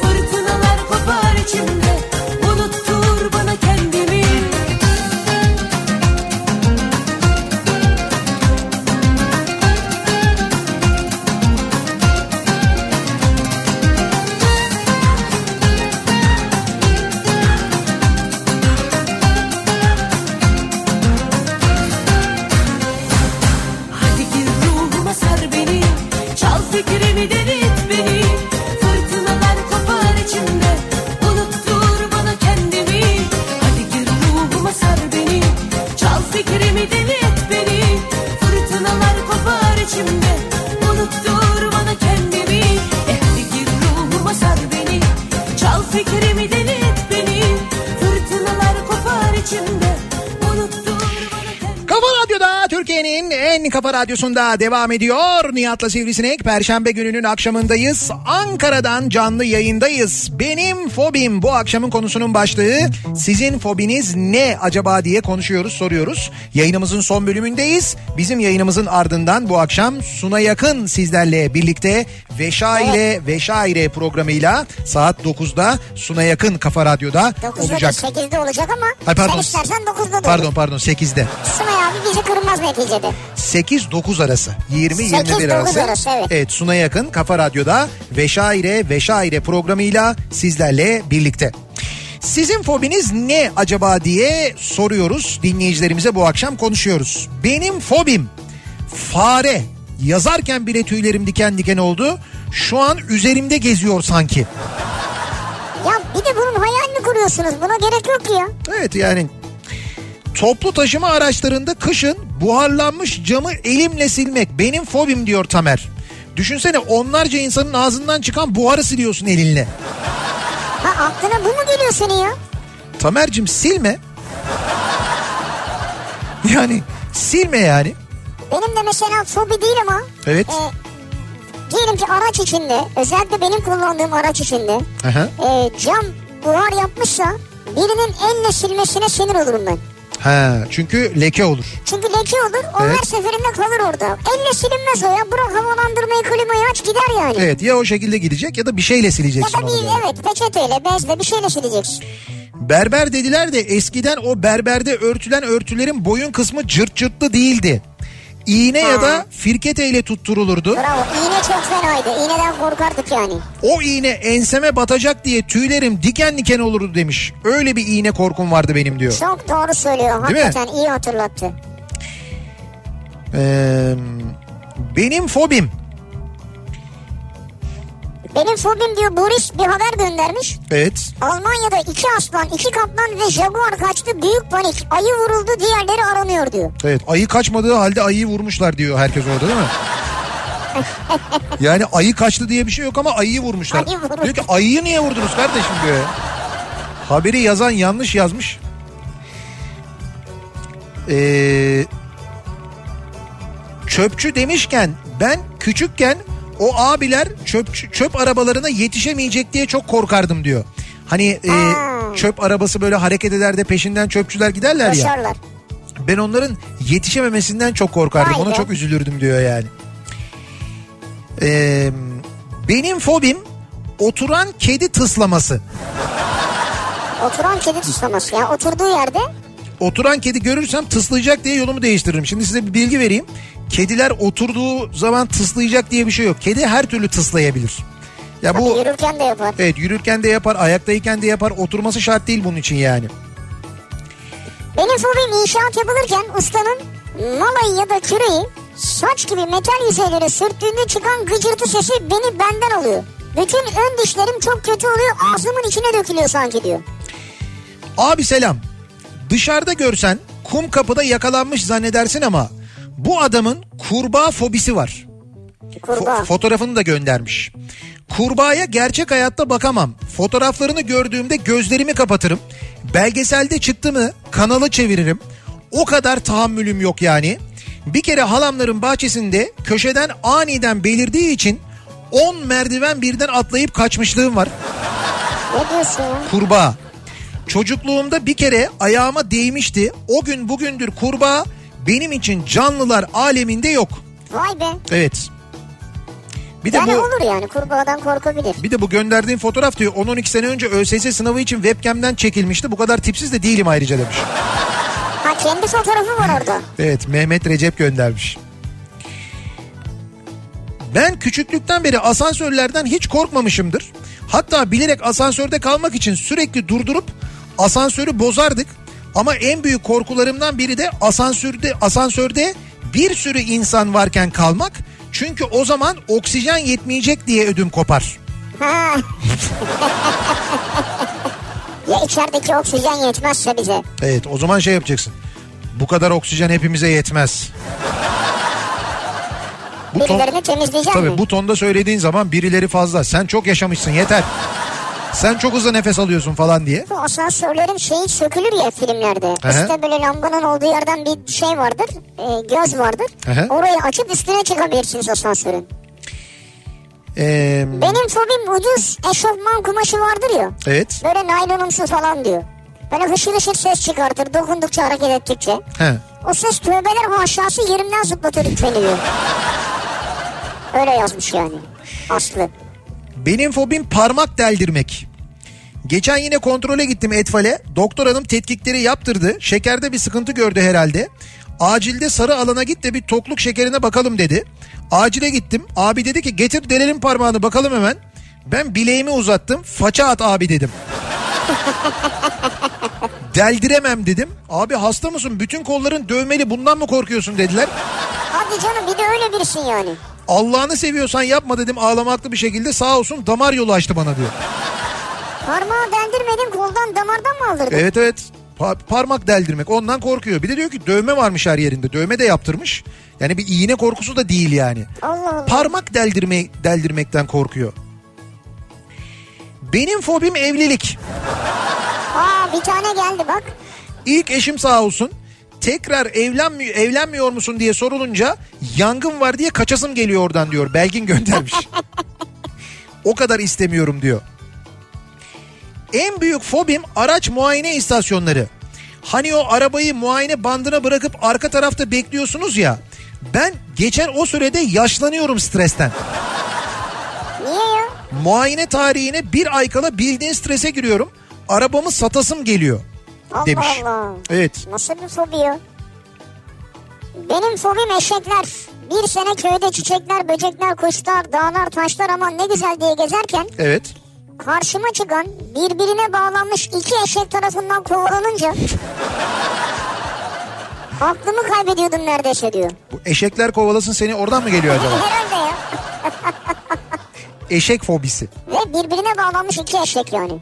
F: Fırtınalar kopar içimde Unuttur bana kendimi Hadi gir ruhuma sar beni Çal fikrimi deli et beni Fırtınalar kopar içimde Unuttur bana kendimi Hadi gir ruhuma sar beni Çal fikrimi deli et beni Fırtınalar kopar içimde Unuttur bana kendimi Eh, Hadi gir ruhuma sar beni Çal fikrimi deli et beni Fırtınalar kopar içimde Unuttur bana kendimi
C: Kafa Radyo'da Türkiye'nin en kafa radyosunda devam ediyor. Nihat'la Sivrisinek Perşembe gününün akşamındayız. Ankara'dan canlı yayındayız. Benim fobim bu akşamın konusunun başlığı. Sizin fobiniz ne acaba diye konuşuyoruz soruyoruz. Yayınımızın son bölümündeyiz. Bizim yayınımızın ardından bu akşam Suna Yakın sizlerle birlikte Veşaire Veşaire programıyla saat 9'da Suna Yakın Kafa Radyo'da
B: 9'da da şey-
C: olacak.
B: 8'de olacak ama
C: Ay, pardon.
B: sen istersen 9'da da olur.
C: Pardon pardon 8'de.
B: Sımay abi bizi kırmaz neticede.
C: 8-9 arası. 20-21
B: 8-9
C: arası.
B: arası, evet.
C: Suna yakın Kafa Radyo'da Veşaire Veşaire programıyla sizlerle birlikte. Sizin fobiniz ne acaba diye soruyoruz dinleyicilerimize bu akşam konuşuyoruz. Benim fobim fare. Yazarken bile tüylerim diken diken oldu. Şu an üzerimde geziyor sanki.
B: Ya bir de bunun hayalini kuruyorsunuz. Buna gerek yok ki ya.
C: Evet yani toplu taşıma araçlarında kışın buharlanmış camı elimle silmek benim fobim diyor Tamer. Düşünsene onlarca insanın ağzından çıkan buharı siliyorsun elinle.
B: Ha aklına bu mu geliyor senin ya?
C: Tamer'cim silme. Yani silme yani.
B: Benim de mesela fobi değil ama.
C: Evet.
B: e, diyelim ki araç içinde özellikle benim kullandığım araç içinde
C: Aha.
B: e, cam buhar yapmışsa birinin elle silmesine sinir olurum ben.
C: Ha, çünkü leke olur.
B: Çünkü leke olur onlar
C: Evet.
B: seferinde kalır orada. Elle silinmez o ya bırak havalandırmayı klimayı aç gider yani.
C: Evet ya o şekilde gidecek ya da bir şeyle
B: Ya
C: sileceksin
B: da
C: onu.
B: bir
C: yani.
B: evet peçeteyle bezle bir şeyle sileceksin.
C: Berber dediler de eskiden o berberde örtülen örtülerin boyun kısmı cırt cırtlı değildi. İğne ya da firkete ile tutturulurdu.
B: Bravo iğne çok fenaydı iğneden korkardık yani.
C: O iğne enseme batacak diye tüylerim diken diken olurdu demiş. Öyle bir iğne korkum vardı benim diyor.
B: Çok doğru söylüyor
C: Değil mi?
B: hakikaten iyi hatırlattı.
C: Ee, benim fobim.
B: Benim fobim diyor Boris bir haber göndermiş.
C: Evet.
B: Almanya'da iki aslan, iki kaplan ve jaguar kaçtı. Büyük panik. Ayı vuruldu, diğerleri aranıyor diyor.
C: Evet ayı kaçmadığı halde ayıyı vurmuşlar diyor herkes orada değil mi? yani ayı kaçtı diye bir şey yok ama ayıyı vurmuşlar.
B: Ayı vurmuş.
C: diyor ki ayıyı niye vurdunuz kardeşim diyor. ya. Haberi yazan yanlış yazmış. Ee, çöpçü demişken ben küçükken o abiler çöp çöp arabalarına yetişemeyecek diye çok korkardım diyor. Hani e,
B: Ha.
C: çöp arabası böyle hareket eder de peşinden çöpçüler giderler ya.
B: Koşarlar.
C: Ben onların yetişememesinden çok korkardım.
B: Vay
C: Ona
B: be.
C: çok üzülürdüm diyor yani. Ee, benim fobim oturan kedi tıslaması.
B: Oturan kedi tıslaması ya. Oturduğu yerde
C: Oturan kedi görürsem tıslayacak diye yolumu değiştiririm. Şimdi size bir bilgi vereyim. Kediler oturduğu zaman tıslayacak diye bir şey yok. Kedi her türlü tıslayabilir. Ya bu
B: yürürken de yapar.
C: evet yürürken de yapar, ayaktayken de yapar. Oturması şart değil bunun için yani.
B: Benim fobim inşaat yapılırken ustanın malayı ya da küreği saç gibi metal yüzeylere sürttüğünde çıkan gıcırtı sesi beni benden alıyor. Bütün ön dişlerim çok kötü oluyor. Ağzımın içine dökülüyor sanki diyor.
C: Abi selam. Dışarıda görsen kum kapıda yakalanmış zannedersin ama bu adamın kurbağa fobisi var.
B: Kurbağa.
C: Fo- fotoğrafını da göndermiş. Kurbağaya gerçek hayatta bakamam. Fotoğraflarını gördüğümde gözlerimi kapatırım. Belgeselde çıktı mı kanalı çeviririm. O kadar tahammülüm yok yani. Bir kere halamların bahçesinde köşeden aniden belirdiği için 10 merdiven birden atlayıp kaçmışlığım var
B: ne diyorsun ya?
C: kurbağa. Çocukluğumda bir kere ayağıma değmişti. O gün bugündür kurbağa benim için canlılar aleminde yok.
B: Vay be.
C: Evet. Bir de
B: Yani
C: bu
B: olur yani kurbağadan korkabilir.
C: bir de bu gönderdiğim fotoğraf diyor 10-12 sene önce ÖSS sınavı için webcam'den çekilmişti. Bu kadar tipsiz de değilim ayrıca demiş.
B: Ha kendi fotoğrafı var orada.
C: Evet Mehmet Recep göndermiş. Ben küçüklükten beri asansörlerden hiç korkmamışımdır. Hatta bilerek asansörde kalmak için sürekli durdurup asansörü bozardık. Ama en büyük korkularımdan biri de asansörde asansörde bir sürü insan varken kalmak. Çünkü o zaman oksijen yetmeyecek diye ödüm kopar.
B: Ha. ya içerideki oksijen yetmezse bize.
C: Evet o zaman şey yapacaksın. Bu kadar oksijen hepimize yetmez. Bu ton-
B: Birilerini temizleyecek
C: Tabii
B: mi?
C: bu tonda söylediğin zaman birileri fazla. Sen çok yaşamışsın yeter. Sen çok hızlı nefes alıyorsun falan diye.
B: Bu asansörlerin şeyi sökülür ya filmlerde. Üstte böyle lambanın olduğu yerden bir şey vardır. e, göz vardır.
C: Aha.
B: Orayı açıp üstüne çıkabilirsiniz asansörün.
C: Ee,
B: Benim fobim ucuz eşofman kumaşı vardır ya.
C: evet.
B: Böyle naylonumsu falan diyor. Böyle hışır hışır ses çıkartır dokundukça hareket ettikçe.
C: He.
B: O ses tövbeler aşağısı yerimden zıplatır beni diyor. Öyle yazmış yani. Aslı.
C: Benim fobim parmak deldirmek. Geçen yine kontrole gittim Etfal'e. Doktor hanım tetkikleri yaptırdı. Şekerde bir sıkıntı gördü herhalde. Acilde sarı alana git de bir tokluk şekerine bakalım dedi. Acile gittim. Abi dedi ki getir delelim parmağını bakalım hemen. Ben bileğimi uzattım. Faça at abi dedim. Deldiremem dedim. Abi hasta mısın? Bütün kolların dövmeli bundan mı korkuyorsun dediler.
B: Hadi canım bir de öyle birisin yani.
C: Allah'ını seviyorsan yapma dedim ağlamaklı bir şekilde. Sağ olsun damar yolu açtı bana diyor. E-
B: Parmağı deldirmedin koldan damardan mı aldırdın?
C: Evet evet. Pa- parmak deldirmek ondan korkuyor. Bir de diyor ki dövme varmış her yerinde. Dövme de yaptırmış. Yani bir iğne korkusu da değil yani.
B: Allah Allah.
C: Parmak deldirme deldirmekten korkuyor. Benim fobim evlilik.
B: Aa bir tane geldi bak.
C: İlk eşim sağ olsun tekrar evlenmiyor, evlenmiyor musun diye sorulunca yangın var diye kaçasım geliyor oradan diyor. Belgin göndermiş. o kadar istemiyorum diyor. En büyük fobim araç muayene istasyonları. Hani o arabayı muayene bandına bırakıp arka tarafta bekliyorsunuz ya. Ben geçen o sürede yaşlanıyorum stresten.
B: Niye ya?
C: Muayene tarihine bir ay kala bildiğin strese giriyorum. Arabamı satasım geliyor
B: Allah
C: demiş.
B: Allah.
C: Evet.
B: Nasıl bir fobi ya? Benim fobim eşekler. Bir sene köyde çiçekler, böcekler, kuşlar, dağlar, taşlar aman ne güzel diye gezerken
C: Evet.
B: karşıma çıkan birbirine bağlanmış iki eşek tarafından kovalanınca aklımı kaybediyordum neredeyse diyor.
C: Bu eşekler kovalasın seni oradan mı geliyor acaba?
B: Herhalde ya.
C: Eşek fobisi.
B: Ve birbirine bağlanmış iki eşek yani.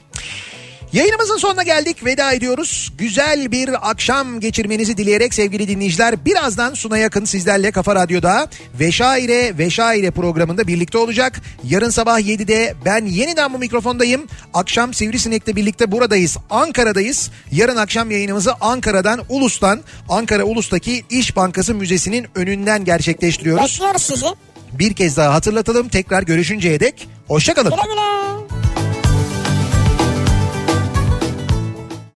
C: Yayınımızın sonuna geldik. Veda ediyoruz. Güzel bir akşam geçirmenizi dileyerek sevgili dinleyiciler. Birazdan Suna Yakın sizlerle Kafa Radyo'da Veşaire Veşaire programında birlikte olacak. Yarın sabah 7'de ben yeniden bu mikrofondayım. Akşam Sivrisinek'le birlikte buradayız. Ankara'dayız. Yarın akşam yayınımızı Ankara'dan, Ulus'tan, Ankara Ulus'taki İş Bankası Müzesi'nin önünden gerçekleştiriyoruz.
B: Bekliyoruz sizi.
C: Bir kez daha hatırlatalım. Tekrar görüşünceye dek. Hoşçakalın.
B: Güle güle.